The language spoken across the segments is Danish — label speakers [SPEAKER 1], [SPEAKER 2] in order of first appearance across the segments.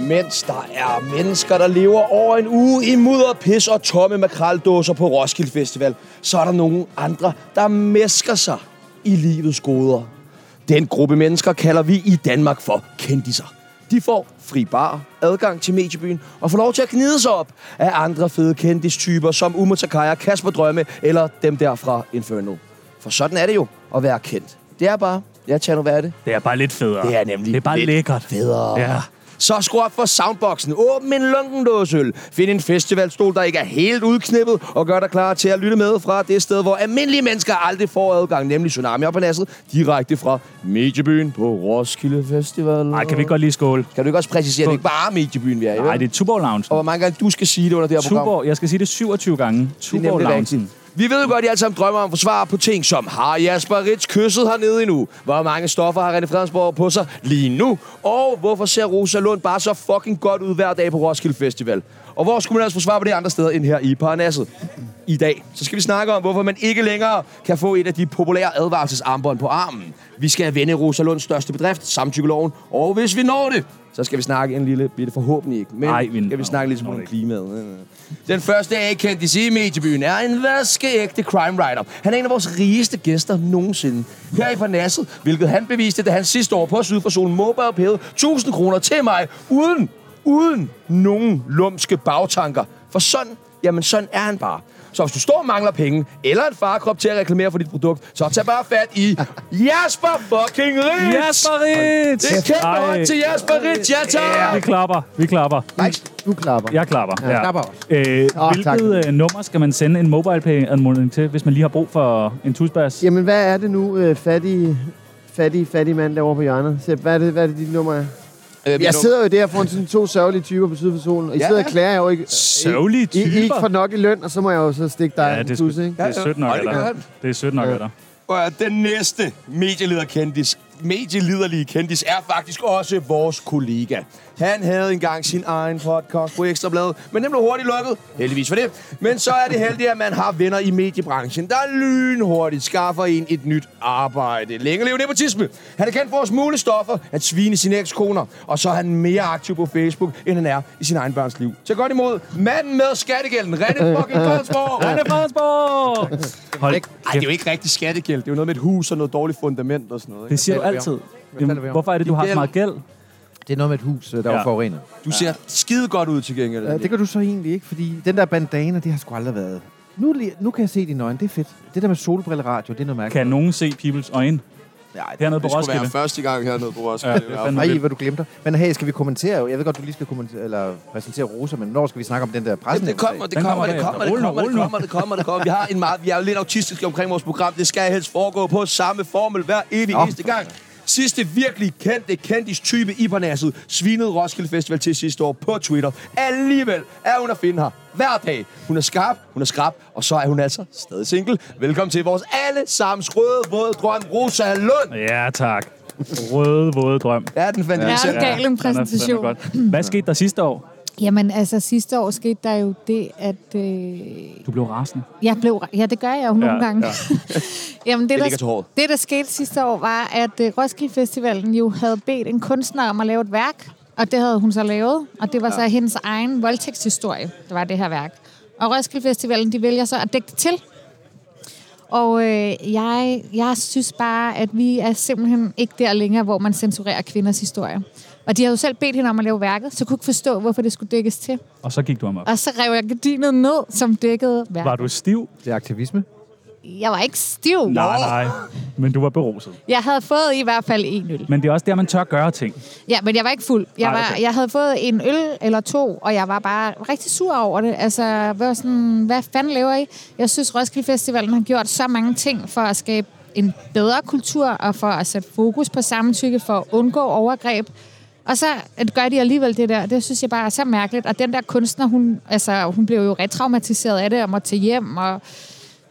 [SPEAKER 1] mens der er mennesker, der lever over en uge i mudder, pis og tomme makraldåser på Roskilde Festival, så er der nogle andre, der mesker sig i livets goder. Den gruppe mennesker kalder vi i Danmark for kendiser. De får fri bar, adgang til mediebyen og får lov til at knide sig op af andre fede kendistyper som Uma Takaya, Kasper Drømme eller dem der fra Inferno. For sådan er det jo at være kendt. Det er bare, ja, Tjerno, hvad er det?
[SPEAKER 2] Det er bare lidt federe.
[SPEAKER 1] Det er nemlig
[SPEAKER 2] Det er bare
[SPEAKER 1] lidt
[SPEAKER 2] lækkert.
[SPEAKER 1] federe.
[SPEAKER 2] Ja.
[SPEAKER 1] Så skru op for soundboxen, åbn en lunkendåsøl, find en festivalstol, der ikke er helt udknippet, og gør dig klar til at lytte med fra det sted, hvor almindelige mennesker aldrig får adgang, nemlig Tsunami op på nasset, direkte fra Mediebyen på Roskilde Festival.
[SPEAKER 2] Ej, kan vi ikke godt lige skåle?
[SPEAKER 1] Kan du ikke også præcisere, at det ikke bare er Mediebyen, vi er i?
[SPEAKER 2] Nej,
[SPEAKER 1] vel?
[SPEAKER 2] det er Tuborg Lounge.
[SPEAKER 1] Og hvor mange gange du skal sige det under det her program.
[SPEAKER 2] Tuborg, jeg skal sige det 27 gange.
[SPEAKER 1] Det er
[SPEAKER 2] Tuborg
[SPEAKER 1] nemlig
[SPEAKER 2] Lounge.
[SPEAKER 1] rigtigt. Vi ved jo godt, at I alle sammen drømmer om at få svar på ting som Har Jasper Ritz kysset hernede endnu? Hvor mange stoffer har René Fredensborg på sig lige nu? Og hvorfor ser Rosa Lund bare så fucking godt ud hver dag på Roskilde Festival? Og hvor skulle man ellers få svar på det andre steder end her i Paranasset? I dag, så skal vi snakke om, hvorfor man ikke længere kan få et af de populære advarselsarmbånd på armen. Vi skal vende Rosa Lunds største bedrift, samtykkeloven, og hvis vi når det, så skal vi snakke en lille bitte forhåbentlig ikke. Men
[SPEAKER 2] Ej,
[SPEAKER 1] Ej,
[SPEAKER 2] vi-
[SPEAKER 1] skal vi snakke lidt
[SPEAKER 2] Nå,
[SPEAKER 1] om
[SPEAKER 2] ikke.
[SPEAKER 1] klimaet. Den første A-kendis i mediebyen er en vaskeægte crime writer. Han er en af vores rigeste gæster nogensinde. Her i Parnasset, hvilket han beviste, da han sidste år på Syd for Solen mobile pævede 1000 kroner til mig, uden, uden nogen lumske bagtanker. For sådan, jamen sådan er han bare. Så hvis du står og mangler penge, eller en farkrop til at reklamere for dit produkt, så tag bare fat i Jasper fucking Ritz!
[SPEAKER 2] Jasper Ritz!
[SPEAKER 1] Det er kæmpe hånd til Jasper Ritz, ja tak!
[SPEAKER 2] Vi klapper, vi klapper.
[SPEAKER 3] Nej, du klapper.
[SPEAKER 2] Jeg klapper.
[SPEAKER 3] Ja, klapper også.
[SPEAKER 2] Øh,
[SPEAKER 3] Åh, tak.
[SPEAKER 2] hvilket øh, nummer skal man sende en mobile anmodning til, hvis man lige har brug for en tusbas?
[SPEAKER 3] Jamen, hvad er det nu, øh, fattig, fattig, fattig mand derovre på hjørnet? Sepp, hvad er det, hvad er det dit nummer er?
[SPEAKER 1] Øh,
[SPEAKER 3] Jeg sidder jo der foran sådan to sørgelige typer på syd for solen, og I
[SPEAKER 1] Ja,
[SPEAKER 3] ja, sidder
[SPEAKER 1] ja.
[SPEAKER 3] og klager jeg jo ikke.
[SPEAKER 2] Sørgelige
[SPEAKER 3] I, I, I ikke
[SPEAKER 2] typer?
[SPEAKER 3] får nok i løn, og så må jeg jo så stikke dig
[SPEAKER 2] Ja,
[SPEAKER 3] ja, en
[SPEAKER 2] det,
[SPEAKER 3] tus,
[SPEAKER 2] er,
[SPEAKER 3] ikke?
[SPEAKER 2] det er sødt nok
[SPEAKER 1] Ja,
[SPEAKER 2] af
[SPEAKER 1] det gør
[SPEAKER 2] dig.
[SPEAKER 1] han.
[SPEAKER 2] Det er sødt nok af dig.
[SPEAKER 1] Prøv at høre, den næste medieleder kendis, medieliderlige kendis, er faktisk også vores kollega. Han havde engang sin egen podcast på Ekstrabladet, men den blev hurtigt lukket. Heldigvis for det. Men så er det heldigt, at man har venner i mediebranchen, der lynhurtigt skaffer en et nyt arbejde. Længe leve nepotisme. Han er kendt for at smule stoffer, at svine sine ekskoner, og så er han mere aktiv på Facebook, end han er i sin egen børns liv. Så godt imod manden med skattegælden, René fucking Korsborg.
[SPEAKER 2] René Fredensborg! Hold
[SPEAKER 1] Ej, det er jo ikke rigtig skattegæld. Det er jo noget med et hus og noget dårligt fundament og sådan noget.
[SPEAKER 2] Det
[SPEAKER 1] Ikke?
[SPEAKER 2] siger du
[SPEAKER 4] Hvad taler vi
[SPEAKER 2] altid.
[SPEAKER 4] taler vi
[SPEAKER 2] Jamen,
[SPEAKER 4] om?
[SPEAKER 2] Hvorfor er det, du har så meget gæld?
[SPEAKER 4] Det er noget med et hus, øh, der
[SPEAKER 2] Ja.
[SPEAKER 4] var forurenet.
[SPEAKER 1] Du ser skide godt ud til gengæld.
[SPEAKER 4] Ja, det kan du så egentlig ikke, fordi den der bandana, det har sgu aldrig været. Nu, li- nu kan jeg se dine øjne, det er fedt. Det der med solbrilleradio, det er noget mærkeligt.
[SPEAKER 2] Kan nogen se peoples øjne
[SPEAKER 4] Nej, det
[SPEAKER 2] hernede på
[SPEAKER 1] det skulle
[SPEAKER 2] Roskilde?
[SPEAKER 1] være første gang hernede på
[SPEAKER 2] Ja,
[SPEAKER 1] Roskilde.
[SPEAKER 2] det er fandme
[SPEAKER 4] Ej,
[SPEAKER 2] vildt.
[SPEAKER 4] hvor du glemte. Men hey, skal vi kommentere? Jeg ved godt, du lige skal kommentere, eller præsentere Rosa, men når skal vi snakke om den der presse?
[SPEAKER 1] det kommer, det
[SPEAKER 2] Den
[SPEAKER 1] kommer,
[SPEAKER 2] kommer
[SPEAKER 1] det
[SPEAKER 2] bagefter.
[SPEAKER 1] kommer, det
[SPEAKER 2] Rul nu,
[SPEAKER 1] kommer, det
[SPEAKER 2] rul nu.
[SPEAKER 1] kommer, det kommer, det kommer. Vi har en meget, vi er jo lidt autistiske omkring vores program. Det skal helst foregå på samme formel hver evig
[SPEAKER 4] Nå.
[SPEAKER 1] eneste gang. Sidste virkelig kendte kendis type i Parnasset svinede Roskilde Festival til sidste år på Twitter. Alligevel er hun at finde her hver dag. Hun er skarp, hun er skrab, og så er hun altså stadig single. Velkommen til vores allesammens røde våde drøm, Rosa Lund.
[SPEAKER 2] Ja, tak. Røde, våde drøm.
[SPEAKER 1] Ja, den fandt
[SPEAKER 5] Der
[SPEAKER 1] jeg
[SPEAKER 5] er
[SPEAKER 1] selv.
[SPEAKER 5] en gal en
[SPEAKER 2] Den er- den er
[SPEAKER 5] præsentation.
[SPEAKER 2] godt. Hvad skete der sidste år?
[SPEAKER 5] Jamen, altså sidste år skete der jo det, at øh,
[SPEAKER 2] Du blev rasende.
[SPEAKER 5] jeg blev... Ja, det gør jeg jo nogle
[SPEAKER 2] Ja,
[SPEAKER 5] gange.
[SPEAKER 2] ja.
[SPEAKER 5] Jamen, det,
[SPEAKER 1] ligger til
[SPEAKER 5] der,
[SPEAKER 1] håret.
[SPEAKER 5] det, der skete sidste år, var, at øh, Roskilde Festivalen jo havde bedt en kunstner om at lave et værk, og det havde hun så lavet, og det var så hendes egen voldtægtshistorie, det var det her værk. Og Roskilde Festivalen, de vælger så at dække det til. Og øh, jeg, jeg synes bare, at vi er simpelthen ikke der længere, hvor man censurerer kvinders historier. Og de havde jo selv bedt hende om at lave værket, så jeg kunne ikke forstå, hvorfor det skulle dækkes til.
[SPEAKER 2] Og så gik du om op.
[SPEAKER 5] Og så rev jeg gardinet ned, som dækkede værket.
[SPEAKER 2] Var du stiv?
[SPEAKER 4] Det er aktivisme.
[SPEAKER 5] Jeg var ikke stiv.
[SPEAKER 2] Nej, nej. Men du var beruset.
[SPEAKER 5] Jeg havde fået i hvert fald en øl.
[SPEAKER 2] Men det er også der, man tør gøre ting.
[SPEAKER 5] Ja, men jeg var ikke fuld. Jeg,
[SPEAKER 2] Ej,
[SPEAKER 5] var,
[SPEAKER 2] okay.
[SPEAKER 5] jeg havde fået en øl eller to, og jeg var bare rigtig sur over det. Altså, jeg var sådan, hvad fanden laver I? Jeg synes, Roskilde Festivalen har gjort så mange ting for at skabe en bedre kultur, og for at sætte fokus på samtykke, for at undgå overgreb. Og så at gør de alligevel det der. Det synes jeg bare er så mærkeligt. Og den der kunstner, hun, altså, hun blev jo retraumatiseret af det, og måtte til hjem, og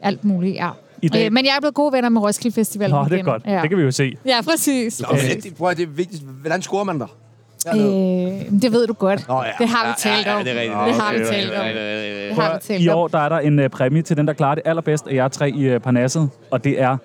[SPEAKER 5] alt muligt, ja.
[SPEAKER 2] I dag-
[SPEAKER 5] Øh, Men jeg er blevet gode venner med Roskilde Festivalen
[SPEAKER 2] Nå, det er
[SPEAKER 5] igen.
[SPEAKER 2] godt.
[SPEAKER 5] Ja.
[SPEAKER 2] Det kan vi jo se.
[SPEAKER 5] Ja, præcis.
[SPEAKER 1] Nå, men det, prøv at, det er vigtigt. Hvordan scorer man der?
[SPEAKER 5] Øh, det ved du godt.
[SPEAKER 1] Nå, ja.
[SPEAKER 5] Det har vi
[SPEAKER 1] Ja, ja,
[SPEAKER 5] talt
[SPEAKER 1] ja,
[SPEAKER 5] om.
[SPEAKER 1] det er rigtigt.
[SPEAKER 5] Det har vi
[SPEAKER 2] Okay,
[SPEAKER 5] talt om. Det har vi
[SPEAKER 2] I
[SPEAKER 5] talt om.
[SPEAKER 2] år der er der en uh, præmie til den, der klarer det allerbedst af jer øh, tre i uh, Parnasset, og det er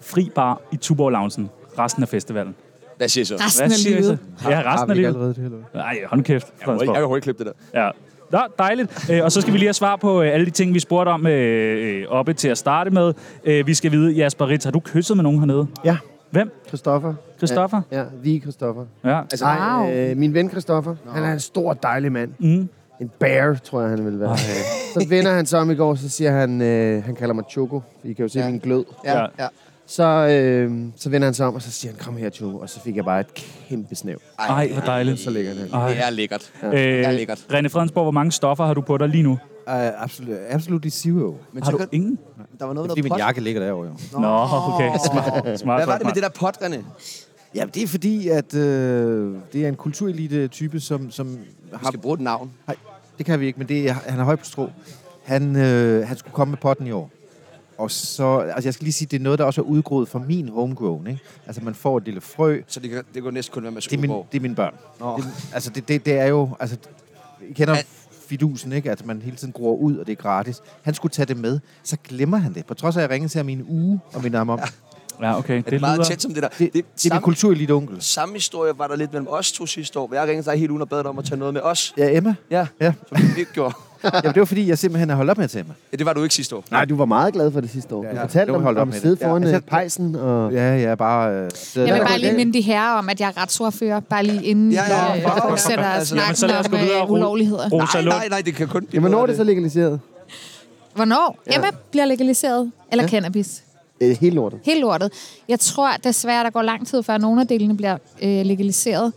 [SPEAKER 2] fri bar i Tuborg Loungen resten af festivalen.
[SPEAKER 1] Hvad siger I så? Jeg
[SPEAKER 5] Resten
[SPEAKER 2] Hvad
[SPEAKER 5] af
[SPEAKER 2] siger I så?
[SPEAKER 5] livet.
[SPEAKER 2] Ja, resten
[SPEAKER 4] Har
[SPEAKER 2] af
[SPEAKER 4] vi ikke
[SPEAKER 2] livet.
[SPEAKER 4] allerede det heller?
[SPEAKER 2] Nej, hold kæft.
[SPEAKER 1] kan
[SPEAKER 2] Fredensborg.
[SPEAKER 1] hurtigt- jeg kan hurtigt klippe det der.
[SPEAKER 2] Ja. Nå, dejligt. Øh, og så skal vi lige have svar på øh, alle de ting, vi spurgte om øh, øh, oppe til at starte med. Øh, vi skal vide, Jasper Ritz, har du kysset med nogen hernede?
[SPEAKER 3] Ja,
[SPEAKER 2] Hvem?
[SPEAKER 3] Christoffer.
[SPEAKER 2] Christoffer?
[SPEAKER 3] Ja, ja the Christoffer.
[SPEAKER 2] Ja.
[SPEAKER 1] Altså,
[SPEAKER 3] Nej,
[SPEAKER 5] Wow.
[SPEAKER 3] øh, min ven Christoffer. Han er en stor, dejlig mand.
[SPEAKER 2] Mm.
[SPEAKER 3] En bear, tror jeg, han ville være. Så vender han sig om i går, så siger han, øh, han kalder mig Choco. I kan jo se
[SPEAKER 1] Ja.
[SPEAKER 3] ja. min glød.
[SPEAKER 1] ja,
[SPEAKER 2] Ja.
[SPEAKER 1] ja.
[SPEAKER 3] Så, øh, så vender han sig om, og så siger han, kom her, Choco. Og så fik jeg bare et kæmpe snæv.
[SPEAKER 2] Ej, hvor dejligt.
[SPEAKER 3] Så ligger det.
[SPEAKER 2] Ej.
[SPEAKER 1] Det er lækkert.
[SPEAKER 2] Øh,
[SPEAKER 1] Det er lækkert.
[SPEAKER 2] René Fredensborg, hvor mange stoffer har du på dig lige nu?
[SPEAKER 4] Uh, absolut, absolutely zero.
[SPEAKER 1] Men
[SPEAKER 2] Har
[SPEAKER 1] så
[SPEAKER 2] du
[SPEAKER 1] kan-
[SPEAKER 2] ingen?
[SPEAKER 1] der var noget med
[SPEAKER 4] Fordi
[SPEAKER 1] noget
[SPEAKER 4] min
[SPEAKER 1] pot.
[SPEAKER 4] jakke ligger derovre, jo.
[SPEAKER 2] Nå, okay. Smart, smart,
[SPEAKER 1] Hvad var
[SPEAKER 2] smart,
[SPEAKER 1] det med
[SPEAKER 2] smart.
[SPEAKER 1] det der pot, René?
[SPEAKER 4] Ja, det er fordi, at øh, det er en kulturelite-type, som, som
[SPEAKER 1] Vi
[SPEAKER 4] har...
[SPEAKER 1] skal bruge et navn.
[SPEAKER 4] Nej, det kan vi ikke, men det er, han er høj på strå. Han, øh, han skulle komme med potten i år. Og så, altså jeg skal lige sige, det er noget, der også er udgroet fra min homegrown, ikke? Altså man får et lille frø.
[SPEAKER 1] Så det, kan, det går næsten kun være med
[SPEAKER 4] Det er, min,
[SPEAKER 1] Skuldborg.
[SPEAKER 4] det er mine børn.
[SPEAKER 1] Nå.
[SPEAKER 4] Det, altså det, det, det er jo, altså, I kender
[SPEAKER 1] Han-
[SPEAKER 4] fidusen, ikke? At man hele tiden gror ud, og det er gratis. Han skulle tage det med, så glemmer han det. På trods af, at jeg ringede til ham i en uge og minder ham om,
[SPEAKER 2] Ja, okay.
[SPEAKER 1] Det
[SPEAKER 2] Det
[SPEAKER 1] er meget
[SPEAKER 2] lyder...
[SPEAKER 1] tæt som det der.
[SPEAKER 4] det, det, det er min
[SPEAKER 1] samme,
[SPEAKER 4] kulturelite onkel.
[SPEAKER 1] samme historie var der lidt mellem os to sidste år, hvor jeg ringede dig helt uden og bad dig om at tage noget med os.
[SPEAKER 4] Ja, Emma.
[SPEAKER 1] Ja,
[SPEAKER 4] Ja.
[SPEAKER 1] som vi ikke gjorde.
[SPEAKER 4] Jamen, det var fordi, jeg simpelthen har holdt op med at tage Emma.
[SPEAKER 1] Ja, det var du ikke sidste år.
[SPEAKER 3] Nej, du var meget glad for det sidste år. Ja, du
[SPEAKER 4] ja.
[SPEAKER 3] fortalte
[SPEAKER 4] Det var
[SPEAKER 3] om,
[SPEAKER 4] holdt op
[SPEAKER 3] om
[SPEAKER 4] med
[SPEAKER 3] at
[SPEAKER 4] det.
[SPEAKER 3] sidde foran
[SPEAKER 4] Ja,
[SPEAKER 3] ja,
[SPEAKER 4] altså-
[SPEAKER 3] pejsen. Og...
[SPEAKER 4] Ja, ja, bare... Øh,
[SPEAKER 5] Jeg vil
[SPEAKER 3] er
[SPEAKER 5] bare
[SPEAKER 3] okay.
[SPEAKER 5] lige minde de herrer om, at jeg er retsordfører, bare lige inden
[SPEAKER 1] Ja,
[SPEAKER 5] ja,
[SPEAKER 1] ja,
[SPEAKER 5] ja,
[SPEAKER 1] ja, ja.
[SPEAKER 5] ja. fortsætter
[SPEAKER 1] Altså,
[SPEAKER 5] altså,
[SPEAKER 1] jamen,
[SPEAKER 5] snakken
[SPEAKER 2] så lad os gå
[SPEAKER 5] om
[SPEAKER 2] videre og
[SPEAKER 5] øh,
[SPEAKER 2] rulle-
[SPEAKER 5] ulovligheder.
[SPEAKER 2] Rosa
[SPEAKER 1] Nej,
[SPEAKER 2] Lund.
[SPEAKER 1] nej, nej, det kan kun blive
[SPEAKER 3] Ja, hvornår er
[SPEAKER 1] bedre,
[SPEAKER 3] det så legaliseret?
[SPEAKER 5] Hvornår ja. Emma bliver legaliseret? Eller ja. cannabis?
[SPEAKER 3] Øh, helt lortet.
[SPEAKER 5] Helt lortet. Jeg tror desværre, der går lang tid, før nogle af delene bliver øh, legaliseret.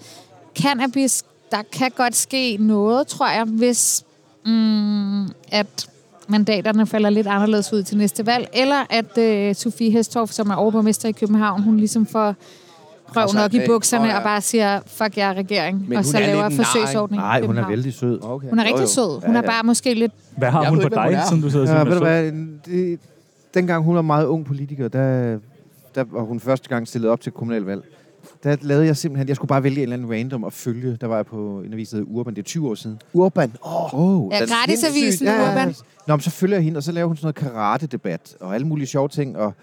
[SPEAKER 5] Cannabis, der kan godt ske noget, tror jeg, hvis mm, at mandaterne falder lidt anderledes ud til næste valg, eller at øh, Sofie Hestorf, som er overborgmester i København, hun ligesom får røven
[SPEAKER 1] Krasser
[SPEAKER 5] op i
[SPEAKER 1] af.
[SPEAKER 5] bukserne
[SPEAKER 1] Åh,
[SPEAKER 5] oh,
[SPEAKER 1] ja.
[SPEAKER 5] ja. og bare siger, fuck jeg er regering,
[SPEAKER 1] Altså, øh, Men
[SPEAKER 5] og
[SPEAKER 1] hun
[SPEAKER 5] så
[SPEAKER 1] er lidt
[SPEAKER 5] laver
[SPEAKER 1] en nar,
[SPEAKER 5] forsøgsordning. i
[SPEAKER 4] Nej, hun er
[SPEAKER 5] København.
[SPEAKER 4] vældig sød. Okay.
[SPEAKER 5] Hun er rigtig sød. Hun er bare måske lidt...
[SPEAKER 2] Hvad har
[SPEAKER 1] Jeg
[SPEAKER 2] hun
[SPEAKER 1] ved ikke, hvem
[SPEAKER 2] på
[SPEAKER 1] hun
[SPEAKER 2] dig,
[SPEAKER 1] er.
[SPEAKER 2] som du sidder og
[SPEAKER 4] Ja, ved du
[SPEAKER 2] siger?
[SPEAKER 4] hvad, det, dengang hun var meget ung politiker, der, der var hun første gang stillet op til kommunalvalg. Der lavede jeg simpelthen, jeg skulle bare vælge en eller anden random og følge. Der var jeg på en avis, der hed Urban, det er 20 år siden.
[SPEAKER 3] Urban. Åh,
[SPEAKER 4] Oh,
[SPEAKER 5] Ja, gratisavisen, Urban.
[SPEAKER 4] Nå, men så følger jeg hende, og så laver hun sådan noget karate-debat og alle mulige sjove ting. Og,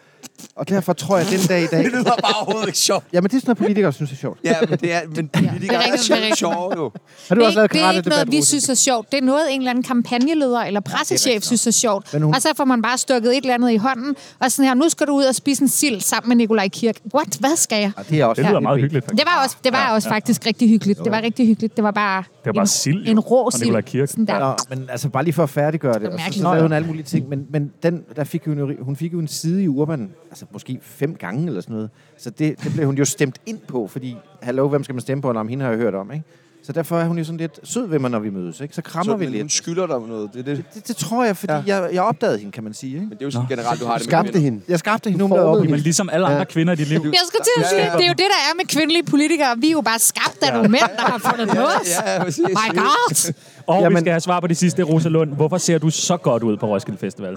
[SPEAKER 4] og derfor tror jeg, den dag i dag...
[SPEAKER 1] Det lyder bare overhovedet ikke sjovt.
[SPEAKER 4] Jamen, det er sådan noget, politikere synes er sjovt.
[SPEAKER 1] Ja, men det er, men politikere
[SPEAKER 5] Det er
[SPEAKER 1] er
[SPEAKER 5] rigtigt, det er
[SPEAKER 1] sjovt
[SPEAKER 5] rigtigt.
[SPEAKER 1] sjove jo.
[SPEAKER 4] Har du
[SPEAKER 5] det, er
[SPEAKER 4] også
[SPEAKER 5] ikke-
[SPEAKER 4] lavet
[SPEAKER 5] det er ikke noget, vi
[SPEAKER 4] karate-debat,
[SPEAKER 5] synes er sjovt. Det er noget, en eller anden kampagneleder eller pressechef synes er sjovt.
[SPEAKER 4] Men hun-
[SPEAKER 5] Og så får man bare stukket et eller andet i hånden, og sådan her, nu skal du ud og spise en sild sammen med Nikolaj Kirk. What? Hvad skal jeg?
[SPEAKER 4] Det er også
[SPEAKER 2] Det lyder meget hyggeligt.
[SPEAKER 5] Det var også, det var også faktisk rigtig hyggeligt. Det var rigtig hyggeligt. Det var bare,
[SPEAKER 2] var bare sild,
[SPEAKER 5] en,
[SPEAKER 2] jo,
[SPEAKER 5] en rå
[SPEAKER 2] og Nikolaj
[SPEAKER 5] sild.
[SPEAKER 2] Kirk.
[SPEAKER 5] Sådan der.
[SPEAKER 4] Nå, men altså bare lige for at færdiggøre det.
[SPEAKER 5] er
[SPEAKER 4] og så- Så
[SPEAKER 5] mærkeligt.
[SPEAKER 4] lavede hun alle mulige ting, men, men den, der fik hun, jo, hun fik jo en side i Urban, altså måske fem gange eller sådan noget. Så det, det blev hun jo stemt ind på, fordi, hallo, hvem skal man stemme på, når hende har jeg hørt om, ikke? Så derfor er hun jo sådan lidt sød ved mig, når vi mødes, ikke? Så krammer
[SPEAKER 1] Så,
[SPEAKER 4] vi
[SPEAKER 1] men hun
[SPEAKER 4] lidt.
[SPEAKER 1] skylder dig om noget. Det, er det.
[SPEAKER 4] Det, det, tror jeg, fordi
[SPEAKER 1] Ja.
[SPEAKER 4] ja. jeg, jeg opdagede hende, kan man sige, ikke?
[SPEAKER 1] Men det er jo sådan generelt, du har det med
[SPEAKER 3] skabte
[SPEAKER 1] kvinder.
[SPEAKER 3] hende.
[SPEAKER 4] Jeg skabte hende
[SPEAKER 3] Du
[SPEAKER 4] hun blev op i
[SPEAKER 3] formede
[SPEAKER 2] Men ligesom alle andre kvinder i dit liv.
[SPEAKER 5] Jeg skulle til at sige, det er jo det, der er med kvindelige politikere. Vi er jo bare skabt af nogle mænd, der har fundet på os.
[SPEAKER 1] Ja, ja, præcis.
[SPEAKER 5] My God!
[SPEAKER 2] Og vi
[SPEAKER 4] Jamen-
[SPEAKER 2] skal have svar på det sidste, Rosa Lund. Hvorfor ser du så godt ud på Roskilde Festival?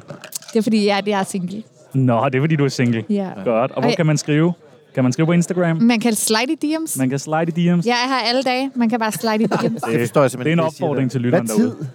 [SPEAKER 5] Det er fordi, jeg, jeg er single.
[SPEAKER 2] Nå, det er fordi, du er single.
[SPEAKER 5] Ja.
[SPEAKER 2] Godt. Og hvor
[SPEAKER 5] Ej. Mm.
[SPEAKER 2] kan man skrive? Kan man skrive på Instagram?
[SPEAKER 5] Man kan slide i DM's.
[SPEAKER 2] Man kan slide i DM's.
[SPEAKER 5] Jeg er her alle dage. Man kan bare slide i DM's.
[SPEAKER 4] Det forstår jeg
[SPEAKER 2] det er
[SPEAKER 4] simpelthen
[SPEAKER 2] en
[SPEAKER 4] ikke, hvad I siger
[SPEAKER 2] opfordring
[SPEAKER 4] der.
[SPEAKER 2] til
[SPEAKER 3] Hvad
[SPEAKER 2] lytteren
[SPEAKER 3] tid?
[SPEAKER 2] derude.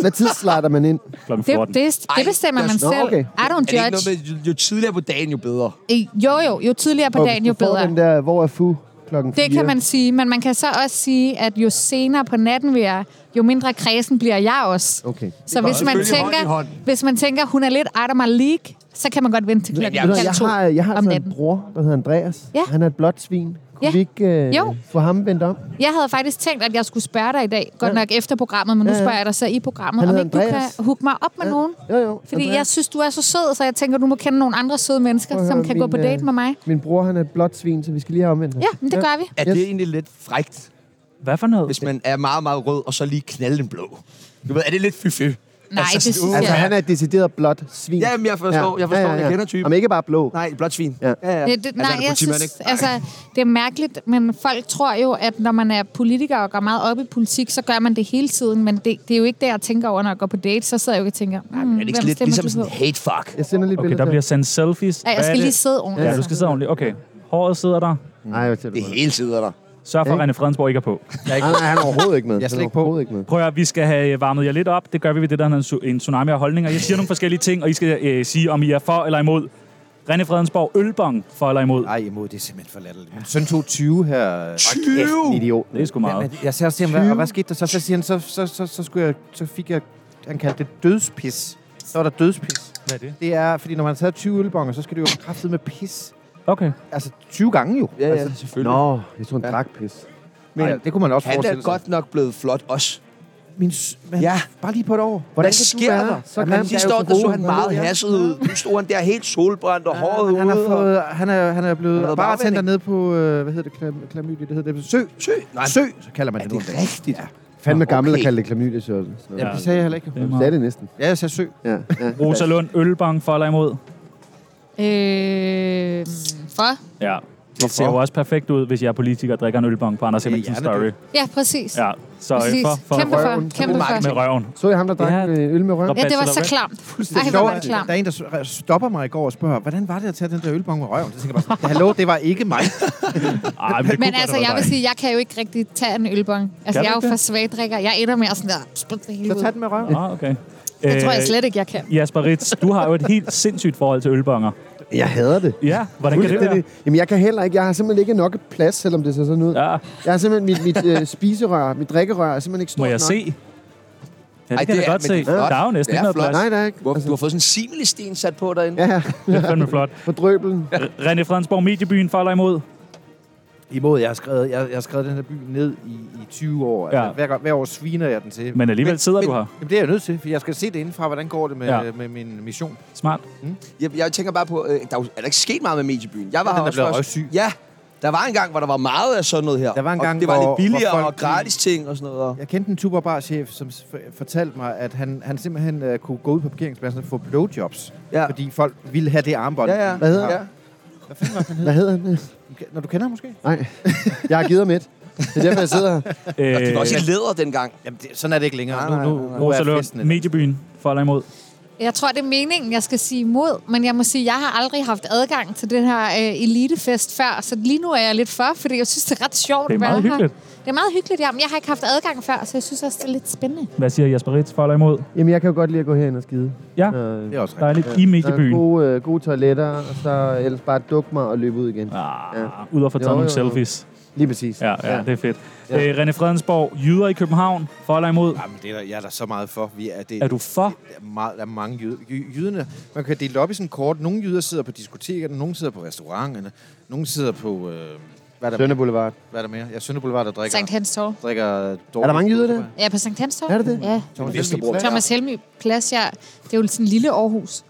[SPEAKER 3] Hvad tid slatter man ind?
[SPEAKER 2] Klokken
[SPEAKER 5] Det,
[SPEAKER 2] 14.
[SPEAKER 5] det,
[SPEAKER 1] Ej,
[SPEAKER 5] det bestemmer
[SPEAKER 1] jeg
[SPEAKER 5] man
[SPEAKER 1] synes-
[SPEAKER 5] selv.
[SPEAKER 3] Nå, okay.
[SPEAKER 5] I don't
[SPEAKER 1] Er det ikke noget
[SPEAKER 5] judge.
[SPEAKER 1] med, jo, jo tidligere på dagen, jo bedre?
[SPEAKER 5] Øh, Jo, jo. Jo tidligere på dagen, jo
[SPEAKER 3] Du får
[SPEAKER 5] bedre.
[SPEAKER 3] den der, hvor er fu klokken
[SPEAKER 5] Det kan man sige, men man kan så også sige, at jo senere på natten vi er, jo mindre kredsen bliver jeg også.
[SPEAKER 3] Okay.
[SPEAKER 5] Så hvis man,
[SPEAKER 1] selvfølgelig hånd i
[SPEAKER 5] tænker,
[SPEAKER 1] hånd.
[SPEAKER 5] hvis man tænker, hun er lidt out of my league, så kan man godt vente til klokken
[SPEAKER 1] jeg-
[SPEAKER 3] Ved du hvad,
[SPEAKER 5] halv
[SPEAKER 3] jeg
[SPEAKER 5] to
[SPEAKER 3] har, jeg har
[SPEAKER 5] om
[SPEAKER 3] altså en
[SPEAKER 5] natten.
[SPEAKER 3] bror, der hedder Andreas.
[SPEAKER 5] Ja.
[SPEAKER 3] Han er et blåt svin. Kunne
[SPEAKER 5] Ja.
[SPEAKER 3] vi ikke øh,
[SPEAKER 5] Jo.
[SPEAKER 3] få ham vendt om?
[SPEAKER 5] Jeg havde faktisk tænkt, at jeg skulle spørge dig i dag, godt nok efter programmet, men nu
[SPEAKER 3] Ja, ja.
[SPEAKER 5] spørger jeg dig så i programmet,
[SPEAKER 3] Han
[SPEAKER 5] om
[SPEAKER 3] hedder
[SPEAKER 5] ikke du kan
[SPEAKER 3] Andreas.
[SPEAKER 5] hooke mig op med nogen.
[SPEAKER 3] Jo, jo.
[SPEAKER 5] Fordi
[SPEAKER 3] Andreas.
[SPEAKER 5] jeg synes, du er så sød, så jeg tænker, du må kende nogle andre søde mennesker,
[SPEAKER 3] Prøv at
[SPEAKER 5] som
[SPEAKER 3] høre,
[SPEAKER 5] kan gå
[SPEAKER 3] min,
[SPEAKER 5] på
[SPEAKER 3] øh,
[SPEAKER 5] date med mig.
[SPEAKER 3] Min bror, han er et blåt svin, så vi skal lige have omvendt ham.
[SPEAKER 5] Ja, men det gør vi.
[SPEAKER 1] Er
[SPEAKER 3] Yes.
[SPEAKER 1] det egentlig lidt frægt,
[SPEAKER 2] Hvad for noget?
[SPEAKER 1] hvis man er meget, meget rød, og så lige knalde den blå? Du ved, er det lidt fy
[SPEAKER 5] Nej, det synes jeg
[SPEAKER 3] Altså,
[SPEAKER 5] Ja.
[SPEAKER 3] han er et decideret blåt svin.
[SPEAKER 1] Jamen, jeg forstår, jeg forstår, jeg kender typen.
[SPEAKER 3] Jamen, ikke bare blå.
[SPEAKER 1] uh, Nej, blot svin.
[SPEAKER 3] Ja.
[SPEAKER 1] ja.
[SPEAKER 5] Ja, altså, det, nej,
[SPEAKER 1] er det
[SPEAKER 5] jeg
[SPEAKER 1] politimand,
[SPEAKER 5] synes,
[SPEAKER 1] ikke?
[SPEAKER 5] altså, det er mærkeligt, men folk tror jo, at når man er politiker og går meget op i politik, så gør man det hele tiden, men det, det er jo ikke det, jeg tænker over, når jeg går på date, så sidder jeg jo ikke og tænker, hmm,
[SPEAKER 1] Er
[SPEAKER 5] hvem
[SPEAKER 1] det ikke lidt
[SPEAKER 5] stemmer
[SPEAKER 1] ligesom
[SPEAKER 5] du
[SPEAKER 1] sådan
[SPEAKER 5] på?
[SPEAKER 1] en hate fuck?
[SPEAKER 3] Jeg sender lige
[SPEAKER 2] Okay,
[SPEAKER 3] billeder
[SPEAKER 2] der bliver sendt selfies.
[SPEAKER 5] Ja, jeg
[SPEAKER 2] Hvad er
[SPEAKER 5] skal
[SPEAKER 2] det?
[SPEAKER 5] lige sidde ordentligt.
[SPEAKER 2] Ja, du skal sidde ordentligt. Okay. Håret sidder der.
[SPEAKER 3] Nej, jeg
[SPEAKER 1] Det hele sidder der.
[SPEAKER 2] Sørg for, at
[SPEAKER 3] Ikke?
[SPEAKER 2] René Fredensborg ikke er på.
[SPEAKER 3] Nej, nej, han er overhovedet ikke med.
[SPEAKER 4] Jeg er slet
[SPEAKER 3] Han
[SPEAKER 4] ikke på.
[SPEAKER 3] overhovedet ikke med.
[SPEAKER 2] Prøv at høre, vi skal have varmet jer lidt op. øh, Det gør vi ved det, der hedder en tsu- en tsunami af holdninger. Jeg siger nogle forskellige ting, og I skal øh, sige, om I er for eller imod. René Fredensborg, Ølbong for eller imod.
[SPEAKER 4] Nej, imod, det er simpelthen for latterligt. Min søn tog 20 her.
[SPEAKER 1] 20?
[SPEAKER 4] En idiot.
[SPEAKER 2] Det er sgu meget.
[SPEAKER 4] Ja, men jeg sagde også til ham, hvad, hvad skete der så? Så siger han, så, så, så, så, skulle jeg, så fik jeg, han kaldte det dødspis. Så var der dødspis.
[SPEAKER 2] Hvad er det?
[SPEAKER 4] Det er, fordi når man har taget 20 ølbonger, så skal det jo kraftet med pis.
[SPEAKER 2] Okay.
[SPEAKER 4] Altså 20 gange jo.
[SPEAKER 1] Ja, ja,
[SPEAKER 4] Altså,
[SPEAKER 1] selvfølgelig.
[SPEAKER 3] Nå, jeg tror en drak pis.
[SPEAKER 4] men Ej, det kunne man også
[SPEAKER 1] Han
[SPEAKER 4] forestille
[SPEAKER 1] er godt nok blevet flot også.
[SPEAKER 4] sig. Min, s- men,
[SPEAKER 1] Ja.
[SPEAKER 4] ja. Bare lige på et år.
[SPEAKER 3] Hvordan
[SPEAKER 1] Hvad
[SPEAKER 3] kan du
[SPEAKER 1] sker
[SPEAKER 3] være
[SPEAKER 1] der?
[SPEAKER 3] Så
[SPEAKER 4] Jamen,
[SPEAKER 3] grim? er
[SPEAKER 4] de
[SPEAKER 3] jo
[SPEAKER 1] Sidste år, der så han
[SPEAKER 3] god.
[SPEAKER 1] meget
[SPEAKER 3] Ja.
[SPEAKER 1] hasset ud. Nu stod han der helt solbrændt og håret
[SPEAKER 4] Han,
[SPEAKER 1] ude.
[SPEAKER 4] han, har
[SPEAKER 1] og-
[SPEAKER 4] fået, han, er, han er
[SPEAKER 1] Han
[SPEAKER 4] blevet
[SPEAKER 1] er
[SPEAKER 4] bartender
[SPEAKER 1] bagvending.
[SPEAKER 4] nede på, øh, hvad hedder det, klam, klamydia, det hedder det, sø,
[SPEAKER 1] Sø. Nej,
[SPEAKER 4] sø, så kalder man
[SPEAKER 1] Er
[SPEAKER 4] det nu.
[SPEAKER 1] det
[SPEAKER 4] om dagen.
[SPEAKER 1] rigtigt? Ja.
[SPEAKER 3] Fandme
[SPEAKER 1] Nå,
[SPEAKER 3] gammel at
[SPEAKER 1] okay.
[SPEAKER 3] kalde det klamydia, Sjøren.
[SPEAKER 4] Ja,
[SPEAKER 3] Ja.
[SPEAKER 4] det sagde jeg heller ikke.
[SPEAKER 2] Det er
[SPEAKER 3] Sagde
[SPEAKER 2] meget.
[SPEAKER 3] det næsten.
[SPEAKER 4] Ja, jeg sagde sø.
[SPEAKER 3] Ja. ja.
[SPEAKER 2] Rosa Lund, Ølbong for eller imod.
[SPEAKER 5] Øh, for?
[SPEAKER 2] Ja. Det ser jo også perfekt ud, hvis jeg er politiker og drikker en ølbong på Anders Hemmingsen Story.
[SPEAKER 4] hjernedødt.
[SPEAKER 5] Ja, præcis.
[SPEAKER 2] Ja, så øh,
[SPEAKER 5] præcis.
[SPEAKER 2] for, for
[SPEAKER 5] Kæmpe for.
[SPEAKER 3] røven.
[SPEAKER 5] Kæmpe for.
[SPEAKER 2] med røven.
[SPEAKER 3] Så jeg ham, der drak
[SPEAKER 2] Ja.
[SPEAKER 3] øh, øl med røven?
[SPEAKER 5] Ja, det var så
[SPEAKER 2] Bachelor,
[SPEAKER 5] klamt. Ej, hvor var det
[SPEAKER 4] der,
[SPEAKER 5] klamt.
[SPEAKER 4] der er en, der s- re- stopper mig i går og spørger, hvordan var det at tage den der ølbong med røven? Så tænker jeg bare, sådan, hallo, det var ikke mig.
[SPEAKER 2] Ej, men det
[SPEAKER 5] Men
[SPEAKER 2] kunne
[SPEAKER 5] altså,
[SPEAKER 2] godt
[SPEAKER 5] jeg
[SPEAKER 2] have
[SPEAKER 5] vil
[SPEAKER 2] været dig.
[SPEAKER 5] sige, jeg kan jo ikke rigtig tage en ølbong. Altså,
[SPEAKER 2] Kan
[SPEAKER 5] jeg er
[SPEAKER 2] du
[SPEAKER 5] jo
[SPEAKER 2] ikke
[SPEAKER 5] for
[SPEAKER 2] det?
[SPEAKER 5] svagdrikker. Jeg ender med at sådan der, sprit det hele
[SPEAKER 4] Så
[SPEAKER 5] ud.
[SPEAKER 4] tag den med røven.
[SPEAKER 2] Ah, okay.
[SPEAKER 5] Det tror jeg slet ikke, jeg kan.
[SPEAKER 2] Jasper Ritz, du har jo et helt sindssygt forhold til ølbonger.
[SPEAKER 3] Jeg hader det.
[SPEAKER 2] Ja, hvordan kan det være?
[SPEAKER 3] Fuldstændig. Jamen, jeg kan heller ikke. Jeg har simpelthen ikke nok plads, selvom det ser sådan ud.
[SPEAKER 2] Ja,
[SPEAKER 3] Jeg har simpelthen mit, mit øh, spiserør, mit drikkerør, er simpelthen ikke stort
[SPEAKER 2] må jeg
[SPEAKER 3] nok.
[SPEAKER 2] se? Ja,
[SPEAKER 1] Ej,
[SPEAKER 2] det kan
[SPEAKER 1] det
[SPEAKER 2] jeg
[SPEAKER 1] er-
[SPEAKER 2] godt
[SPEAKER 1] men det
[SPEAKER 2] se.
[SPEAKER 1] er flot.
[SPEAKER 2] Der er jo næsten
[SPEAKER 1] Det
[SPEAKER 2] ikke
[SPEAKER 1] er
[SPEAKER 2] noget
[SPEAKER 1] flot.
[SPEAKER 2] plads.
[SPEAKER 3] Nej, der er ikke.
[SPEAKER 1] Hvor,
[SPEAKER 4] Altså-
[SPEAKER 1] du har fået sådan en simelesten sat på derinde.
[SPEAKER 3] Ja,
[SPEAKER 2] Det er fandme flot.
[SPEAKER 3] på drøbelen.
[SPEAKER 2] René Fredensborg, Mediebyen for eller imod?
[SPEAKER 4] Imod, jeg har skrevet, jeg, jeg har skrevet den her by ned i, i 20 år. Altså,
[SPEAKER 2] Ja.
[SPEAKER 4] ja. hver, gang- hver år sviner jeg den til.
[SPEAKER 2] Men alligevel sidder du her.
[SPEAKER 4] Jamen, det er jeg nødt til, for jeg skal se det indenfra, hvordan går det med,
[SPEAKER 2] Ja.
[SPEAKER 4] ja. med min mission.
[SPEAKER 2] Smart.
[SPEAKER 1] Jeg, jeg tænker bare på, øh, der er, jo- er der ikke sket meget med mediebyen? Jeg var
[SPEAKER 4] Den
[SPEAKER 1] her
[SPEAKER 4] er
[SPEAKER 1] også
[SPEAKER 4] blevet
[SPEAKER 1] først-
[SPEAKER 4] røvsyg.
[SPEAKER 1] Ja, der var en gang, hvor der var meget af sådan noget her.
[SPEAKER 4] Der var en
[SPEAKER 1] Og
[SPEAKER 4] gang,
[SPEAKER 1] det var
[SPEAKER 4] hvor-
[SPEAKER 1] lidt billigere
[SPEAKER 4] hvor folk-
[SPEAKER 1] og gratis ting og sådan noget. og-
[SPEAKER 4] Jeg kendte en tuberbarchef, som s- f- fortalte mig, at han, han simpelthen uh, kunne gå ud på parkeringspladsen og få blowjobs,
[SPEAKER 1] Ja.
[SPEAKER 4] ja. fordi folk ville have det armbånd.
[SPEAKER 1] Ja, ja.
[SPEAKER 3] Hvad hedder
[SPEAKER 1] ja.
[SPEAKER 4] Hvad fanden var det, han hed?
[SPEAKER 3] Hvad hedder han?
[SPEAKER 4] Når du kender ham måske?
[SPEAKER 3] Nej, jeg har givet ham et. Det er derfor, jeg sidder her.
[SPEAKER 1] Det var også
[SPEAKER 2] Øh,
[SPEAKER 1] i læder dengang.
[SPEAKER 4] Jamen, det, sådan er det ikke længere.
[SPEAKER 1] Nej, nej,
[SPEAKER 4] nu, nu,
[SPEAKER 1] nej,
[SPEAKER 4] nu
[SPEAKER 2] Rosa
[SPEAKER 4] er
[SPEAKER 2] Lund,
[SPEAKER 4] festen. et-
[SPEAKER 2] Mediebyen for eller imod?
[SPEAKER 5] Jeg tror, det er meningen, jeg skal sige imod, men jeg må sige, at jeg har aldrig haft adgang til den her øh, elitefest før, så lige nu er jeg lidt for, fordi jeg synes, det er ret sjovt
[SPEAKER 2] Det er
[SPEAKER 5] at være
[SPEAKER 2] meget
[SPEAKER 5] her.
[SPEAKER 2] hyggeligt.
[SPEAKER 5] Det er meget hyggeligt, ja, men jeg har ikke haft adgang før, så jeg synes også, det er lidt spændende.
[SPEAKER 2] Hvad siger Jasper Ritz for eller imod?
[SPEAKER 3] Jamen, jeg kan jo godt lide at gå herind og skide.
[SPEAKER 2] Ja,
[SPEAKER 3] Øh,
[SPEAKER 4] Det er også rigtigt.
[SPEAKER 2] dejligt. I
[SPEAKER 3] der er
[SPEAKER 2] Mediebyen.
[SPEAKER 3] gode, øh, gode toiletter, og så ellers bare dukke mig og løbe ud igen.
[SPEAKER 2] Ah, ud og få taget
[SPEAKER 3] Jo,
[SPEAKER 2] nogle
[SPEAKER 3] jo, jo.
[SPEAKER 2] selfies.
[SPEAKER 3] Lige præcis.
[SPEAKER 2] Ja, ja, det er fedt. Øh, René Fredensborg, jyder i København for eller imod?
[SPEAKER 4] Jamen, det er der, jeg er der så meget for. Vi er, det,
[SPEAKER 2] Er du for?
[SPEAKER 4] Der er, meget, der er mange jyder. Jy- jyderne. Man kan dele op i sådan kort. Nogle jyder sidder på diskotekerne, nogle sidder på restauranterne, nogle sidder på... Øh, hvad, er der,
[SPEAKER 3] Sønder Boulevard.
[SPEAKER 4] hvad er der mere? Ja, Sønder Boulevard, der drikker...
[SPEAKER 5] Sankt Hans Torv.
[SPEAKER 4] drikker
[SPEAKER 3] Er der mange jyder der?
[SPEAKER 5] Ja, på Sankt Hans Torv.
[SPEAKER 3] Er det det?
[SPEAKER 5] Ja.
[SPEAKER 4] Thomas
[SPEAKER 1] Vesterbro.
[SPEAKER 4] Helmig.
[SPEAKER 5] Thomas Helmy Plads, ja. Det er jo sådan en lille Aarhus.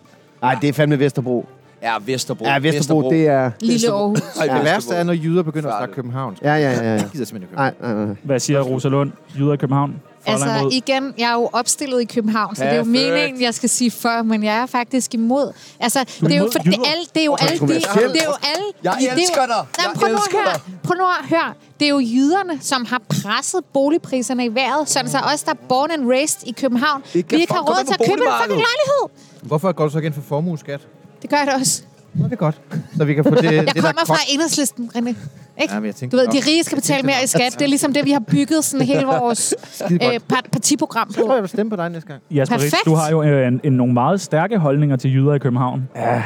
[SPEAKER 3] Nej, det er fandme Vesterbro.
[SPEAKER 1] Ja, Vesterbro.
[SPEAKER 3] Ja, Vesterbro, det er...
[SPEAKER 5] Lille Aarhus.
[SPEAKER 1] Ej,
[SPEAKER 4] Det værste er,
[SPEAKER 1] Vesterbro.
[SPEAKER 4] når jyder begynder at
[SPEAKER 1] Farligt.
[SPEAKER 4] snakke københavn.
[SPEAKER 3] Ja, ja, ja. ja.
[SPEAKER 4] Jeg gider simpelthen ikke
[SPEAKER 3] Nej,
[SPEAKER 4] københavn.
[SPEAKER 3] nej, nej.
[SPEAKER 2] Hvad siger Rosa Lund, jyder i København for eller
[SPEAKER 5] Altså
[SPEAKER 2] imod?
[SPEAKER 5] igen, jeg er jo opstillet i København, så det er jo
[SPEAKER 1] Perfekt.
[SPEAKER 5] meningen, jeg skal sige for, men jeg er faktisk imod. Altså, det er jo,
[SPEAKER 2] imod
[SPEAKER 5] for, det er
[SPEAKER 2] jyder?
[SPEAKER 5] alle, det er jo alle de, det er jo alle.
[SPEAKER 1] Kontroversielt. Jeg
[SPEAKER 5] det er jo-
[SPEAKER 1] elsker dig.
[SPEAKER 5] Nej,
[SPEAKER 1] Jeg
[SPEAKER 5] prøv nu
[SPEAKER 1] elsker
[SPEAKER 5] at høre.
[SPEAKER 1] dig.
[SPEAKER 5] Prøv nu at høre. Det er jo jyderne, som har presset boligpriserne i vejret, sådan så os, der er born and raised i København, vi
[SPEAKER 1] Det kan
[SPEAKER 5] ikke har
[SPEAKER 1] fuck gå
[SPEAKER 5] råd
[SPEAKER 1] ind
[SPEAKER 5] til
[SPEAKER 1] på
[SPEAKER 5] at købe en fucking
[SPEAKER 1] boligmarkedet.
[SPEAKER 5] lejlighed.
[SPEAKER 4] Hvorfor går du så igen for formueskat?
[SPEAKER 5] Det gør jeg da også.
[SPEAKER 4] Nå, det er godt. Så vi kan få det,
[SPEAKER 5] Jeg
[SPEAKER 4] det
[SPEAKER 5] kommer
[SPEAKER 4] der
[SPEAKER 5] fra
[SPEAKER 4] kok-
[SPEAKER 5] enhedslisten, René. Ikke?
[SPEAKER 4] Ja, men jeg tænkte
[SPEAKER 5] du ved,
[SPEAKER 4] nok-
[SPEAKER 5] de rige skal betale mere i skat. Det er ligesom det, vi har bygget sådan hele vores øh, part- partiprogram
[SPEAKER 4] Jeg tror,
[SPEAKER 5] på.
[SPEAKER 4] jeg vil stemme på dig næste gang.
[SPEAKER 2] Jasper Ritz,
[SPEAKER 5] Perfekt.
[SPEAKER 2] du har jo øh, en, en, nogle meget stærke holdninger til jyder i København.
[SPEAKER 3] Jeg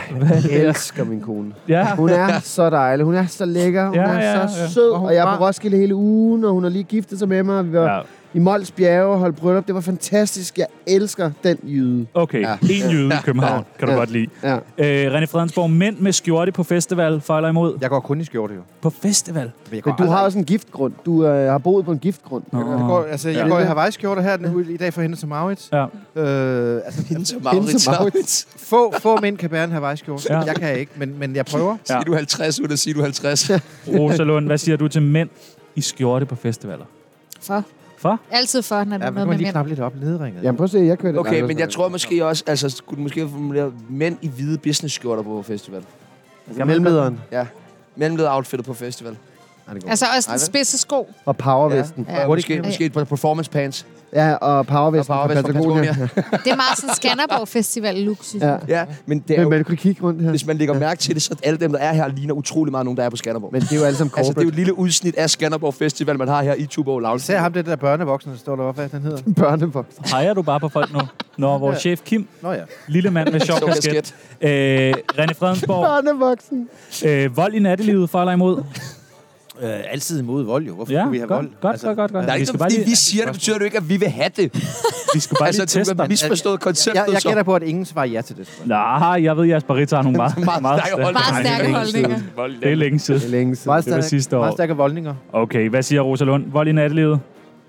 [SPEAKER 3] elsker min kone.
[SPEAKER 2] Ja,
[SPEAKER 3] Hun er så dejlig. Hun er så lækker. Hun
[SPEAKER 2] Ja,
[SPEAKER 3] ja, er
[SPEAKER 2] ja,
[SPEAKER 3] ja,
[SPEAKER 2] ja.
[SPEAKER 3] så sød. Og,
[SPEAKER 4] Og hun
[SPEAKER 3] jeg er på
[SPEAKER 4] var-
[SPEAKER 3] Roskilde hele ugen, og hun har lige giftet sig med mig. og Vi var
[SPEAKER 2] Ja.
[SPEAKER 3] ja. i Mols Bjerge og holdt bryllup. Det var fantastisk. Jeg elsker den jyde.
[SPEAKER 2] Okay, en jyde i København, kan du
[SPEAKER 3] Ja.
[SPEAKER 2] godt lide.
[SPEAKER 3] Ja.
[SPEAKER 2] Øh, René Fredensborg, mænd med skjorte på festival, for eller imod?
[SPEAKER 4] Jeg går kun i skjorte, jo.
[SPEAKER 2] På festival?
[SPEAKER 4] Men, jeg går
[SPEAKER 3] Men du har også en giftgrund. Du øh, har boet på en giftgrund.
[SPEAKER 4] Jeg går, altså, jeg
[SPEAKER 3] Ja.
[SPEAKER 4] går i Hawaii-skjorte her den, ude i dag for hende til Maurits.
[SPEAKER 2] Ja.
[SPEAKER 4] Øh, altså,
[SPEAKER 1] Hense Maurits. Maurits.
[SPEAKER 4] få, få mænd kan bære en Hawaii-skjorte.
[SPEAKER 2] Ja.
[SPEAKER 4] Ja. Jeg kan ikke, men, men jeg prøver.
[SPEAKER 2] Ja.
[SPEAKER 1] Siger du 50, uden at sige du 50.
[SPEAKER 2] Rosa Lund, hvad siger du til mænd i skjorte på festivaler?
[SPEAKER 5] For.
[SPEAKER 2] For?
[SPEAKER 5] Altid for, når det
[SPEAKER 4] Ja,
[SPEAKER 5] er
[SPEAKER 4] men kan
[SPEAKER 5] noget
[SPEAKER 4] man
[SPEAKER 5] med
[SPEAKER 4] lige
[SPEAKER 5] mænd.
[SPEAKER 4] knappe lidt op ledringet.
[SPEAKER 3] Jamen prøv at se, jeg kører det.
[SPEAKER 1] Okay, men jeg
[SPEAKER 3] tror...
[SPEAKER 1] tror måske også, altså skulle du måske have formuleret mænd i hvide business skjorter på festival.
[SPEAKER 3] Mellemlederen
[SPEAKER 1] Ja. Mellemleder outfittet på festival.
[SPEAKER 5] Altså også
[SPEAKER 1] Ej,
[SPEAKER 5] den
[SPEAKER 1] hvad?
[SPEAKER 5] spidse sko.
[SPEAKER 3] og powervesten.
[SPEAKER 1] Ja,
[SPEAKER 5] Ja.
[SPEAKER 1] måske, måske et par performance pants.
[SPEAKER 3] Ja, og powervesten,
[SPEAKER 1] Og
[SPEAKER 3] og
[SPEAKER 1] powervesten
[SPEAKER 3] powervesten
[SPEAKER 1] fra
[SPEAKER 3] fra Patagonia.
[SPEAKER 1] Patagonia.
[SPEAKER 5] Det er meget sådan Skanderborg Festival luksus.
[SPEAKER 3] Ja.
[SPEAKER 5] Ja.
[SPEAKER 1] Ja, men det er jo,
[SPEAKER 3] Men,
[SPEAKER 1] Altså,
[SPEAKER 3] men du kan kigge rundt her.
[SPEAKER 1] hvis man lægger mærke til det, så alle dem, der er her, ligner utrolig meget nogen, der er på Skanderborg.
[SPEAKER 3] Men det er jo alle sammen
[SPEAKER 1] Altså, det er jo
[SPEAKER 3] corporate.
[SPEAKER 1] et lille udsnit af Skanderborg Festival, man har her i Tuborg Lounge.
[SPEAKER 4] Ser ham det der børnevoksen, der står deroppe, hvad den hedder?
[SPEAKER 3] børnevoks.
[SPEAKER 2] Peger du bare på folk nu? Når vores chef Kim,
[SPEAKER 4] Nå ja.
[SPEAKER 2] lille mand med sjov
[SPEAKER 6] Sjov
[SPEAKER 2] kasket, øh, René Fredensborg,
[SPEAKER 3] Børnevoksen.
[SPEAKER 2] øh, vold i nattelivet for eller imod?
[SPEAKER 4] Øh, altid imod vold, jo. Hvorfor
[SPEAKER 2] Ja,
[SPEAKER 4] skulle vi have vold? Altså,
[SPEAKER 2] godt, godt, godt,
[SPEAKER 4] øh,
[SPEAKER 2] godt, godt.
[SPEAKER 1] Der er
[SPEAKER 2] Vi
[SPEAKER 1] ikke
[SPEAKER 2] skal
[SPEAKER 1] noget,
[SPEAKER 2] bare
[SPEAKER 1] fordi
[SPEAKER 2] lige,
[SPEAKER 1] vi siger det, betyder det jo ikke, at vi vil have det.
[SPEAKER 2] vi skal bare
[SPEAKER 1] Altså,
[SPEAKER 2] lige teste
[SPEAKER 1] du har
[SPEAKER 2] dig.
[SPEAKER 1] misforstået konceptet,
[SPEAKER 4] Jeg, jeg
[SPEAKER 1] så.
[SPEAKER 4] gætter på, at ingen svarer ja til det. spørgsmål.
[SPEAKER 2] Nej, jeg ved, at jeres baritter har nogle meget, meget, meget
[SPEAKER 1] stærke hold.
[SPEAKER 5] Bare stærke holdninger.
[SPEAKER 2] Det er længe
[SPEAKER 3] Det er
[SPEAKER 2] siden.
[SPEAKER 3] længe siden.
[SPEAKER 4] Meget
[SPEAKER 2] Det var
[SPEAKER 4] stærke-
[SPEAKER 2] sidste år.
[SPEAKER 4] Meget stærke voldninger.
[SPEAKER 2] Okay, hvad siger Rosa Lund? Vold i nattelivet?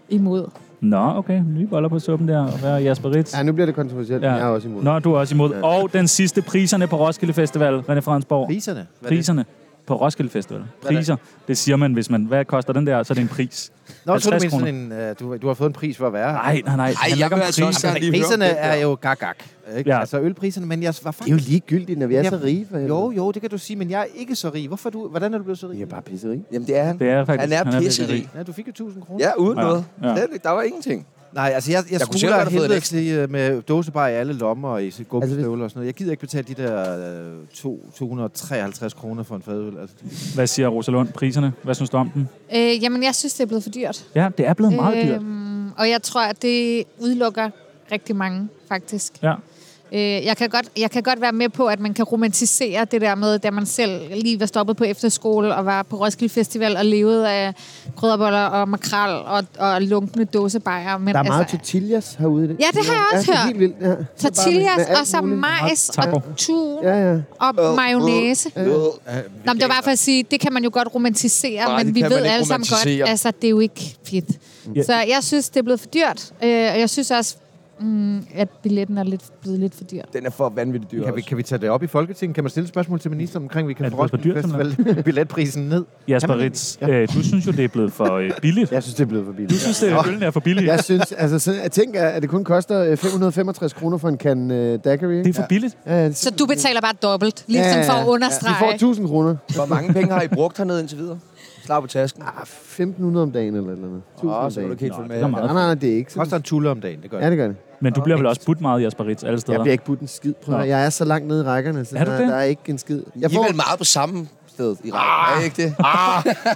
[SPEAKER 5] Imod.
[SPEAKER 2] Nå, okay. Nye boller på suppen der. Og Hvad er Jasper Ritz?
[SPEAKER 3] Ja, nu bliver det kontroversielt.
[SPEAKER 2] Ja.
[SPEAKER 3] Ja. Jeg er også imod.
[SPEAKER 2] Nå, du er også imod. Og den sidste, priserne på Roskilde Festival, René Fransborg.
[SPEAKER 4] Priserne. Hvad er det?
[SPEAKER 2] Priserne på Roskilde Festival. Priser, det siger man, hvis man... Hvad koster den der? Så er det en pris.
[SPEAKER 4] Nå, jeg tror du,
[SPEAKER 2] 50
[SPEAKER 4] mener sådan en, øh, du, du har fået en pris for at være her.
[SPEAKER 2] Nej, nej, nej.
[SPEAKER 1] Ej, jeg vil altså også gerne lige høre.
[SPEAKER 4] Priserne
[SPEAKER 1] om det
[SPEAKER 4] er
[SPEAKER 1] der.
[SPEAKER 4] jo gagak. Ikke?
[SPEAKER 2] Ja.
[SPEAKER 4] Ja. Altså ølpriserne, men jeg var
[SPEAKER 3] Det er jo
[SPEAKER 4] faktisk...
[SPEAKER 3] ligegyldigt, når vi er
[SPEAKER 4] Ja.
[SPEAKER 3] så rige. For helvede.
[SPEAKER 4] Jo, jo, det kan du sige, men jeg er ikke så rig. Hvorfor er du, hvordan er du blevet så rig?
[SPEAKER 3] Vi er bare pisserig.
[SPEAKER 1] Jamen, det er han.
[SPEAKER 2] Det er faktisk...
[SPEAKER 1] Han er
[SPEAKER 2] virkelig
[SPEAKER 1] pisserig.
[SPEAKER 2] rig.
[SPEAKER 4] Ja, du fik jo 1000 kroner.
[SPEAKER 1] Ja, uden
[SPEAKER 2] Ja,
[SPEAKER 1] noget.
[SPEAKER 2] ja.
[SPEAKER 1] Det- Der var ingenting.
[SPEAKER 4] Nej, altså jeg, jeg,
[SPEAKER 1] Jeg
[SPEAKER 4] jeg
[SPEAKER 1] kunne selv godt
[SPEAKER 4] smuler
[SPEAKER 1] have fået
[SPEAKER 4] helvede
[SPEAKER 1] et
[SPEAKER 4] til, øh, med dåsebar i alle lommer og i gummistøvler
[SPEAKER 3] Altså,
[SPEAKER 4] altså,
[SPEAKER 3] hvis-
[SPEAKER 4] og sådan noget. Jeg gider ikke betale de der øh, to, 253 kroner for en fadøl. Altså,
[SPEAKER 2] Hvad siger Rosa Lund? Priserne? Hvad synes du om den?
[SPEAKER 5] Øh, jamen, jeg synes, det er blevet for dyrt.
[SPEAKER 2] Ja, det er blevet meget dyrt.
[SPEAKER 5] Øhm, og jeg tror, at det udelukker rigtig mange, faktisk.
[SPEAKER 2] Ja.
[SPEAKER 5] Øh, jeg, kan godt, jeg kan godt være med på, at man kan romantisere det der med, da man selv lige var stoppet på efterskole og var på Roskilde Festival og levede af krydderboller og makrel og, og lunkende dåsebajer. Men
[SPEAKER 3] Der er meget
[SPEAKER 5] altså,
[SPEAKER 3] tortillas herude. i det.
[SPEAKER 5] Ja, det har jeg også
[SPEAKER 3] ja, det er Helt
[SPEAKER 5] hørt.
[SPEAKER 3] vildt, ja. Så bare med- med
[SPEAKER 5] tortillas
[SPEAKER 3] alt
[SPEAKER 5] og så
[SPEAKER 3] muligt.
[SPEAKER 5] majs
[SPEAKER 2] Og taco.
[SPEAKER 5] og tun
[SPEAKER 3] Ja, ja.
[SPEAKER 5] og mayonnaise.
[SPEAKER 1] Øh, øh.
[SPEAKER 5] Nå, men det var bare for at sige, det kan man jo godt romantisere,
[SPEAKER 1] Nej,
[SPEAKER 5] Nej,
[SPEAKER 1] det
[SPEAKER 5] men vi
[SPEAKER 1] kan man
[SPEAKER 5] ved
[SPEAKER 1] ikke
[SPEAKER 5] alle sammen
[SPEAKER 1] romantisere.
[SPEAKER 5] godt, altså det er jo ikke fedt.
[SPEAKER 2] Ja.
[SPEAKER 5] Mm. Så jeg synes, det er blevet for dyrt, øh, og jeg synes også, mm, at billetten er lidt, blevet lidt for dyr.
[SPEAKER 1] Den er for vanvittigt dyr
[SPEAKER 4] kan, vi,
[SPEAKER 1] også.
[SPEAKER 4] kan vi tage det op i Folketinget? Kan man stille spørgsmål til ministeren omkring, at vi
[SPEAKER 2] Er
[SPEAKER 4] kan
[SPEAKER 2] det
[SPEAKER 4] få
[SPEAKER 2] blevet for
[SPEAKER 4] Roskilde
[SPEAKER 2] dyrt,
[SPEAKER 4] Festival billetprisen ned?
[SPEAKER 2] Jasper
[SPEAKER 4] Jamen,
[SPEAKER 2] Ritz, øh, du synes jo, det er blevet for øh, billigt.
[SPEAKER 3] Jeg synes, det er blevet for billigt.
[SPEAKER 2] Du synes, at øllen er for billig.
[SPEAKER 3] Jeg synes, altså, så, jeg tænker, at det kun koster øh, 565 kroner for en kan øh, daiquiri.
[SPEAKER 2] Det
[SPEAKER 3] ikke?
[SPEAKER 2] er for billigt.
[SPEAKER 3] Ja, det-
[SPEAKER 5] Så du betaler bare dobbelt, lige ja, for at
[SPEAKER 3] Vi får
[SPEAKER 5] understrege.
[SPEAKER 3] 1000 kroner.
[SPEAKER 1] Hvor mange penge har I brugt hernede indtil videre? Slag på tasken.
[SPEAKER 3] Ah, 1500 om dagen eller et eller andet. 1000
[SPEAKER 1] Åh,
[SPEAKER 3] om
[SPEAKER 1] så kan du
[SPEAKER 3] dagen.
[SPEAKER 1] ikke helt følge med.
[SPEAKER 2] det er meget.
[SPEAKER 3] Nej, nej, nej, det er ikke
[SPEAKER 4] Det koster
[SPEAKER 3] sådan.
[SPEAKER 4] en tulle om dagen, det gør
[SPEAKER 3] Ja,
[SPEAKER 4] det.
[SPEAKER 3] det gør det.
[SPEAKER 2] Men du bliver vel også budt meget, Jasper Ritz, alle
[SPEAKER 3] Jeg
[SPEAKER 2] steder.
[SPEAKER 3] bliver ikke budt en skid. Prøv. at høre.
[SPEAKER 2] Nå.
[SPEAKER 3] Jeg er så langt nede i rækkerne, så
[SPEAKER 2] Er du
[SPEAKER 3] der,
[SPEAKER 2] det?
[SPEAKER 3] der er ikke en skid. Jeg
[SPEAKER 1] I er vel meget på samme sted i rækken, er I ikke det?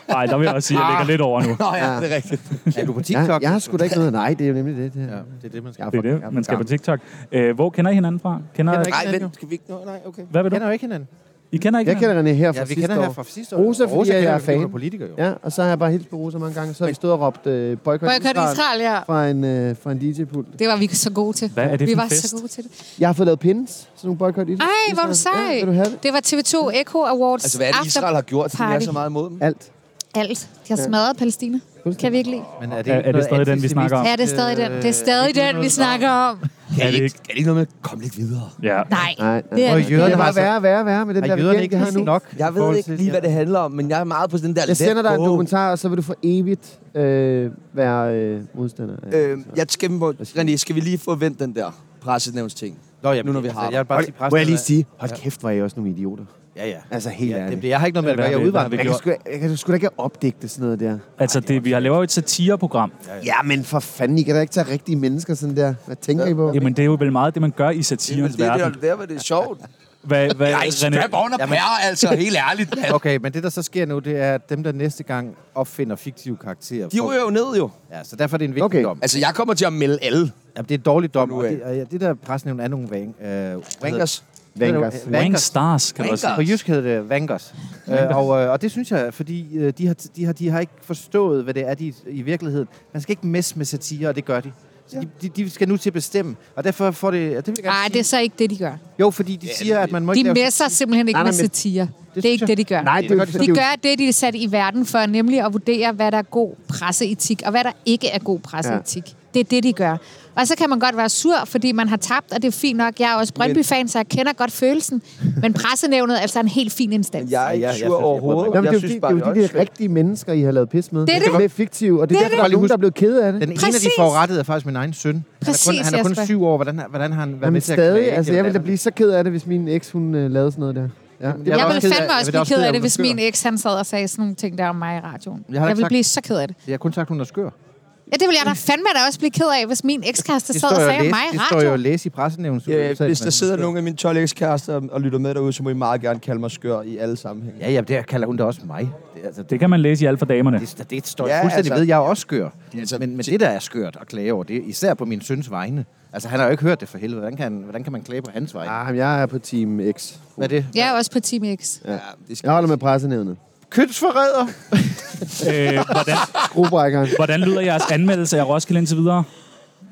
[SPEAKER 2] Nej, der vil jeg også sige, at jeg ligger lidt over nu.
[SPEAKER 1] Ah, Nå ja, det er rigtigt.
[SPEAKER 4] Er du på
[SPEAKER 3] jeg,
[SPEAKER 4] TikTok?
[SPEAKER 3] jeg har sgu da ikke noget. Nej, det er jo nemlig det. det her.
[SPEAKER 4] Ja, det er det, man skal.
[SPEAKER 3] Jeg
[SPEAKER 4] Jeg
[SPEAKER 2] Det er det, man skal på TikTok. Øh, hvor kender I hinanden fra? Kender,
[SPEAKER 4] Kender ikke.
[SPEAKER 1] Nej, vent, skal vi ikke... Nå, nej, okay.
[SPEAKER 2] Hvad vil du?
[SPEAKER 4] kender jo ikke hinanden.
[SPEAKER 2] I kender ikke
[SPEAKER 3] Jeg kender René her fra
[SPEAKER 4] Ja, vi
[SPEAKER 3] sidste
[SPEAKER 4] kender
[SPEAKER 3] år.
[SPEAKER 4] her fra sidste år.
[SPEAKER 3] Rosa, fordi jeg
[SPEAKER 4] kender
[SPEAKER 3] er
[SPEAKER 4] vi, fordi hun
[SPEAKER 3] fan.
[SPEAKER 4] politiker, jo.
[SPEAKER 3] Ja, og så har jeg bare hilst på Rosa mange gange, så har vi stået og råbt øh, boykot
[SPEAKER 5] Hvor jeg kørte
[SPEAKER 3] Israel
[SPEAKER 5] Israel, ja.
[SPEAKER 3] fra en, øh, fra en DJ-pult.
[SPEAKER 5] Det var vi så gode til.
[SPEAKER 2] Hvad er det
[SPEAKER 5] vi
[SPEAKER 2] for en
[SPEAKER 5] var
[SPEAKER 2] fest?
[SPEAKER 5] så gode til det.
[SPEAKER 3] Jeg har fået lavet pins, sådan nogle boykot Israel.
[SPEAKER 5] Ej, hvor er du
[SPEAKER 3] Ja,
[SPEAKER 5] sej.
[SPEAKER 3] vil du have det?
[SPEAKER 5] Det var TV2 Echo Awards.
[SPEAKER 1] Altså, hvad er det, Israel har gjort, siden jeg er
[SPEAKER 5] party.
[SPEAKER 1] så meget imod dem?
[SPEAKER 3] Alt.
[SPEAKER 5] Alt. De har smadret Palæstina. Kan vi ikke lide?
[SPEAKER 4] Men er det,
[SPEAKER 2] Er-
[SPEAKER 4] ikke
[SPEAKER 2] er det
[SPEAKER 4] noget
[SPEAKER 2] stadig den, vi snakker om?
[SPEAKER 5] Ja, det er stadig den. Det er stadig den, vi snakker om.
[SPEAKER 1] Er
[SPEAKER 2] det
[SPEAKER 1] det
[SPEAKER 2] ikke-
[SPEAKER 1] ikke, er det ikke noget med, kom lidt videre?
[SPEAKER 2] Ja.
[SPEAKER 5] Nej,
[SPEAKER 3] Nej, nej.
[SPEAKER 5] det er
[SPEAKER 4] Og
[SPEAKER 5] det.
[SPEAKER 3] Det
[SPEAKER 4] jøderne
[SPEAKER 3] er
[SPEAKER 4] har
[SPEAKER 3] bare værre og værre og værre med den
[SPEAKER 4] Har
[SPEAKER 3] der
[SPEAKER 4] jøderne
[SPEAKER 3] regering,
[SPEAKER 4] ikke
[SPEAKER 3] de har nu.
[SPEAKER 4] præcis nok?
[SPEAKER 1] Jeg ved ikke lige, hvad det handler om, men jeg er meget på sådan den der...
[SPEAKER 3] Jeg
[SPEAKER 1] let
[SPEAKER 3] sender dig en
[SPEAKER 1] go.
[SPEAKER 3] dokumentar, og så vil du for evigt øh, være øh, modstander.
[SPEAKER 1] Øh, jeg skal, må, René, skal vi lige få vendt den der pressenævnsting?
[SPEAKER 4] Nå, jamen,
[SPEAKER 1] Nu, når vi
[SPEAKER 4] altså,
[SPEAKER 1] har
[SPEAKER 4] Jeg vil bare sige,
[SPEAKER 3] Må jeg lige
[SPEAKER 4] præsten-
[SPEAKER 3] sige, hold kæft, var I også nogle idioter.
[SPEAKER 4] Ja, ja.
[SPEAKER 3] Altså, helt
[SPEAKER 4] Ja, det,
[SPEAKER 3] ærligt.
[SPEAKER 4] jeg har ikke noget med det at gøre. Jeg
[SPEAKER 2] Hvad
[SPEAKER 4] er
[SPEAKER 2] har vi- hvad har vi
[SPEAKER 4] udvandret.
[SPEAKER 3] Jeg kan, sgu, jeg kan sgu da ikke opdigte sådan noget der.
[SPEAKER 2] Altså, det, vi har lavet et satireprogram.
[SPEAKER 3] Ja, men for fanden, I kan da ikke tage rigtige mennesker sådan der. Hvad tænker I på?
[SPEAKER 2] Jamen, det er jo vel meget det, man gør i
[SPEAKER 1] Det er vel
[SPEAKER 2] satirens
[SPEAKER 1] det, der,
[SPEAKER 2] verden.
[SPEAKER 1] der var det sjovt.
[SPEAKER 2] Hvad, hvad,
[SPEAKER 1] Nej, strap on og pære, altså, helt ærligt. mand.
[SPEAKER 4] Okay, men det, der så sker nu, det er, at dem, der næste gang opfinder fiktive karakterer...
[SPEAKER 1] De ryger jo ned, jo.
[SPEAKER 4] Ja, så derfor er det en vigtig
[SPEAKER 3] Okay.
[SPEAKER 4] okay. dom.
[SPEAKER 1] Altså, jeg kommer til at melde alle.
[SPEAKER 4] Jamen, det er en dårlig dom,
[SPEAKER 1] Nu
[SPEAKER 4] og
[SPEAKER 1] af.
[SPEAKER 4] det, og ja, det der presnævn er nogle vang, øh,
[SPEAKER 1] Wankers.
[SPEAKER 3] Vankers.
[SPEAKER 2] Rank
[SPEAKER 4] Vankers.
[SPEAKER 2] stars, kan du også sige.
[SPEAKER 4] På jysk hedder det vankers. Øh, og, øh, og det synes jeg, fordi øh, de, har, de, har, de har ikke forstået, hvad det er de, i virkeligheden. Man skal ikke messe med satire, og det gør de. Så de, de, de skal nu til at bestemme, og derfor får det... og Det vil jeg gerne
[SPEAKER 5] Nej,
[SPEAKER 4] sige.
[SPEAKER 5] det er så ikke det, de gør.
[SPEAKER 4] Jo, fordi de siger, at man må
[SPEAKER 5] De
[SPEAKER 4] ikke lave...
[SPEAKER 5] messer simpelthen ikke
[SPEAKER 3] Nej,
[SPEAKER 5] med
[SPEAKER 3] nej, men-
[SPEAKER 5] satire. Det er
[SPEAKER 4] synes
[SPEAKER 5] ikke det, de gør.
[SPEAKER 3] Nej, det er jo ikke
[SPEAKER 5] De gør det, de er sat i verden for, nemlig at vurdere, hvad der er god presseetik, og hvad der ikke er god presseetik. Ja. Det er det, de gør. Og så kan man godt være sur, fordi man har tabt, og det er fint nok. Jeg er også Brøndby-fan, så jeg kender godt følelsen. Men pressenævnet er altså en helt fin instans.
[SPEAKER 1] Jeg er
[SPEAKER 4] Ja,
[SPEAKER 1] ikke
[SPEAKER 4] jeg- jeg
[SPEAKER 1] sur
[SPEAKER 4] synes, jeg
[SPEAKER 1] overhovedet.
[SPEAKER 4] bryder
[SPEAKER 3] Jamen, det er
[SPEAKER 1] Jeg
[SPEAKER 3] jo de,
[SPEAKER 1] synes
[SPEAKER 3] det er
[SPEAKER 1] bare,
[SPEAKER 3] jo de der
[SPEAKER 1] åndssvagt.
[SPEAKER 3] rigtige mennesker, I har lavet pis med.
[SPEAKER 5] Det er det.
[SPEAKER 3] Det er fiktive, og det er
[SPEAKER 5] Det er
[SPEAKER 3] derfor,
[SPEAKER 5] det.
[SPEAKER 3] der er nogen, der er blevet ked af det.
[SPEAKER 4] Den ene af de
[SPEAKER 5] Præcis.
[SPEAKER 4] forurettede er faktisk min egen søn. han er
[SPEAKER 5] Præcis,
[SPEAKER 4] kun, han er
[SPEAKER 5] Jesper.
[SPEAKER 4] kun syv år. Hvordan, har- hvordan har han været
[SPEAKER 3] Jamen,
[SPEAKER 4] med til at klage?
[SPEAKER 3] stadig, altså,
[SPEAKER 4] Det er
[SPEAKER 3] jeg ville da
[SPEAKER 4] da-
[SPEAKER 3] blive så ked af det, hvis min eks, hun øh, lavede sådan noget der. Ja.
[SPEAKER 4] Jeg
[SPEAKER 5] Jeg
[SPEAKER 4] var
[SPEAKER 5] ville
[SPEAKER 4] også ked af-
[SPEAKER 5] fandme
[SPEAKER 4] jeg
[SPEAKER 5] også
[SPEAKER 4] var
[SPEAKER 5] blive
[SPEAKER 4] også
[SPEAKER 5] ked
[SPEAKER 4] ked af,
[SPEAKER 5] af det,
[SPEAKER 4] at hun
[SPEAKER 5] hvis
[SPEAKER 4] var
[SPEAKER 5] min eks han sad og sagde sådan nogle ting der om mig i radioen.
[SPEAKER 4] Jeg har da
[SPEAKER 5] Jeg
[SPEAKER 4] ikke
[SPEAKER 5] ville
[SPEAKER 4] sagt-
[SPEAKER 5] blive så ked af det.
[SPEAKER 4] Jeg har kun sagt, hun er skør.
[SPEAKER 5] Ja, det ville jeg da fandme da også blive ked af, hvis min ekskæreste sad
[SPEAKER 4] står
[SPEAKER 5] og
[SPEAKER 4] jo at
[SPEAKER 5] sagde om
[SPEAKER 4] læse,
[SPEAKER 5] mig i
[SPEAKER 4] det står jo
[SPEAKER 5] radio.
[SPEAKER 4] at læse i pressenævnet.
[SPEAKER 1] Ja, hvis der sidder nogen af mine 12 ekskærester og- og lytter med derude, så må I meget gerne kalde mig skør i alle sammenhænge.
[SPEAKER 4] Ja, ja, der kalder hun da også mig. Det, altså, det,
[SPEAKER 2] Det kan man læse i alt for damerne.
[SPEAKER 4] det, det står
[SPEAKER 1] Ja,
[SPEAKER 4] ja,
[SPEAKER 1] altså-
[SPEAKER 4] fuldstændig altså, ved. Jeg er også skør.
[SPEAKER 1] altså-
[SPEAKER 4] Altså, men, men det, der er skørt at klage over, det er især på min søns vegne. Altså, han har jo ikke hørt det for helvede. Hvordan kan, han- hvordan kan man klage på hans vegne?
[SPEAKER 3] Ah, men jeg er på Team X.
[SPEAKER 4] Hvad er det?
[SPEAKER 5] Jeg er også på Team X.
[SPEAKER 1] Ja, det skal
[SPEAKER 3] Jeg holder med pressenævnet.
[SPEAKER 4] Kønsforræder!
[SPEAKER 2] Øh, hvordan,
[SPEAKER 3] Skruebrækkeren.
[SPEAKER 2] hvordan lyder jeres anmeldelse af Roskilde indtil videre?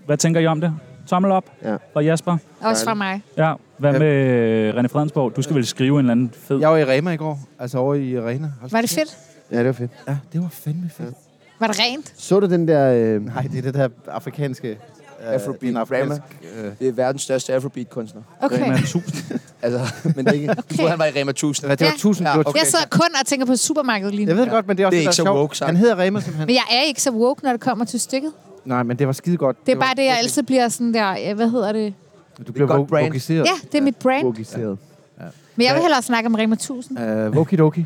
[SPEAKER 2] Hvad tænker I om det? Tommel op
[SPEAKER 3] Ja.
[SPEAKER 2] fra Jasper.
[SPEAKER 5] Også fra mig.
[SPEAKER 2] Ja, hvad med øh, René Fredensborg? Du skal vel skrive en eller anden fed...
[SPEAKER 4] Jeg var i Rema i går. Altså over i Arena. Hold
[SPEAKER 5] Var det
[SPEAKER 4] kæft.
[SPEAKER 5] fedt?
[SPEAKER 3] Ja, det var fedt.
[SPEAKER 4] Ja, det var fandme fedt. Ja.
[SPEAKER 5] Var det rent?
[SPEAKER 3] Så du den der... Øh,
[SPEAKER 4] Nej, det er det der afrikanske... Øh,
[SPEAKER 1] Afrobeat
[SPEAKER 4] en afrikansk, øh,
[SPEAKER 1] Det er verdens største afrobeat-kunstner.
[SPEAKER 5] Okay.
[SPEAKER 2] Rema 1000.
[SPEAKER 1] Altså, men det er ikke... Okay. Du troede, han var i Rema 1000.
[SPEAKER 4] Nej, det var
[SPEAKER 5] Ja.
[SPEAKER 4] 1000.
[SPEAKER 1] Ja,
[SPEAKER 4] Ja, okay.
[SPEAKER 5] Jeg sidder kun og tænker på supermarkedet lige nu.
[SPEAKER 4] Jeg ved det godt, men det er også
[SPEAKER 1] Det er
[SPEAKER 4] det,
[SPEAKER 1] ikke så
[SPEAKER 4] der er
[SPEAKER 1] woke
[SPEAKER 4] sjovt.
[SPEAKER 1] sagt.
[SPEAKER 4] Han hedder Rema simpelthen.
[SPEAKER 5] Men jeg er ikke så woke, når det kommer til stykket.
[SPEAKER 4] Nej, men det var skide godt.
[SPEAKER 5] Det er bare det, jeg altid bliver sådan der, øh, hvad hedder det?
[SPEAKER 4] Du blev
[SPEAKER 1] godt
[SPEAKER 4] woke-
[SPEAKER 1] brand.
[SPEAKER 4] wokiseret.
[SPEAKER 5] Ja, det er mit brand.
[SPEAKER 3] Fokuseret.
[SPEAKER 5] Men jeg vil hellere snakke om Rema 1000.
[SPEAKER 4] Uh, Wokidoki.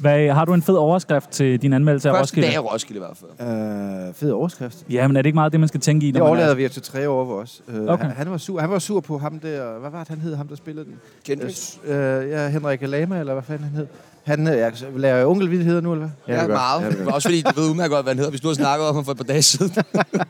[SPEAKER 2] Hvad, har du en fed overskrift til din anmeldelse af
[SPEAKER 1] Første
[SPEAKER 2] Roskilde?
[SPEAKER 1] dag i Roskilde i hvert fald. Øh,
[SPEAKER 4] Uh, fed overskrift.
[SPEAKER 2] Ja, men er det ikke meget det, man skal tænke i?
[SPEAKER 4] Det
[SPEAKER 2] når man
[SPEAKER 4] overlader
[SPEAKER 2] er...
[SPEAKER 4] vi jo til tre over os. Uh,
[SPEAKER 2] Okay.
[SPEAKER 4] okay. han, han, var sur. han var sur på ham der... Hvad var det, han hed? Ham, der spillede den?
[SPEAKER 1] Kendrick.
[SPEAKER 4] Uh, ja, Henrik Lama, eller hvad fanden han hed. Han uh, ja, så laver onkel Vild hedder nu, eller hvad?
[SPEAKER 1] Ja, ja meget. Ja, Også fordi du ved udmærket godt, hvad han hedder, hvis du har snakket om ham for et par dage siden.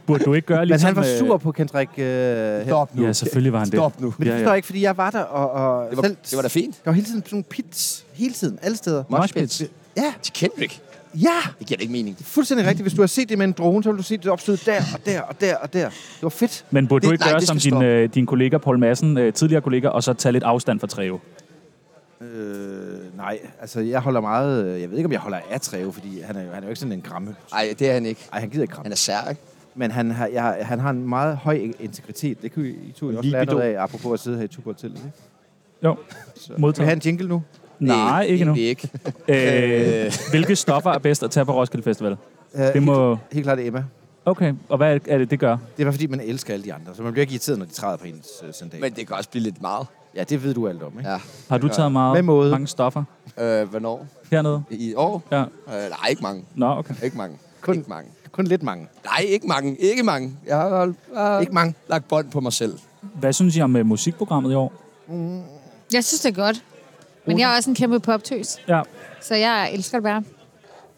[SPEAKER 2] Burde du ikke gøre
[SPEAKER 4] Men
[SPEAKER 2] ligesom...
[SPEAKER 4] han var
[SPEAKER 2] øh,
[SPEAKER 4] sur på Kendrick... Uh, Stop.
[SPEAKER 1] nu.
[SPEAKER 2] Ja, selvfølgelig var han det.
[SPEAKER 1] Stop nu.
[SPEAKER 4] Men det
[SPEAKER 2] Ja,
[SPEAKER 4] forstår
[SPEAKER 2] ja.
[SPEAKER 4] jeg ikke, fordi jeg var der, og, og
[SPEAKER 1] Det var,
[SPEAKER 4] selv,
[SPEAKER 1] det var da fint.
[SPEAKER 4] Der var hele tiden sådan nogle pits, hele tiden, alle steder.
[SPEAKER 2] Moshpits.
[SPEAKER 4] Ja,
[SPEAKER 1] Til Kendrick.
[SPEAKER 4] ja,
[SPEAKER 1] Det giver da ikke mening.
[SPEAKER 4] fuldstændig rigtigt. Hvis du har set det med en drone, så vil du se det opstod der og der og der og der. Det var fedt.
[SPEAKER 2] Men burde
[SPEAKER 1] Det-
[SPEAKER 2] du ikke
[SPEAKER 1] nej,
[SPEAKER 2] gøre
[SPEAKER 1] det
[SPEAKER 2] som
[SPEAKER 1] skal
[SPEAKER 2] din, øh, din kollega Paul Madsen, øh, tidligere kollega, og så tage lidt afstand fra Treve?
[SPEAKER 4] Øh, nej, altså jeg holder meget... øh, Jeg ved ikke, om jeg holder af Treve, fordi han er, jo, han er jo ikke sådan en gramme.
[SPEAKER 1] Nej, det er han ikke.
[SPEAKER 4] Ej, han gider ikke kramme.
[SPEAKER 1] Han er sær, ikke?
[SPEAKER 4] Men han har, jeg, han har en meget høj integritet. Det kunne I, I to jo også lære
[SPEAKER 2] Libido.
[SPEAKER 4] noget af, apropos at sidde her i Tuborg til. Ikke?
[SPEAKER 2] Jo,
[SPEAKER 4] Skal vi have
[SPEAKER 2] modtaget.
[SPEAKER 4] en jingle nu?
[SPEAKER 2] Nej, ikke nu.
[SPEAKER 1] egentlig ikke.
[SPEAKER 2] Øh, hvilke stoffer er bedst at tage på Roskilde Festival?
[SPEAKER 4] Øh, helt-
[SPEAKER 2] Det må...
[SPEAKER 4] Helt klart Emma.
[SPEAKER 2] Okay, og hvad er- er det, det gør?
[SPEAKER 4] Det er bare fordi, man elsker alle de andre, så man bliver ikke irriteret, når de træder på ens øh, sandal.
[SPEAKER 1] Men
[SPEAKER 4] Men,
[SPEAKER 1] det kan også blive lidt meget.
[SPEAKER 4] ja, det ved du alt om, ikke?
[SPEAKER 1] Ja.
[SPEAKER 2] Har du taget meget,
[SPEAKER 4] Med måde.
[SPEAKER 2] mange stoffer
[SPEAKER 1] Øh, hvornår?
[SPEAKER 2] hernede?
[SPEAKER 1] I år?
[SPEAKER 2] Ja.
[SPEAKER 1] Øh, nej, ikke mange.
[SPEAKER 2] Nå, okay.
[SPEAKER 1] Ikke mange.
[SPEAKER 4] Kun-
[SPEAKER 1] Ikke mange.
[SPEAKER 4] Kun lidt mange.
[SPEAKER 1] Nej, ikke mange. Ikke mange. Jeg har, jeg har
[SPEAKER 4] Ikke mange.
[SPEAKER 1] lagt bånd på mig selv.
[SPEAKER 2] Hvad synes I om øh, musikprogrammet i år?
[SPEAKER 5] Jeg synes, det er godt. Men jeg er også en kæmpe poptøs,
[SPEAKER 2] Ja.
[SPEAKER 5] så jeg elsker det bare. Jeg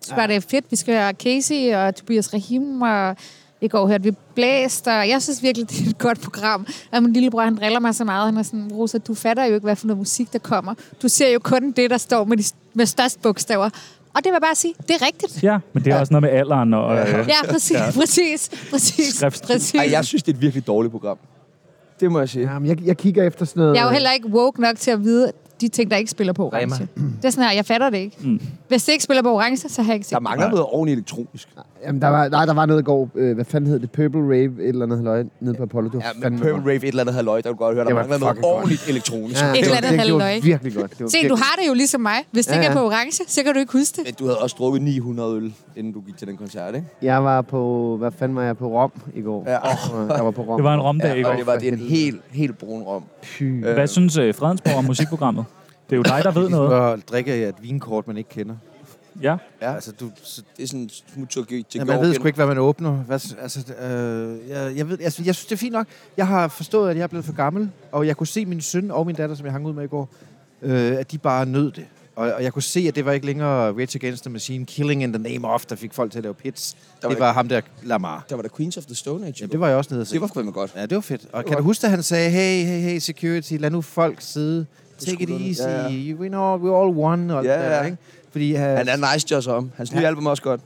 [SPEAKER 5] synes bare, det er fedt. Vi skal høre Casey og Tobias Rahim, og i går hørte vi Blæst, og jeg synes virkelig, det er et godt program. Og min lillebror, han driller mig så meget. Han er sådan, Rosa, du fatter jo ikke, hvad for noget musik, der kommer. Du ser jo kun det, der står med, de, med størst bogstaver. Og det vil jeg bare sige, det er rigtigt.
[SPEAKER 2] ja, men det er også noget med alderen og... Øh,
[SPEAKER 5] Ja, præcis, ja. præcis, præcis,
[SPEAKER 2] Skrift.
[SPEAKER 5] præcis.
[SPEAKER 1] Ej, jeg synes, det er et virkelig dårligt program. Det må jeg sige.
[SPEAKER 3] Jamen, jeg, jeg kigger efter sådan noget...
[SPEAKER 5] Jeg er jo heller ikke woke nok til at vide de ting, der ikke spiller på orange. Det er sådan her, jeg fatter det ikke. Mm. Hvis det ikke spiller på orange, så har jeg ikke set
[SPEAKER 1] Der
[SPEAKER 5] det.
[SPEAKER 1] mangler noget ordentligt elektronisk.
[SPEAKER 3] øh, Jamen, der var, nej, der var noget i går. Øh, hvad fanden hed det? Purple Rave et eller andet halløj nede på Apollo. Det var
[SPEAKER 1] Ja, men
[SPEAKER 3] fandme
[SPEAKER 1] Purple
[SPEAKER 3] godt.
[SPEAKER 1] Rave et eller andet halløj, der kan du godt høre. Der
[SPEAKER 3] Det var
[SPEAKER 1] mangler noget
[SPEAKER 3] fucking godt.
[SPEAKER 1] ordentligt elektronisk.
[SPEAKER 3] Ja,
[SPEAKER 1] Ja.
[SPEAKER 3] det
[SPEAKER 5] eller
[SPEAKER 3] var-
[SPEAKER 5] andet
[SPEAKER 3] det, det
[SPEAKER 5] halløj.
[SPEAKER 3] var virkelig godt. Det var
[SPEAKER 5] Se, du har det jo ligesom mig. Hvis det
[SPEAKER 3] Ja,
[SPEAKER 5] ikke er
[SPEAKER 3] ja.
[SPEAKER 5] på orange, så kan du ikke huske det.
[SPEAKER 1] Men du havde også drukket 900 øl, inden du gik til den koncert, ikke?
[SPEAKER 3] Jeg var på... Hvad fanden var jeg på Rom i går?
[SPEAKER 1] Ja.
[SPEAKER 3] Jeg var på Rom.
[SPEAKER 2] det var en romdag i
[SPEAKER 1] Ja,
[SPEAKER 2] går.
[SPEAKER 1] og det var det er en helt, helt brun rom.
[SPEAKER 3] Py.
[SPEAKER 2] Hvad synes øh, Fredensborg om musikprogrammet? Det er jo dig, der ved noget.
[SPEAKER 4] Og drikker jeg et vinkort, man ikke kender.
[SPEAKER 2] Ja.
[SPEAKER 1] Ja.
[SPEAKER 4] Altså, du, så,
[SPEAKER 1] Det er sådan en smut til til
[SPEAKER 4] ja, man
[SPEAKER 1] Georgien.
[SPEAKER 4] ved sgu ikke, hvad man åbner. Hvad, s- altså, øh, jeg, jeg, ved, altså, jeg synes, det er fint nok. Jeg har forstået, at jeg er blevet for gammel, og jeg kunne se min søn og min datter, som jeg hang ud med i går, øh, at de bare nød det. Og, og jeg kunne se, at det var ikke længere Rage Against the Machine, Killing in the Name of, der fik folk til at lave pits.
[SPEAKER 1] var
[SPEAKER 4] Det
[SPEAKER 1] ikke-
[SPEAKER 4] var ham der, Lamar.
[SPEAKER 1] Der var der Queens of the Stone Age.
[SPEAKER 4] Ja, det var jeg også nede og se.
[SPEAKER 1] det var fandme godt.
[SPEAKER 4] Ja, det var fedt. Og kan du huske, at han sagde, hey, hey, hey, security, lad nu folk sidde. Take it
[SPEAKER 1] skuldrene.
[SPEAKER 4] easy.
[SPEAKER 1] Ja,
[SPEAKER 4] Ja,
[SPEAKER 1] ja.
[SPEAKER 4] ja. We know, we're all one. Og
[SPEAKER 1] Ja,
[SPEAKER 4] ja,
[SPEAKER 1] ja.
[SPEAKER 4] ja. Ikke? Fordi, uh,
[SPEAKER 1] Han er nice just om. Hans nye
[SPEAKER 4] Ja.
[SPEAKER 1] album er også godt.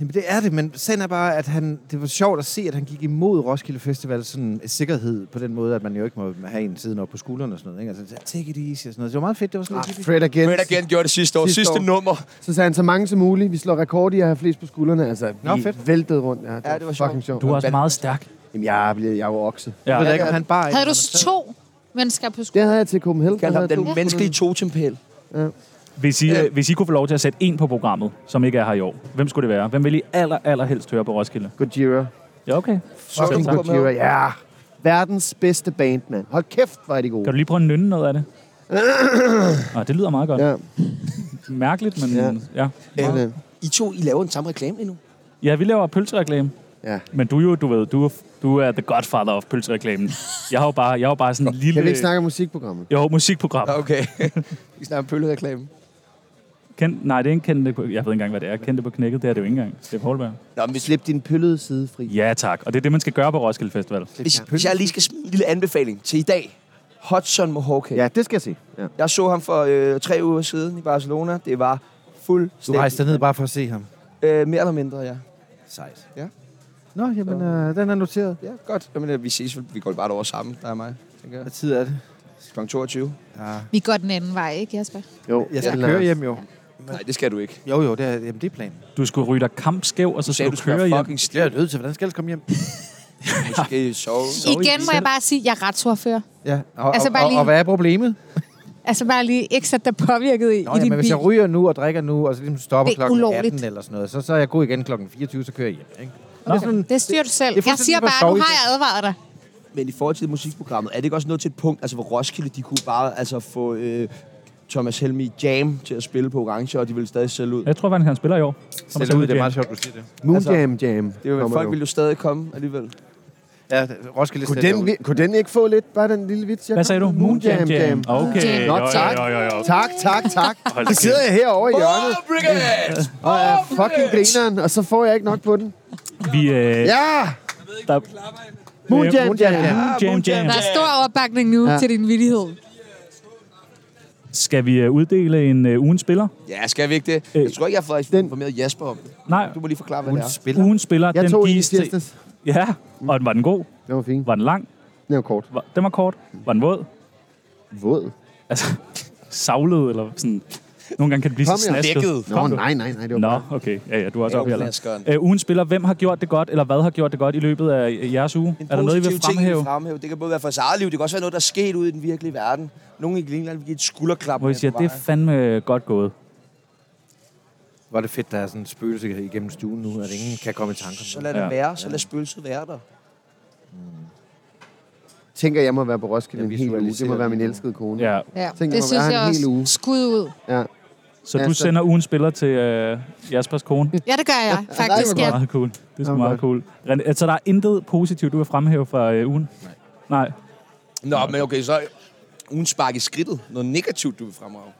[SPEAKER 4] Jamen, det er det, men sagen er bare, at han, det var sjovt at se, at han gik imod Roskilde Festival sådan en sikkerhed på den måde, at man jo ikke må have en siden op på skuldrene og sådan noget. Ikke? Altså, take it easy og sådan noget. Det var meget fedt. Det var sådan
[SPEAKER 3] Ah,
[SPEAKER 4] lidt...
[SPEAKER 3] Fred again.
[SPEAKER 1] Fred Again gjorde det sidste år.
[SPEAKER 3] Sidste
[SPEAKER 1] Sidste
[SPEAKER 3] år.
[SPEAKER 1] nummer.
[SPEAKER 3] Så sagde han så mange som muligt. Vi slår rekord i at have flest på skuldrene. Altså, vi
[SPEAKER 4] Nå, fedt.
[SPEAKER 3] væltede rundt. Ja, det,
[SPEAKER 1] Ja, det var sjovt.
[SPEAKER 3] fucking sjovt.
[SPEAKER 2] Du er også meget stærk.
[SPEAKER 3] Jamen, jeg, blev, jeg var okse.
[SPEAKER 2] Ja.
[SPEAKER 4] Jeg ved ikke, om han bare...
[SPEAKER 5] Havde du to mennesker på
[SPEAKER 3] Det
[SPEAKER 5] skolen?
[SPEAKER 3] havde jeg til Copenhagen.
[SPEAKER 1] Kaldte ham
[SPEAKER 3] Der havde
[SPEAKER 1] den
[SPEAKER 3] jeg to.
[SPEAKER 1] menneskelige totempæl.
[SPEAKER 2] Hvis I, øh, hvis I kunne få lov til at sætte en på programmet, som ikke er her i år, hvem skulle det være? Hvem vil I aller, aller helst høre på Roskilde?
[SPEAKER 3] Gojira.
[SPEAKER 2] Ja, okay.
[SPEAKER 1] Så
[SPEAKER 2] Selv
[SPEAKER 1] du
[SPEAKER 2] tak.
[SPEAKER 1] på
[SPEAKER 3] Gojira,
[SPEAKER 1] med.
[SPEAKER 3] ja. Verdens bedste band, mand. Hold kæft, hvor er de
[SPEAKER 2] Kan
[SPEAKER 3] gode.
[SPEAKER 2] du lige prøve at nynne noget af det? Ah, det lyder meget godt.
[SPEAKER 3] Ja,
[SPEAKER 2] Mærkeligt, men
[SPEAKER 3] Ja.
[SPEAKER 2] ja. ja.
[SPEAKER 3] det er det.
[SPEAKER 1] I to, I laver den samme reklame endnu.
[SPEAKER 2] Ja, Ja, vi laver pølsereklame.
[SPEAKER 3] Ja.
[SPEAKER 2] Men du er jo, du ved, du, er- du er the godfather of pølsereklamen. Jeg har jo bare, jeg har jo bare sådan en lille...
[SPEAKER 3] Kan vi ikke snakke om musikprogrammet?
[SPEAKER 2] Jo, musikprogram.
[SPEAKER 1] Okay. Vi snakker om pøllereklame.
[SPEAKER 2] Kend, nej, det er ikke kendte på... Jeg ved ikke engang, hvad det er. Kendte på knækket, det er det jo ikke engang. Det er Poulberg.
[SPEAKER 1] Nå, men hvis,
[SPEAKER 3] Slip din pøllede side fri.
[SPEAKER 2] Ja, tak. Og det er det, man skal gøre på Roskilde Festival.
[SPEAKER 1] hvis, hvis jeg lige skal smide en lille anbefaling til i dag. Hudson Mohawk.
[SPEAKER 3] Ja, det skal jeg se. Ja.
[SPEAKER 1] Jeg så ham for øh, tre uger siden i Barcelona. Det var
[SPEAKER 4] Du
[SPEAKER 1] fuldstændig...
[SPEAKER 4] rejste ned bare for at se ham.
[SPEAKER 1] Øh, mere eller mindre, ja.
[SPEAKER 4] Sejt.
[SPEAKER 3] Nå, jamen, øh, den er noteret.
[SPEAKER 1] Ja, godt. Jamen, øh, vi ses. vel. Vi går bare over sammen, der er mig. Tænker jeg.
[SPEAKER 4] Hvad tid er det?
[SPEAKER 1] Kl. 22.
[SPEAKER 5] Vi går den anden vej, ikke Jesper?
[SPEAKER 3] Jo,
[SPEAKER 4] Jeg skal
[SPEAKER 3] den er-
[SPEAKER 4] køre hjem jo.
[SPEAKER 1] Nej, det skal du ikke.
[SPEAKER 4] Jo, jo, det er, jamen, det er planen.
[SPEAKER 2] Du skulle ryge dig kampskæv, og så
[SPEAKER 1] Sagde
[SPEAKER 2] skal
[SPEAKER 1] du,
[SPEAKER 2] du
[SPEAKER 1] du skal
[SPEAKER 2] køre hjem.
[SPEAKER 1] fucking
[SPEAKER 4] Det er
[SPEAKER 1] stiv.
[SPEAKER 4] jeg nødt til. Hvordan skal jeg komme hjem?
[SPEAKER 1] Måske sove.
[SPEAKER 2] Dog ikke
[SPEAKER 5] Igen må
[SPEAKER 2] selv.
[SPEAKER 5] jeg bare sige, at jeg er retsordfører.
[SPEAKER 4] Ja. Og,
[SPEAKER 5] Altså,
[SPEAKER 4] og,
[SPEAKER 5] bare
[SPEAKER 4] og,
[SPEAKER 5] lige-
[SPEAKER 4] og, hvad er problemet?
[SPEAKER 5] Altså bare lige ikke sætte dig påvirket i,
[SPEAKER 4] Nå,
[SPEAKER 5] i
[SPEAKER 4] ja,
[SPEAKER 5] din
[SPEAKER 4] men hvis jeg
[SPEAKER 5] bil.
[SPEAKER 4] ryger nu og drikker nu, og så ligesom stopper
[SPEAKER 5] Det er
[SPEAKER 4] klokken
[SPEAKER 5] ulovligt.
[SPEAKER 4] 18 eller sådan noget, så, så er jeg god igen klokken 24, så kører jeg hjem. Ikke? Og
[SPEAKER 2] Nå.
[SPEAKER 4] Det er sådan,
[SPEAKER 5] Det styrer du selv.
[SPEAKER 4] det er
[SPEAKER 5] Jeg siger
[SPEAKER 4] fuldstændig
[SPEAKER 5] bare, at nu
[SPEAKER 4] forståeligt.
[SPEAKER 5] har jeg advaret dig.
[SPEAKER 1] Men i forhold til musikprogrammet, er det ikke også nået til et punkt, altså hvor Roskilde, de kunne bare altså, få øh, Thomas Helmi Jam til at spille på Orange, og de ville stadig sælge ud.
[SPEAKER 2] Jeg tror faktisk, han spiller i år. Som
[SPEAKER 4] selv ud, det er meget sjovt, du siger det.
[SPEAKER 3] Moon
[SPEAKER 1] Altså,
[SPEAKER 3] Jam Jam.
[SPEAKER 1] Det var,
[SPEAKER 3] kommer
[SPEAKER 1] folk
[SPEAKER 3] nu.
[SPEAKER 1] ville jo stadig komme alligevel.
[SPEAKER 4] Ja, det- Roskilde
[SPEAKER 3] Kunne
[SPEAKER 4] Stadion.
[SPEAKER 3] den, vi- kunne den ikke få lidt, bare den lille vits, jeg
[SPEAKER 2] Hvad sagde du?
[SPEAKER 3] kom med?
[SPEAKER 2] Moon Jam Jam. Okay.
[SPEAKER 3] Nå,
[SPEAKER 2] jo, jo,
[SPEAKER 3] tak.
[SPEAKER 2] jo, jo, jo.
[SPEAKER 3] Tak, tak, tak.
[SPEAKER 2] Hold da
[SPEAKER 3] Så sidder jeg herovre i hjørnet
[SPEAKER 1] Brigade!
[SPEAKER 3] og er fucking grineren, og så får jeg ikke nok på den.
[SPEAKER 2] kæft. Vi, øh,
[SPEAKER 3] Ja!
[SPEAKER 2] der,
[SPEAKER 3] Moon
[SPEAKER 2] Øh,
[SPEAKER 3] Jam
[SPEAKER 4] Moon Jam
[SPEAKER 3] Jam.
[SPEAKER 4] Jam.
[SPEAKER 2] Moon Jam Jam.
[SPEAKER 5] Der er stor opbakning nu
[SPEAKER 3] Ja.
[SPEAKER 5] til din villighed.
[SPEAKER 2] Skal vi øh, uddele en øh, ugens spiller?
[SPEAKER 1] Ja, skal vi ikke det?
[SPEAKER 2] Øh.
[SPEAKER 1] Jeg tror ikke, jeg har fået
[SPEAKER 3] Den-
[SPEAKER 1] informeret Jesper om det.
[SPEAKER 2] Nej,
[SPEAKER 1] Du må lige forklare, hvad det
[SPEAKER 4] Hun
[SPEAKER 1] er.
[SPEAKER 4] spiller.
[SPEAKER 2] ugens spiller,
[SPEAKER 3] Jeg
[SPEAKER 2] den
[SPEAKER 3] tog en i
[SPEAKER 2] gives til-
[SPEAKER 3] tirsdags.
[SPEAKER 2] Ja, og var den god?
[SPEAKER 3] Den var fin.
[SPEAKER 2] Var den lang?
[SPEAKER 3] Den var kort.
[SPEAKER 2] Var, den var kort? Var den våd?
[SPEAKER 3] Våd.
[SPEAKER 2] Altså, savlet eller sådan... Nogle gange kan det blive
[SPEAKER 3] Kom,
[SPEAKER 2] så
[SPEAKER 3] jeg
[SPEAKER 2] snasket.
[SPEAKER 3] Nå,
[SPEAKER 2] Kom nu.
[SPEAKER 3] nej, nej, nej. Det var
[SPEAKER 2] Nå,
[SPEAKER 3] bare-
[SPEAKER 2] okay. Ja, ja, du er også
[SPEAKER 1] Ja,
[SPEAKER 2] oppe i
[SPEAKER 1] flaskeren.
[SPEAKER 2] alderen. Øh, ugen spiller, hvem har gjort det godt, eller hvad har gjort det godt i løbet af øh, jeres uge?
[SPEAKER 1] En
[SPEAKER 2] Er der noget, I
[SPEAKER 1] positiv
[SPEAKER 2] vil
[SPEAKER 1] ting,
[SPEAKER 2] fremhæve?
[SPEAKER 1] fremhæve? Det kan både være fra sit eget liv, det kan også være noget, der er sket ude i den virkelige verden. Nogle i England vil give et skulderklap.
[SPEAKER 2] Hvor I
[SPEAKER 1] med
[SPEAKER 2] siger,
[SPEAKER 1] på
[SPEAKER 2] det er
[SPEAKER 1] vejen.
[SPEAKER 2] fandme godt gået.
[SPEAKER 4] Hvor er det fedt, der er sådan en spøgelse igennem stuen nu, at ingen kan komme i tanke
[SPEAKER 1] så
[SPEAKER 4] om det.
[SPEAKER 1] lad det
[SPEAKER 2] Ja.
[SPEAKER 1] være, så lad spøgelset være der.
[SPEAKER 3] Tænker, jeg må være på Roskilde en
[SPEAKER 4] Jeg
[SPEAKER 3] hel uge. Det må
[SPEAKER 4] visualiserer
[SPEAKER 3] være min
[SPEAKER 4] det nu.
[SPEAKER 3] elskede kone.
[SPEAKER 2] Ja.
[SPEAKER 5] Ja,
[SPEAKER 3] Tænk,
[SPEAKER 5] det
[SPEAKER 3] hvor
[SPEAKER 5] synes
[SPEAKER 3] er
[SPEAKER 5] jeg
[SPEAKER 3] han en hel
[SPEAKER 5] også.
[SPEAKER 3] uge.
[SPEAKER 5] Skud ud.
[SPEAKER 3] Ja.
[SPEAKER 2] Så
[SPEAKER 3] Ja,
[SPEAKER 2] du
[SPEAKER 3] så-
[SPEAKER 2] sender ugen spiller til øh, Jaspers kone? Det
[SPEAKER 5] Ja, det gør jeg faktisk.
[SPEAKER 2] er
[SPEAKER 5] Jeg,
[SPEAKER 2] meget cool. Det er sgu
[SPEAKER 3] Okay.
[SPEAKER 2] meget cool. René, altså, der er intet positivt, du vil fremhæve fra øh, ugen? Nej. Nej.
[SPEAKER 1] Nå, men okay, så ugen spark i skridtet. Noget negativt, du vil fremhæve.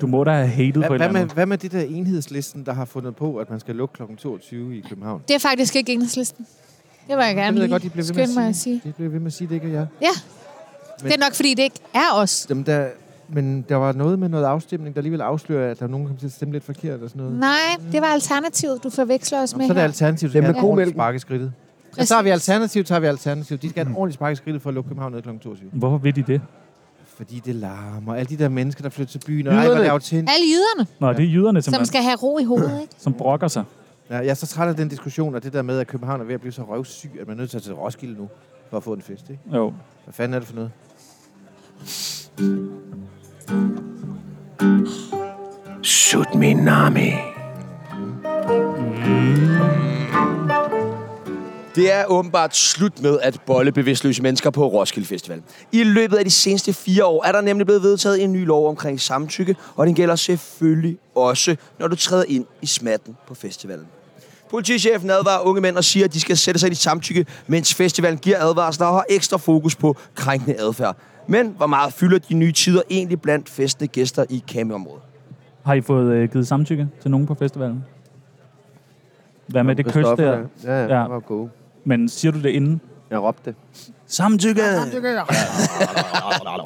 [SPEAKER 2] Du må da have hated på et
[SPEAKER 4] Hvad,
[SPEAKER 2] eller
[SPEAKER 4] hvad, med,
[SPEAKER 2] andet.
[SPEAKER 4] hvad med det der enhedslisten, der har fundet på, at man skal lukke klokken 22 i København?
[SPEAKER 5] det er faktisk ikke enhedslisten. Det var jeg
[SPEAKER 4] Det
[SPEAKER 5] gerne
[SPEAKER 4] ved jeg
[SPEAKER 5] lige
[SPEAKER 4] godt, de blev ved med
[SPEAKER 5] skynde mig
[SPEAKER 4] at
[SPEAKER 5] at
[SPEAKER 4] sige.
[SPEAKER 5] sige.
[SPEAKER 4] De blev ved med at sige, det ikke er jeg.
[SPEAKER 5] Ja,
[SPEAKER 4] Men-
[SPEAKER 5] det er nok, fordi det ikke er os.
[SPEAKER 4] Dem der, men der var noget med noget afstemning, der alligevel afslører, at der var nogen, der kom til at stemme lidt forkert og sådan noget.
[SPEAKER 5] Nej, det var alternativet, du forveksler os med
[SPEAKER 4] så er det
[SPEAKER 5] her.
[SPEAKER 4] alternativet,
[SPEAKER 3] Dem
[SPEAKER 4] der skal
[SPEAKER 3] med
[SPEAKER 4] have et ordentligt
[SPEAKER 3] komælken.
[SPEAKER 4] spark i skridtet. Ja,
[SPEAKER 5] Præcis.
[SPEAKER 4] så har vi alternativ, tager vi alternativ. De skal have et ordentligt spark i skridtet for at lukke København ned kl. 22.
[SPEAKER 2] Hvorfor vil de det?
[SPEAKER 4] Fordi det larmer. Alle de der mennesker, der flytter til byen. Og ej, hvor
[SPEAKER 3] Jyderne.
[SPEAKER 4] er det autent.
[SPEAKER 5] Alle jyderne,
[SPEAKER 2] Nå, det er jyderne,
[SPEAKER 5] som
[SPEAKER 2] simpelthen, som,
[SPEAKER 5] skal have ro i hovedet, ikke?
[SPEAKER 2] som brokker sig.
[SPEAKER 4] Ja, jeg er så træt af den diskussion, og det der med, at København er ved at blive så røvsyg, at man er nødt til at tage til Roskilde nu for at få en fest. Ikke?
[SPEAKER 2] Jo.
[SPEAKER 4] Hvad fanden er det for noget?
[SPEAKER 1] Shoot me, Nami. Det er åbenbart slut med at bolle bevidstløse mennesker på Roskilde Festival. I løbet af de seneste fire år er der nemlig blevet vedtaget en ny lov omkring samtykke, og den gælder selvfølgelig også, når du træder ind i smatten på festivalen. Politichefen advarer unge mænd og siger, at de skal sætte sig ind i samtykke, mens festivalen giver advarsler og har ekstra fokus på krænkende adfærd. Men hvor meget fylder de nye tider egentlig blandt festende gæster i campingområdet?
[SPEAKER 2] Har I fået øh, givet samtykke til nogen på festivalen? Hvad med det kys
[SPEAKER 3] Stoffer,
[SPEAKER 2] der?
[SPEAKER 3] Ja, ja,
[SPEAKER 2] Ja.
[SPEAKER 3] det var gode.
[SPEAKER 2] Men siger du det inden?
[SPEAKER 3] Jeg råbte det.
[SPEAKER 2] Samtykke!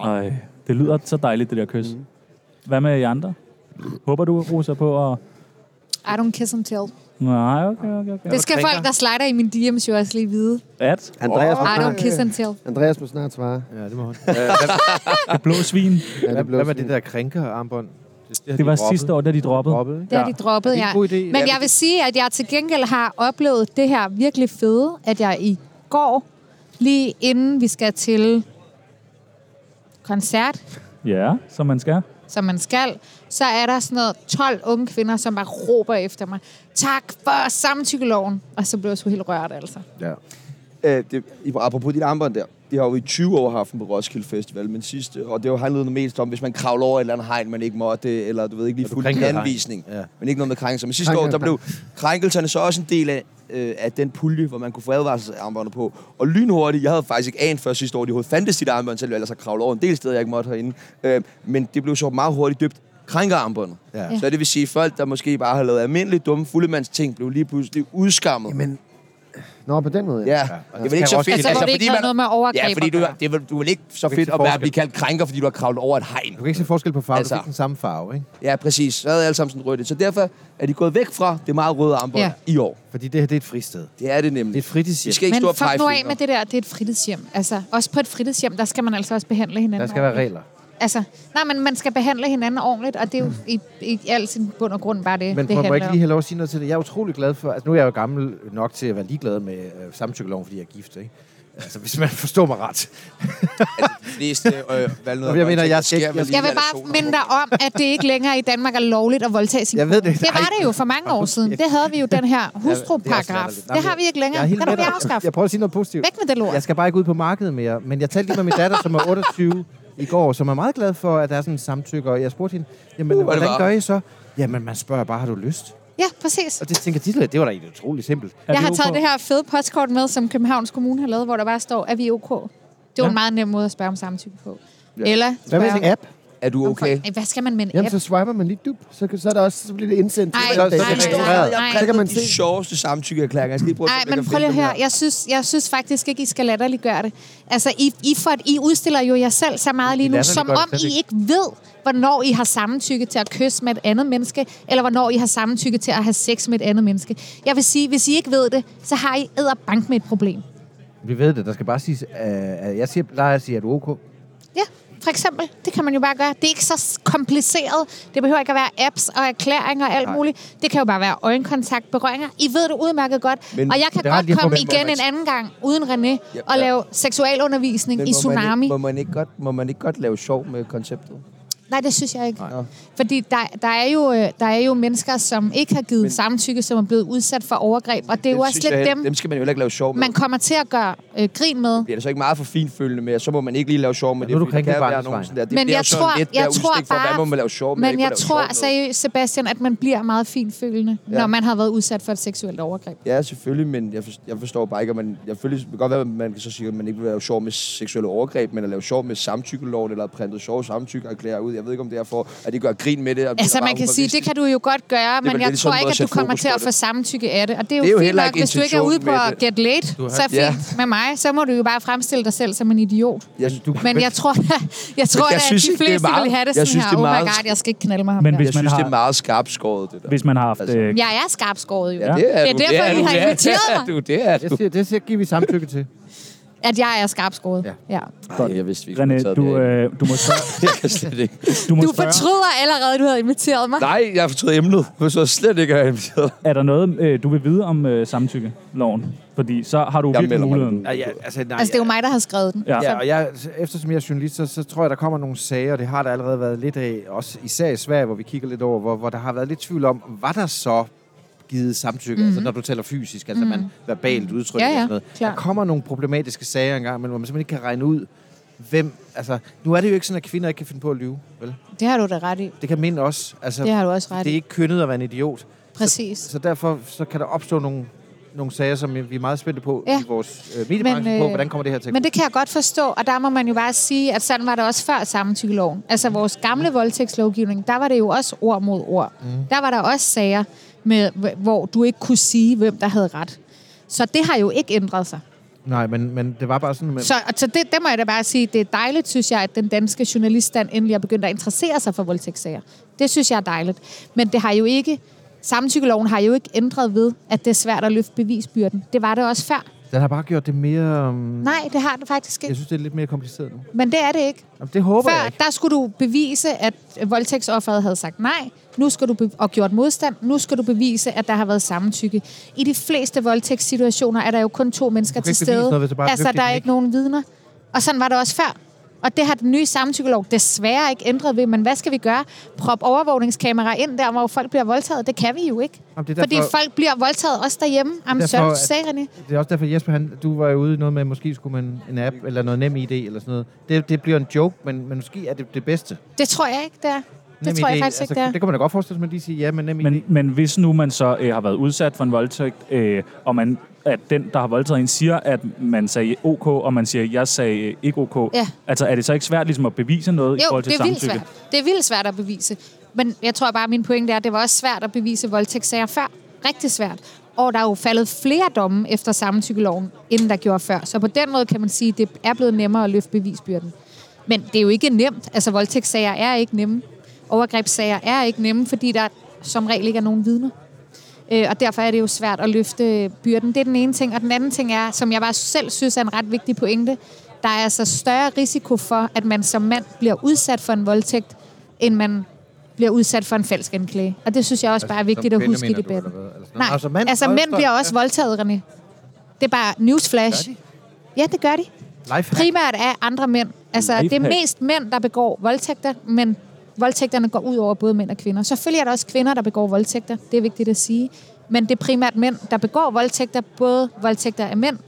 [SPEAKER 2] Ej, det lyder så dejligt, det der kys.
[SPEAKER 1] Mm.
[SPEAKER 2] Hvad med jer andre? Håber du, Rosa, på at...
[SPEAKER 5] I don't kiss and tell.
[SPEAKER 2] Nej, okay, okay, okay.
[SPEAKER 5] Det skal folk, der slider i min DM's jo også lige vide.
[SPEAKER 2] At?
[SPEAKER 3] Andreas må
[SPEAKER 5] I don't
[SPEAKER 3] snart,
[SPEAKER 5] kiss and tell.
[SPEAKER 3] Andreas må snart svare.
[SPEAKER 4] Ja, det må hun.
[SPEAKER 2] Det blå svin.
[SPEAKER 3] Ja,
[SPEAKER 4] Hvad,
[SPEAKER 3] det blev
[SPEAKER 4] hvad med det der krænkerarmbånd? Det,
[SPEAKER 2] Det var sidste år, da de droppede.
[SPEAKER 4] Droppet, ikke?
[SPEAKER 5] Det har de droppet,
[SPEAKER 4] Det er en
[SPEAKER 5] ja.
[SPEAKER 4] god idé. Ja,
[SPEAKER 5] Men jeg vil sige, at jeg til gengæld har oplevet det her virkelig fede, at jeg i går, lige inden vi skal til koncert,
[SPEAKER 2] Ja, som man skal.
[SPEAKER 5] som man skal, så er der sådan noget 12 unge kvinder, som bare råber efter mig. Tak for samtykkeloven. Og så blev jeg så helt rørt, altså.
[SPEAKER 1] øh, det, i- apropos dit armbånd der, det har jo i 20 år haft den på Roskilde Festival, men sidste, og det har jo handlet mest om, hvis man kravler over et eller andet hegn, man ikke måtte, eller du ved ikke lige
[SPEAKER 4] du
[SPEAKER 1] fuldt
[SPEAKER 4] krænker et
[SPEAKER 1] en
[SPEAKER 4] hegn.
[SPEAKER 1] anvisning,
[SPEAKER 4] Ja.
[SPEAKER 1] men ikke noget med krænkelser. Men sidste
[SPEAKER 3] Krænker
[SPEAKER 1] år, der
[SPEAKER 3] et
[SPEAKER 1] blev krænkelserne så også en del af, øh, af den pulje, hvor man kunne få advarselsarmbåndet på. Og lynhurtigt, jeg havde faktisk ikke anet før sidste år, at de overhovedet fandtes dit armbånd, selvom jeg ellers har kravlet over en del steder, jeg ikke måtte herinde. Øh, men det blev så meget hurtigt døbt krænkerarmbåndet.
[SPEAKER 4] Ja.
[SPEAKER 1] Så det vil sige, at folk, der måske bare har lavet almindelige dumme fuldemandsting, blev lige pludselig udskammet.
[SPEAKER 3] Jamen, Nå, på den måde.
[SPEAKER 1] Ja,
[SPEAKER 4] og
[SPEAKER 1] det er
[SPEAKER 4] skal
[SPEAKER 1] vel ikke så
[SPEAKER 4] Roskilde-
[SPEAKER 1] fedt.
[SPEAKER 5] Altså, hvor det ikke
[SPEAKER 1] fordi
[SPEAKER 5] har
[SPEAKER 1] man-
[SPEAKER 5] noget med overgreb
[SPEAKER 1] Ja, fordi
[SPEAKER 5] at
[SPEAKER 1] du,
[SPEAKER 5] gøre.
[SPEAKER 1] det er vel, du er vel ikke så
[SPEAKER 4] kan
[SPEAKER 1] fedt
[SPEAKER 4] se
[SPEAKER 1] at være,
[SPEAKER 4] forskel.
[SPEAKER 1] blive kaldt krænker, fordi du har kravlet over et hegn.
[SPEAKER 4] Du kan ikke se forskel på farve, altså.
[SPEAKER 1] Altså.
[SPEAKER 4] du fik den samme farve, ikke?
[SPEAKER 1] Ja, præcis. Så havde alle sammen sådan rødt. Så derfor er de gået væk fra det meget røde armbånd
[SPEAKER 5] Ja.
[SPEAKER 1] ja. i år.
[SPEAKER 4] Fordi det her, det er et fristed.
[SPEAKER 1] Det er det
[SPEAKER 4] Det er
[SPEAKER 1] nemlig.
[SPEAKER 4] et fritidshjem.
[SPEAKER 1] Vi skal ikke stå
[SPEAKER 5] Men
[SPEAKER 1] og pege
[SPEAKER 5] fuck nu af
[SPEAKER 1] fingre.
[SPEAKER 5] med det der, det er et fritidshjem. Altså, også på et fritidshjem, der skal man altså også behandle hinanden
[SPEAKER 4] Der skal være
[SPEAKER 5] ordentligt.
[SPEAKER 4] regler.
[SPEAKER 5] Altså, nej, men man skal behandle hinanden ordentligt, og det er jo i, i al sin bund og grund bare det,
[SPEAKER 4] Men
[SPEAKER 5] det
[SPEAKER 4] prøv, må jeg
[SPEAKER 5] handler
[SPEAKER 4] ikke
[SPEAKER 5] om.
[SPEAKER 4] lige have lov at sige noget til det? Jeg er utrolig glad for... Altså, nu er jeg jo gammel nok til at være ligeglad med øh, samtykkeloven, fordi jeg er gift, ikke? Altså, hvis man forstår mig ret.
[SPEAKER 1] De fleste øh, valgnødder-
[SPEAKER 4] Jeg mener, jeg skal-
[SPEAKER 1] sker
[SPEAKER 4] jeg-
[SPEAKER 1] vel lige
[SPEAKER 5] Jeg vil bare
[SPEAKER 1] relationer.
[SPEAKER 5] minde dig om, at det ikke længere i Danmark er lovligt at voldtage sin
[SPEAKER 4] Jeg ved det.
[SPEAKER 5] kone. Det var
[SPEAKER 4] Ej.
[SPEAKER 5] det jo for mange år siden. Det havde vi jo den her hustruparagraf.
[SPEAKER 4] latterligt.
[SPEAKER 5] Det har vi ikke
[SPEAKER 4] Jeg
[SPEAKER 5] længere.
[SPEAKER 4] er helt
[SPEAKER 5] Den har
[SPEAKER 4] med
[SPEAKER 5] vi
[SPEAKER 4] dig.
[SPEAKER 5] afskaffet.
[SPEAKER 4] Jeg prøver at sige noget positivt.
[SPEAKER 5] Væk med det lort.
[SPEAKER 4] Jeg skal bare ikke ud på markedet mere. Men jeg talte lige med min datter, som er 28 i går, som er meget glad for, at der er sådan en samtykke. Og jeg spurgte hende, jamen,
[SPEAKER 1] Uh, hvor er det
[SPEAKER 4] hvordan
[SPEAKER 1] varmt."
[SPEAKER 4] gør I så? Jamen, man spørger bare, har du lyst?
[SPEAKER 5] Ja, præcis.
[SPEAKER 4] Og det tænker de, lidt, det var da egentlig utroligt simpelt.
[SPEAKER 2] Er
[SPEAKER 5] Jeg
[SPEAKER 2] vi
[SPEAKER 5] har
[SPEAKER 2] ok?
[SPEAKER 5] taget det her fede postkort med, som Københavns Kommune har lavet, hvor der bare står, er vi OK? Det er jo en meget nem måde at spørge om samtykke på. Eller
[SPEAKER 3] Hvad med en
[SPEAKER 5] spørge,
[SPEAKER 3] app?
[SPEAKER 1] Er du
[SPEAKER 5] om
[SPEAKER 1] okay?
[SPEAKER 5] folk- Ej, hvad skal man med en
[SPEAKER 3] Jamen,
[SPEAKER 5] app?
[SPEAKER 3] så swiper man lige dup, så, kan- så, er der også, så bliver det indsendt.
[SPEAKER 5] Ej,
[SPEAKER 3] til-
[SPEAKER 4] nej, nej,
[SPEAKER 1] Jeg
[SPEAKER 4] nej.
[SPEAKER 1] havde- Jeg
[SPEAKER 5] nej.
[SPEAKER 1] så kan man
[SPEAKER 3] man
[SPEAKER 1] se.
[SPEAKER 3] se-
[SPEAKER 1] de sjoveste samtykkeerklæringer. Jeg skal lige prøve at se,
[SPEAKER 5] Nej,
[SPEAKER 1] om jeg
[SPEAKER 5] men
[SPEAKER 1] kan
[SPEAKER 5] prøv lige at
[SPEAKER 1] finde dem
[SPEAKER 5] høre. Jeg synes, jeg synes faktisk ikke, I skal latterliggøre det. Altså, I, I, for, I udstiller jo jer selv så meget lige nu, som
[SPEAKER 4] latterliggør det
[SPEAKER 5] om
[SPEAKER 4] slet ikke.
[SPEAKER 5] I ikke ved, hvornår I har samtykke til at kysse med et andet menneske, eller hvornår I har samtykke til at have sex med et andet menneske. Jeg vil sige, hvis I ikke ved det, så har I æderbank med et problem.
[SPEAKER 4] Vi ved det. Der skal bare siges, øh, jeg siger, plejer at sige, er du ok?
[SPEAKER 5] Ja, for eksempel. Det kan man jo bare gøre. Det er ikke så s- kompliceret. Det behøver ikke at være apps og erklæringer og alt Nej. muligt. Det kan jo bare være øjenkontakt, berøringer. I ved det udmærket godt. Men
[SPEAKER 1] Men
[SPEAKER 5] og jeg kan
[SPEAKER 4] der er de
[SPEAKER 5] godt
[SPEAKER 4] her
[SPEAKER 5] komme
[SPEAKER 4] problemer,
[SPEAKER 5] igen
[SPEAKER 1] man
[SPEAKER 5] en anden gang uden René
[SPEAKER 1] Ja,
[SPEAKER 5] og
[SPEAKER 1] ja.
[SPEAKER 5] lave seksualundervisning
[SPEAKER 1] Men
[SPEAKER 5] i
[SPEAKER 1] må Man
[SPEAKER 5] Tsunami.
[SPEAKER 1] ikke, må, man ikke godt, må man ikke godt lave sjov med konceptet?
[SPEAKER 5] Nej, det synes jeg ikke.
[SPEAKER 1] Nå.
[SPEAKER 5] Fordi der, der, er jo, øh, der er jo mennesker, som ikke har givet men, samtykke, som er blevet udsat for overgreb. Og det er jo
[SPEAKER 1] Dem
[SPEAKER 5] også
[SPEAKER 1] synes
[SPEAKER 5] lidt
[SPEAKER 1] jeg heller-
[SPEAKER 5] dem,
[SPEAKER 1] Dem skal man jo heller ikke lave sjov med.
[SPEAKER 5] man kommer til at gøre øh, grin med.
[SPEAKER 1] bliver det så ikke meget for finfølgende med, at så må man ikke lige lave sjov med
[SPEAKER 4] nu er
[SPEAKER 1] det,
[SPEAKER 4] du
[SPEAKER 1] fordi
[SPEAKER 4] krænket
[SPEAKER 1] der kan være
[SPEAKER 4] barnets
[SPEAKER 1] nogen
[SPEAKER 4] vej.
[SPEAKER 1] sådan der. Det
[SPEAKER 5] Men
[SPEAKER 1] bliver
[SPEAKER 5] jeg
[SPEAKER 1] sådan
[SPEAKER 5] tror,
[SPEAKER 1] lidt
[SPEAKER 5] jeg
[SPEAKER 1] der
[SPEAKER 5] tror
[SPEAKER 1] udstik for,
[SPEAKER 5] bare,
[SPEAKER 1] hvad må man lave sjov med,
[SPEAKER 5] men
[SPEAKER 1] ikke må
[SPEAKER 5] jeg
[SPEAKER 1] lave
[SPEAKER 5] tror
[SPEAKER 1] sjov med.
[SPEAKER 5] seriøst, Sebastian, at man bliver meget finfølende, ja. når man har været udsat for et seksuelt overgreb.
[SPEAKER 1] Ja, selvfølgelig, men jeg forstår, jeg forstår bare ikke, at man... Jeg selvfølgelig det kan godt være, at man kan så sige, at man ikke vil lave sjov med seksuelle overgreb, men at lave sjov med samtykkeloven, eller at printe sjove samtykkeerklæringer ud. Jeg ved ikke, om det er for, at de gør grin med det. og
[SPEAKER 5] Altså,
[SPEAKER 1] bliver
[SPEAKER 5] man
[SPEAKER 1] bare
[SPEAKER 5] kan sige, det
[SPEAKER 1] humoristisk.
[SPEAKER 5] kan du jo godt gøre,
[SPEAKER 1] vel
[SPEAKER 5] men jeg
[SPEAKER 1] ligesom
[SPEAKER 5] tror
[SPEAKER 1] måde
[SPEAKER 5] ikke,
[SPEAKER 1] at
[SPEAKER 5] at du
[SPEAKER 1] sætte
[SPEAKER 5] kommer
[SPEAKER 1] fokus
[SPEAKER 5] til
[SPEAKER 1] på
[SPEAKER 5] at få
[SPEAKER 1] det.
[SPEAKER 5] samtykke af det. Og det er jo,
[SPEAKER 1] Det er jo
[SPEAKER 5] fint
[SPEAKER 1] heller
[SPEAKER 5] nok,
[SPEAKER 1] ikke
[SPEAKER 5] hvis du ikke er ude på
[SPEAKER 1] intentionen
[SPEAKER 5] at
[SPEAKER 1] med
[SPEAKER 5] get laid, så fint
[SPEAKER 1] Ja.
[SPEAKER 5] med mig. Så må du jo bare fremstille dig selv som en idiot.
[SPEAKER 1] Jeg, du,
[SPEAKER 5] Men jeg tror, jeg tror
[SPEAKER 1] jeg
[SPEAKER 5] da, at
[SPEAKER 1] synes
[SPEAKER 5] de
[SPEAKER 1] ikke, det er
[SPEAKER 5] fleste
[SPEAKER 1] meget-
[SPEAKER 5] vil have det
[SPEAKER 1] jeg
[SPEAKER 5] sådan
[SPEAKER 1] synes,
[SPEAKER 5] her.
[SPEAKER 1] det er
[SPEAKER 5] Oh my
[SPEAKER 1] meget-
[SPEAKER 5] god, jeg skal ikke knalde mig ham
[SPEAKER 2] Men
[SPEAKER 5] der.
[SPEAKER 2] hvis
[SPEAKER 1] jeg
[SPEAKER 2] man
[SPEAKER 1] synes,
[SPEAKER 2] har-
[SPEAKER 1] det er meget skarpt skåret, det der.
[SPEAKER 2] Hvis man har haft...
[SPEAKER 1] Altså.
[SPEAKER 2] Øh,
[SPEAKER 5] Jeg er skarpskåret jo.
[SPEAKER 1] Ja, det er,
[SPEAKER 5] det er
[SPEAKER 1] du.
[SPEAKER 5] derfor,
[SPEAKER 1] det er
[SPEAKER 5] I
[SPEAKER 1] du.
[SPEAKER 5] har
[SPEAKER 1] Ja,
[SPEAKER 5] inviteret
[SPEAKER 1] det er
[SPEAKER 5] mig.
[SPEAKER 1] Du, det er
[SPEAKER 4] Det
[SPEAKER 1] du.
[SPEAKER 4] siger, det siger, giver vi samtykke til.
[SPEAKER 5] At jeg er skarpskåret.
[SPEAKER 4] Ja.
[SPEAKER 5] Ja.
[SPEAKER 1] Ej, jeg vidste, vi ikke
[SPEAKER 2] René, du, øh, du må spørge...
[SPEAKER 1] Jeg kan slet ikke.
[SPEAKER 2] Du må
[SPEAKER 5] Du
[SPEAKER 2] spørge
[SPEAKER 5] fortryder allerede, du havde inviteret mig.
[SPEAKER 1] Nej, jeg har fortrydet emnet. Du så slet ikke have inviteret.
[SPEAKER 2] er der noget, øh, du vil vide om øh, samtykkeloven? Fordi så har du
[SPEAKER 1] Jeg
[SPEAKER 2] virkelig
[SPEAKER 1] melder mig
[SPEAKER 2] muligheden.
[SPEAKER 1] nu.
[SPEAKER 4] ja, altså, nej,
[SPEAKER 5] Altså, det er jo mig, der har skrevet den.
[SPEAKER 2] Ja.
[SPEAKER 4] Ja, og jeg, eftersom jeg er journalist, så, så tror jeg, der kommer nogle sager, og det har der allerede været lidt af, også især i Sverige, hvor vi kigger lidt over, hvor, hvor der har været lidt tvivl om, var der så givet samtykke, mm-hmm. altså når du taler fysisk, altså mm-hmm. man verbalt udtrykker
[SPEAKER 5] Mhm.
[SPEAKER 4] og
[SPEAKER 5] Ja, ja,
[SPEAKER 4] sådan noget.
[SPEAKER 5] klar.
[SPEAKER 4] Der kommer nogle problematiske sager engang, men hvor man simpelthen ikke kan regne ud, hvem, altså, nu er det jo ikke sådan, at kvinder ikke kan finde på at lyve, vel?
[SPEAKER 5] Det har du da ret i.
[SPEAKER 4] Det kan mænd også. Altså,
[SPEAKER 5] Det har du også ret
[SPEAKER 4] Det
[SPEAKER 5] i.
[SPEAKER 4] er ikke kønnet at være en idiot.
[SPEAKER 5] Præcis.
[SPEAKER 4] Så derfor så kan der opstå nogle, nogle sager, som vi er meget spændte på
[SPEAKER 5] Ja.
[SPEAKER 4] ja. i vores øh, mediebranche,
[SPEAKER 5] Men,
[SPEAKER 4] øh, på,
[SPEAKER 5] øh,
[SPEAKER 4] hvordan kommer det her til at
[SPEAKER 5] Men det kan jeg godt forstå, og der må man jo bare sige, at sådan var det også før samtykkeloven. Altså vores gamle voldtægtslovgivning, der var det jo også ord mod ord.
[SPEAKER 4] Mhm.
[SPEAKER 5] Mm. Der var der også sager, med, hv- hvor du ikke kunne sige, hvem der havde ret. Så det har jo ikke ændret sig.
[SPEAKER 4] Nej, men, men det var bare sådan... Men,
[SPEAKER 5] Så, og så det, det må jeg da bare sige, det er dejligt, synes jeg, at den danske journaliststand endelig er begyndt at interessere sig for voldtægtssager. Det synes jeg er dejligt. Men det har jo ikke, samtykkeloven har jo ikke ændret ved, at det er svært at løfte bevisbyrden. Det var det også før.
[SPEAKER 4] Den har bare gjort det mere... Um,
[SPEAKER 5] Nej, det har det faktisk
[SPEAKER 4] jeg
[SPEAKER 5] ikke.
[SPEAKER 4] synes, det er lidt mere kompliceret nu.
[SPEAKER 5] Men det er det ikke.
[SPEAKER 4] Jamen, det håber jeg
[SPEAKER 5] Før,
[SPEAKER 4] ikke.
[SPEAKER 5] der skulle du bevise, at voldtægtsofferet havde sagt nej. Nu skal du be- og gjort modstand. Nu skal du bevise, at der har været samtykke. I de fleste voldtægtssituationer er der jo kun to mennesker
[SPEAKER 4] kan
[SPEAKER 5] til
[SPEAKER 4] ikke bevise
[SPEAKER 5] stede.
[SPEAKER 4] noget, hvis du bare er
[SPEAKER 5] altså,
[SPEAKER 4] dygtig
[SPEAKER 5] der er
[SPEAKER 4] til
[SPEAKER 5] ikke nogen vidner. Og sådan var det også før. Og det har den nye samtykkelov desværre ikke ændret ved. Men hvad skal vi gøre? Prop overvågningskameraer ind der, hvor folk bliver voldtaget. Det kan vi jo ikke.
[SPEAKER 4] Jamen, det er
[SPEAKER 5] Fordi
[SPEAKER 4] derfor-
[SPEAKER 5] folk bliver voldtaget også derhjemme. Am
[SPEAKER 4] derfor,
[SPEAKER 5] sorry, du
[SPEAKER 4] at-
[SPEAKER 5] sagde, René.
[SPEAKER 4] Det er også derfor, Jesper, han, du var jo ude i noget med, måske skulle man en app eller noget nem idé eller sådan noget. Det, det bliver en joke, men, men måske er det det bedste.
[SPEAKER 5] Det tror jeg ikke, det er. Det
[SPEAKER 4] Nem
[SPEAKER 5] tror jeg
[SPEAKER 4] idé,
[SPEAKER 5] faktisk ikke, det
[SPEAKER 4] altså,
[SPEAKER 5] er.
[SPEAKER 4] Det kan man da godt forestille sig, at man lige siger ja, men nem idé.
[SPEAKER 2] Men, men hvis nu man så øh, har været udsat for en voldtægt, øh, og man, at den, der har voldtaget en, siger, at man sagde OK, og man siger, jeg sagde øh, ikke OK,
[SPEAKER 5] Ja.
[SPEAKER 2] altså er det så ikke svært ligesom at bevise noget i
[SPEAKER 5] Jo,
[SPEAKER 2] forhold til
[SPEAKER 5] det er vildt
[SPEAKER 2] samtykke?
[SPEAKER 5] svært. Det er vildt svært at bevise. Men jeg tror bare, at min pointe er, at det var også svært at bevise voldtægtssager før. Rigtig svært. Og der er jo faldet flere domme efter samtykkeloven, end der gjorde før. Så på den måde kan man sige, at det er blevet nemmere at løfte bevisbyrden. Men det er jo ikke nemt. Altså voldtægtssager er ikke nemme. Overgrebssager er ikke nemme, fordi der som regel ikke er nogen vidner. Øh, og derfor er det jo svært at løfte byrden. Det er den ene ting. Og den anden ting er, som jeg bare selv synes er en ret vigtig pointe, der er altså større risiko for, at man som mand bliver udsat for en voldtægt, end man bliver udsat for en falsk anklage. Og det synes jeg
[SPEAKER 4] Altså,
[SPEAKER 5] også bare er vigtigt at huske i debatten. Nej, altså, mænd, altså mænd bliver også voldtaget, René. Det er bare newsflash. Ja, det gør de.
[SPEAKER 4] Life
[SPEAKER 5] Primært af andre mænd. Altså, det er
[SPEAKER 2] Lifehack.
[SPEAKER 5] mest mænd, der begår voldtægter, men voldtægterne går ud over både mænd og kvinder. Selvfølgelig er der også kvinder, der begår voldtægter. Det er vigtigt at sige. Men det er primært mænd, der begår voldtægter, både voldtægter af mænd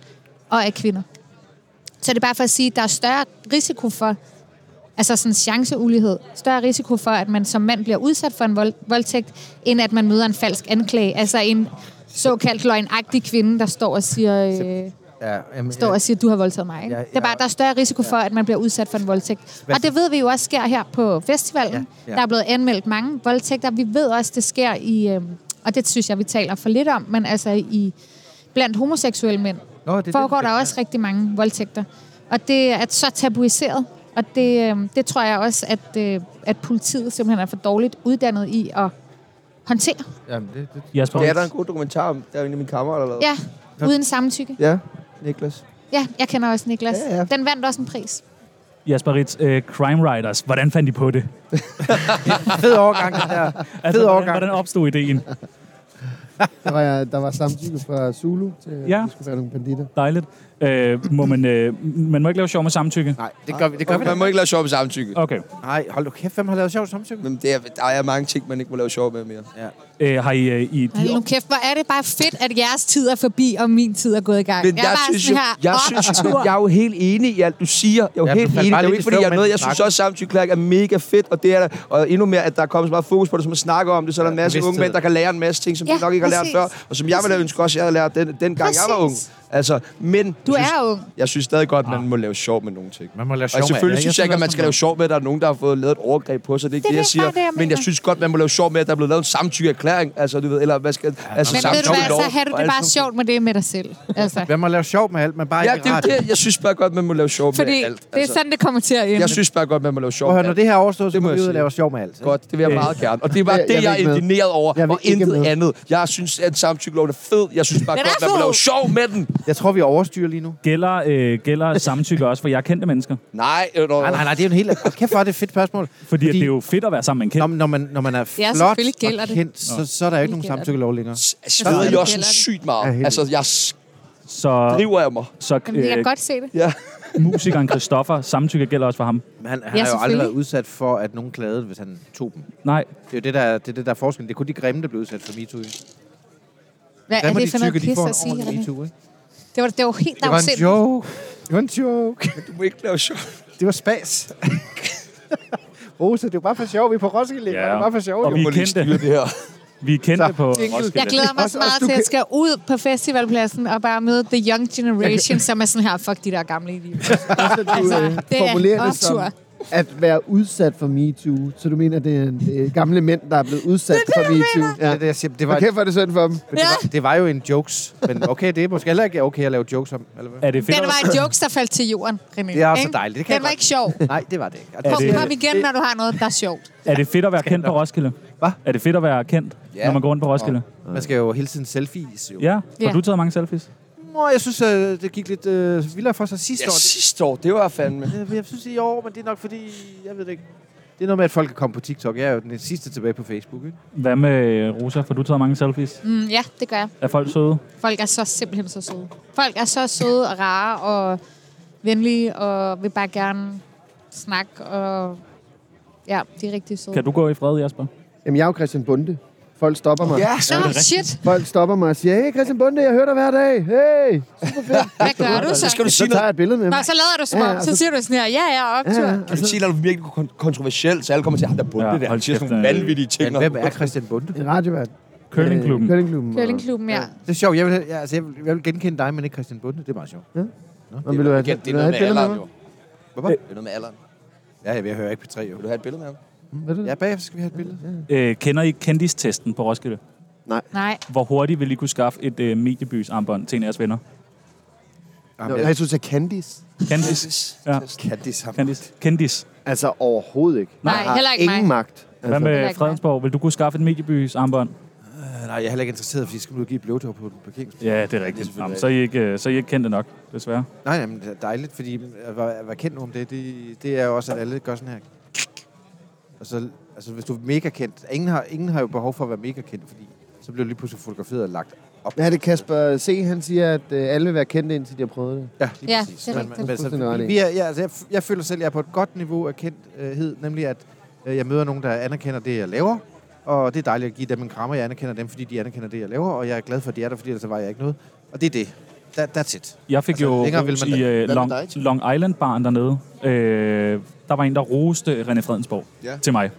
[SPEAKER 5] og af kvinder. Så det er bare for at sige, at der er større risiko for, altså sådan chanceulighed, større risiko for, at man som mand bliver udsat for en vold, voldtægt, end at man møder en falsk anklage. Altså en såkaldt løgnagtig kvinde, der står og siger... Øh,
[SPEAKER 4] ja, jamen,
[SPEAKER 5] står og siger, at du har voldtaget mig. Ikke?
[SPEAKER 4] Ja,
[SPEAKER 5] Ja, Det er bare,
[SPEAKER 4] ja.
[SPEAKER 5] der er større risiko for, at man bliver udsat for en voldtægt. Og det ved vi jo også sker her på festivalen.
[SPEAKER 4] Ja,
[SPEAKER 5] Ja,
[SPEAKER 4] ja.
[SPEAKER 5] ja. Der er blevet anmeldt mange voldtægter. Vi ved også, det sker i, øh, og det synes jeg, vi taler for lidt om, men altså i blandt homoseksuelle mænd
[SPEAKER 4] Nå, det er det,
[SPEAKER 5] foregår
[SPEAKER 4] du
[SPEAKER 5] der
[SPEAKER 4] siger,
[SPEAKER 5] også rigtig mange voldtægter. Og det er så tabuiseret, og det, øh, det tror jeg også, at, øh, at politiet simpelthen er for dårligt uddannet i at håndtere.
[SPEAKER 4] Jamen, det, det,
[SPEAKER 2] Jesper,
[SPEAKER 1] Det er der en god dokumentar om. Der er jo en af mine kammerater, der
[SPEAKER 5] Ja, uden samtykke.
[SPEAKER 1] ja. Niklas.
[SPEAKER 5] Ja, jeg kender også Niklas.
[SPEAKER 1] Ja,
[SPEAKER 5] Ja,
[SPEAKER 1] ja.
[SPEAKER 5] ja. Den vandt også en pris.
[SPEAKER 2] Jasper Ritz, øh, Crime Writers, hvordan fandt I på det?
[SPEAKER 4] fed overgang, den der.
[SPEAKER 2] Altså,
[SPEAKER 4] Fed
[SPEAKER 2] hvordan,
[SPEAKER 4] overgang.
[SPEAKER 2] hvordan opstod ideen?
[SPEAKER 3] Der var, jeg, der var samtykke fra Zulu til, at
[SPEAKER 2] Ja.
[SPEAKER 3] ja. vi skulle være nogle banditter.
[SPEAKER 2] Dejligt. Øh, må man, øh, man må ikke lave sjov med samtykke?
[SPEAKER 4] Nej, det gør vi, det gør
[SPEAKER 1] Og
[SPEAKER 4] vi
[SPEAKER 1] man
[SPEAKER 4] da.
[SPEAKER 1] må ikke lave sjov med samtykke.
[SPEAKER 2] Okay.
[SPEAKER 4] Nej, hold nu kæft, hvem har lavet sjovt samtykke?
[SPEAKER 1] Men det er, der er mange ting, man ikke må lave sjov med mere.
[SPEAKER 2] Øh, har I, øh, i de
[SPEAKER 5] Hold nu kæft, hvor er det bare fedt, at jeres tid er forbi, og min tid er gået i gang.
[SPEAKER 1] Men jeg,
[SPEAKER 5] er bare
[SPEAKER 1] synes jo,
[SPEAKER 5] sådan her,
[SPEAKER 1] jeg,
[SPEAKER 5] op
[SPEAKER 1] synes,
[SPEAKER 5] tur.
[SPEAKER 1] jo- jeg er jo helt enig i alt, du siger. Jeg er jo
[SPEAKER 4] Ja,
[SPEAKER 1] ja,
[SPEAKER 4] du
[SPEAKER 1] helt
[SPEAKER 4] faldt
[SPEAKER 1] enig. Det
[SPEAKER 4] bare
[SPEAKER 1] er jo
[SPEAKER 4] lidt
[SPEAKER 1] ikke,
[SPEAKER 4] i
[SPEAKER 1] fordi
[SPEAKER 4] søvn,
[SPEAKER 1] jeg er noget.
[SPEAKER 4] mens
[SPEAKER 1] Jeg
[SPEAKER 4] du
[SPEAKER 1] synes
[SPEAKER 4] snakkede.
[SPEAKER 1] også, samtykklæring er mega fedt, og det er der. Og endnu mere, at der er kommet så meget fokus på det, som man snakker om det, så er der en masse
[SPEAKER 4] bevidsthed.
[SPEAKER 1] unge mænd, der kan lære en masse ting, som
[SPEAKER 5] Ja,
[SPEAKER 1] de nok ikke har lært
[SPEAKER 5] præcis.
[SPEAKER 1] før, og som jeg ville have ønsket også, jeg havde lært den, dengang jeg var ung.
[SPEAKER 5] Præcis.
[SPEAKER 1] Altså, men
[SPEAKER 5] Du
[SPEAKER 1] jeg
[SPEAKER 5] er ung.
[SPEAKER 1] Jeg synes stadig godt,
[SPEAKER 4] Ah.
[SPEAKER 1] man må lave sjov med nogle ting.
[SPEAKER 4] Man må lave sjov
[SPEAKER 1] Og
[SPEAKER 4] med
[SPEAKER 1] selvfølgelig
[SPEAKER 4] alle.
[SPEAKER 1] synes jeg ikke, at man skal lave sjov med, at der er nogen, der har fået lavet et overgreb på sig. Det er ikke det,
[SPEAKER 5] Det er
[SPEAKER 1] jeg
[SPEAKER 5] det,
[SPEAKER 1] siger.
[SPEAKER 5] bare det, jeg
[SPEAKER 1] Men jeg
[SPEAKER 5] mener.
[SPEAKER 1] synes godt, man må lave sjov med, at der er blevet lavet en samtykkeerklæring. Altså, du ved, eller hvad skal... Altså,
[SPEAKER 5] Men ved du hvad,
[SPEAKER 1] samtykkelov
[SPEAKER 5] så har du
[SPEAKER 1] og
[SPEAKER 5] det
[SPEAKER 1] alt sådan-
[SPEAKER 5] bare sjovt med det med dig selv. Altså.
[SPEAKER 4] Hvem har lavet sjov med alt, men bare
[SPEAKER 1] Ja,
[SPEAKER 4] ikke
[SPEAKER 1] det er
[SPEAKER 4] ret?
[SPEAKER 1] jo det. Jeg synes bare godt, man må lave sjov med
[SPEAKER 5] Fordi
[SPEAKER 1] alt. Altså-
[SPEAKER 5] det er sådan, det kommer til at ende.
[SPEAKER 1] Jeg synes bare godt, man må lave sjov
[SPEAKER 4] Prøv at høre,
[SPEAKER 1] med
[SPEAKER 4] når
[SPEAKER 1] alt.
[SPEAKER 4] det her er overstået, så
[SPEAKER 1] Det må
[SPEAKER 4] må
[SPEAKER 1] jeg
[SPEAKER 4] vi ud og
[SPEAKER 1] sige.
[SPEAKER 4] lave sjov med alt.
[SPEAKER 1] Godt, det vil jeg meget gerne. Og det var
[SPEAKER 3] Jeg-
[SPEAKER 1] det, jeg,
[SPEAKER 3] jeg vil
[SPEAKER 1] jeg
[SPEAKER 3] ikke
[SPEAKER 1] er
[SPEAKER 3] med.
[SPEAKER 1] indineret over,
[SPEAKER 3] Jeg vil
[SPEAKER 1] og
[SPEAKER 3] ikke
[SPEAKER 1] intet
[SPEAKER 3] med.
[SPEAKER 1] andet. Jeg synes, at samtykkeloven er fed. Jeg synes bare
[SPEAKER 5] Den
[SPEAKER 1] godt,
[SPEAKER 5] er
[SPEAKER 1] man må
[SPEAKER 5] fed.
[SPEAKER 1] lave sjov med den.
[SPEAKER 4] Jeg tror, vi overstyrer lige nu.
[SPEAKER 2] gælder, øh, gælder samtykke også for jer kendte mennesker?
[SPEAKER 1] Nej, øh,
[SPEAKER 4] Nej, nej, nej, det er jo en helt... Hold Kæft, hvor er det et fedt spørgsmål.
[SPEAKER 2] Fordi, Fordi... At det er jo fedt at være sammen med en kendt.
[SPEAKER 4] Når, når, man, når man er
[SPEAKER 5] Ja,
[SPEAKER 4] flot
[SPEAKER 5] selvfølgelig gælder
[SPEAKER 4] og
[SPEAKER 5] det.
[SPEAKER 4] kendt, så, så er der jo ikke nogen
[SPEAKER 5] Selvfølgelig
[SPEAKER 4] samtykkelov længere.
[SPEAKER 1] sveder jeg
[SPEAKER 5] det
[SPEAKER 1] også
[SPEAKER 5] gælder det.
[SPEAKER 1] sygt
[SPEAKER 3] Ja,
[SPEAKER 1] meget.
[SPEAKER 3] helt
[SPEAKER 1] Altså, jeg
[SPEAKER 2] Så,
[SPEAKER 1] driver af mig.
[SPEAKER 2] så
[SPEAKER 5] Jamen, jeg
[SPEAKER 2] øh,
[SPEAKER 5] kan godt se det.
[SPEAKER 1] Ja.
[SPEAKER 2] musikeren Christoffer, samtykke gælder også for ham.
[SPEAKER 4] Men Han, han
[SPEAKER 5] Ja,
[SPEAKER 4] har jo aldrig
[SPEAKER 5] selvfølgelig.
[SPEAKER 4] været udsat for, at nogen klagede, hvis han tog dem.
[SPEAKER 2] Nej,
[SPEAKER 4] Det er jo det, der, er- det, er det der er forskellen. Det er kun de grimme, der blev udsat for MeToo. ikke?
[SPEAKER 5] Hvad er
[SPEAKER 4] Grimme og
[SPEAKER 5] det
[SPEAKER 4] de
[SPEAKER 5] for noget
[SPEAKER 4] tykke, de
[SPEAKER 5] pis
[SPEAKER 4] får
[SPEAKER 5] at sige,
[SPEAKER 4] en ordentlig
[SPEAKER 5] René?
[SPEAKER 4] MeToo. Ikke?
[SPEAKER 5] Det var, det var helt
[SPEAKER 4] Det var en
[SPEAKER 5] afsindigt.
[SPEAKER 4] joke. Det var en joke.
[SPEAKER 1] Du må ikke lave sjov.
[SPEAKER 4] Det var spas.
[SPEAKER 3] Rosa, det er jo bare for sjov. Vi er på Roskilde.
[SPEAKER 2] Ja.
[SPEAKER 3] Ja. Det er bare for sjov.
[SPEAKER 2] Og
[SPEAKER 3] jo.
[SPEAKER 2] vi
[SPEAKER 1] Jeg må lige
[SPEAKER 2] kendte.
[SPEAKER 1] styre det her.
[SPEAKER 2] vi er kendte
[SPEAKER 4] Så,
[SPEAKER 2] på
[SPEAKER 4] jingle.
[SPEAKER 2] Roskilde.
[SPEAKER 5] Jeg glæder mig
[SPEAKER 3] Også- også
[SPEAKER 5] så meget
[SPEAKER 3] du
[SPEAKER 5] til, at
[SPEAKER 3] kan-
[SPEAKER 5] jeg skal ud på festivalpladsen og bare møde The Young Generation, som er sådan her, fuck de der gamle i livet.
[SPEAKER 3] du øh,
[SPEAKER 5] Altså, det er
[SPEAKER 3] formulerer det som
[SPEAKER 5] optur.
[SPEAKER 3] at være udsat for MeToo. Så du mener, det er, det er gamle mænd, der er blevet udsat for MeToo. Ja.
[SPEAKER 4] Ja. Det, er det, jeg siger, det, var,
[SPEAKER 3] Hvor kæft, hvor er det synd for dem.
[SPEAKER 4] det, var, det var jo en jokes. Men okay, det er måske heller ikke okay at lave jokes om. Eller hvad?
[SPEAKER 2] Er det fedt
[SPEAKER 5] Den
[SPEAKER 2] at,
[SPEAKER 5] var en joke, der faldt til jorden, René.
[SPEAKER 4] Det er også
[SPEAKER 5] Ikke?
[SPEAKER 4] dejligt. Det kan jeg
[SPEAKER 5] Den var
[SPEAKER 4] godt-
[SPEAKER 5] ikke sjov.
[SPEAKER 4] Nej, det var det ikke.
[SPEAKER 2] Er
[SPEAKER 5] Kom,
[SPEAKER 2] det-
[SPEAKER 5] kom igen, når du har noget, der er sjovt.
[SPEAKER 2] er det fedt at være kendt på Roskilde?
[SPEAKER 4] Hva?
[SPEAKER 2] Er det fedt at være kendt,
[SPEAKER 1] Ja.
[SPEAKER 2] når man går rundt på Roskilde?
[SPEAKER 4] Man skal jo hele tiden selfies. Jo.
[SPEAKER 2] Ja. Har
[SPEAKER 5] Ja.
[SPEAKER 2] du taget mange selfies?
[SPEAKER 4] Nå, jeg synes, øh, det gik lidt øh, vildere for sig sidste
[SPEAKER 1] Ja,
[SPEAKER 4] år. Det,
[SPEAKER 1] sidste år, det var fandme.
[SPEAKER 4] jeg, jeg synes i år, Øh, men det er nok fordi, jeg ved det ikke. Det er noget med, at folk kan komme på TikTok. Jeg er jo den sidste tilbage på Facebook. Ikke?
[SPEAKER 2] Hvad med øh, Rosa? Får du taget mange selfies?
[SPEAKER 5] Mm, ja, det gør jeg.
[SPEAKER 2] Er folk søde?
[SPEAKER 5] Folk er så simpelthen så søde. Folk er så søde og rare og venlige og vil bare gerne snak, og ja, de er rigtig søde.
[SPEAKER 2] Kan du gå i fred, Jasper?
[SPEAKER 3] Jamen, jeg er jo Christian Bunde. Folk stopper mig.
[SPEAKER 1] Ja,
[SPEAKER 5] Nå, Ah, shit.
[SPEAKER 3] Folk stopper mig og siger, hey Christian Bunde, jeg hører dig hver dag. Hey!
[SPEAKER 5] Hvad gør du så?
[SPEAKER 1] Skal du
[SPEAKER 3] Så
[SPEAKER 1] sige
[SPEAKER 3] tager
[SPEAKER 1] noget,
[SPEAKER 3] jeg et billede med dem.
[SPEAKER 5] Nå, så lader du som
[SPEAKER 3] Ja,
[SPEAKER 5] om.
[SPEAKER 3] og
[SPEAKER 5] Så
[SPEAKER 3] så-
[SPEAKER 5] siger du sådan her, ja, ja, optur.
[SPEAKER 3] Ja,
[SPEAKER 1] kan du sige noget virkelig kon- kontroversielt, så alle kommer til ham, der bundet
[SPEAKER 2] Ja,
[SPEAKER 1] ja, der. Han
[SPEAKER 2] hold
[SPEAKER 1] siger
[SPEAKER 2] kæft,
[SPEAKER 1] sådan nogle
[SPEAKER 2] øh,
[SPEAKER 1] vanvittige ting.
[SPEAKER 4] Men
[SPEAKER 1] og-
[SPEAKER 4] hvem er Christian Bunde?
[SPEAKER 3] en radiovært.
[SPEAKER 2] Curlingklubben.
[SPEAKER 3] Øh, Køllingklubben.
[SPEAKER 5] Curlingklubben, ja.
[SPEAKER 4] Det er sjovt. Jeg vil, jeg, altså, jeg, vil, jeg vil genkende dig, men ikke Christian Bunde. Det er meget sjovt.
[SPEAKER 3] Nå, vil du have,
[SPEAKER 1] Igen, det er
[SPEAKER 3] vil du have
[SPEAKER 1] noget
[SPEAKER 3] et
[SPEAKER 1] med
[SPEAKER 3] billede med
[SPEAKER 1] alderen,
[SPEAKER 3] mig?
[SPEAKER 1] jo. Hvorfor? Det er noget med alderen.
[SPEAKER 4] Ja, jeg, jeg hører ikke på tre år.
[SPEAKER 1] Vil du have et billede med ham?
[SPEAKER 3] Ved du det?
[SPEAKER 4] Ja, bagefter skal vi have et billede.
[SPEAKER 2] Øh, kender I kendistesten på Roskilde?
[SPEAKER 5] Nej.
[SPEAKER 2] Hvor hurtigt vil I kunne skaffe et øh, mediebys armbånd til en af jeres venner?
[SPEAKER 3] Nå, jeg synes, at Candice.
[SPEAKER 2] Kendis. Ja.
[SPEAKER 4] Kan det sammen?
[SPEAKER 2] Kendis. Kendis.
[SPEAKER 3] Altså, overhovedet ikke.
[SPEAKER 5] Nej,
[SPEAKER 3] Jeg har
[SPEAKER 5] heller ikke mig.
[SPEAKER 3] ingen magt.
[SPEAKER 2] Hvad
[SPEAKER 3] Altså,
[SPEAKER 5] heller
[SPEAKER 2] med
[SPEAKER 5] ikke
[SPEAKER 2] Fredensborg? Vil du kunne skaffe et mediebys armbånd?
[SPEAKER 4] Øh, nej, jeg er heller ikke interesseret, fordi jeg skal nu give et blowjob på parkeringsplads.
[SPEAKER 2] Ja, det er rigtigt. Jamen, så, er I ikke, øh, så er I ikke kendte nok, desværre.
[SPEAKER 4] Nej, jamen, det er dejligt, fordi øh, at være, at være kendt nu om det, det, det er jo også, at alle gør sådan her. Og så, altså, hvis du er mega kendt, ingen har, ingen har jo behov for at være mega kendt, fordi så bliver du lige pludselig fotograferet og lagt op.
[SPEAKER 3] Ja, det er Kasper C. Han siger, at øh, alle vil være kendte, indtil de har prøvet det.
[SPEAKER 4] Ja, lige
[SPEAKER 5] Ja,
[SPEAKER 4] præcis.
[SPEAKER 5] det er
[SPEAKER 4] Men-
[SPEAKER 5] rigtigt.
[SPEAKER 4] men altså,
[SPEAKER 3] Fuldstændig ret i.
[SPEAKER 4] vi er, ja, altså, jeg, f- jeg føler selv, at jeg er på et godt niveau af kendthed, nemlig at øh, jeg møder nogen, der anerkender det, jeg laver, og det er dejligt at give dem en krammer. Jeg anerkender dem, fordi de anerkender det, jeg laver, og jeg er glad for, at de er der, fordi ellers så var jeg ikke noget. Og det er det. That, that's it.
[SPEAKER 2] Jeg fik altså,
[SPEAKER 4] Altså,
[SPEAKER 2] jo
[SPEAKER 4] længere vil
[SPEAKER 2] ros
[SPEAKER 4] man da-
[SPEAKER 2] i øh,
[SPEAKER 1] med
[SPEAKER 2] Long,
[SPEAKER 1] dig, Tim?
[SPEAKER 2] Long Island-baren dernede. Øh, der var en, der roste René Fredensborg
[SPEAKER 1] Ja.
[SPEAKER 2] ja. til mig.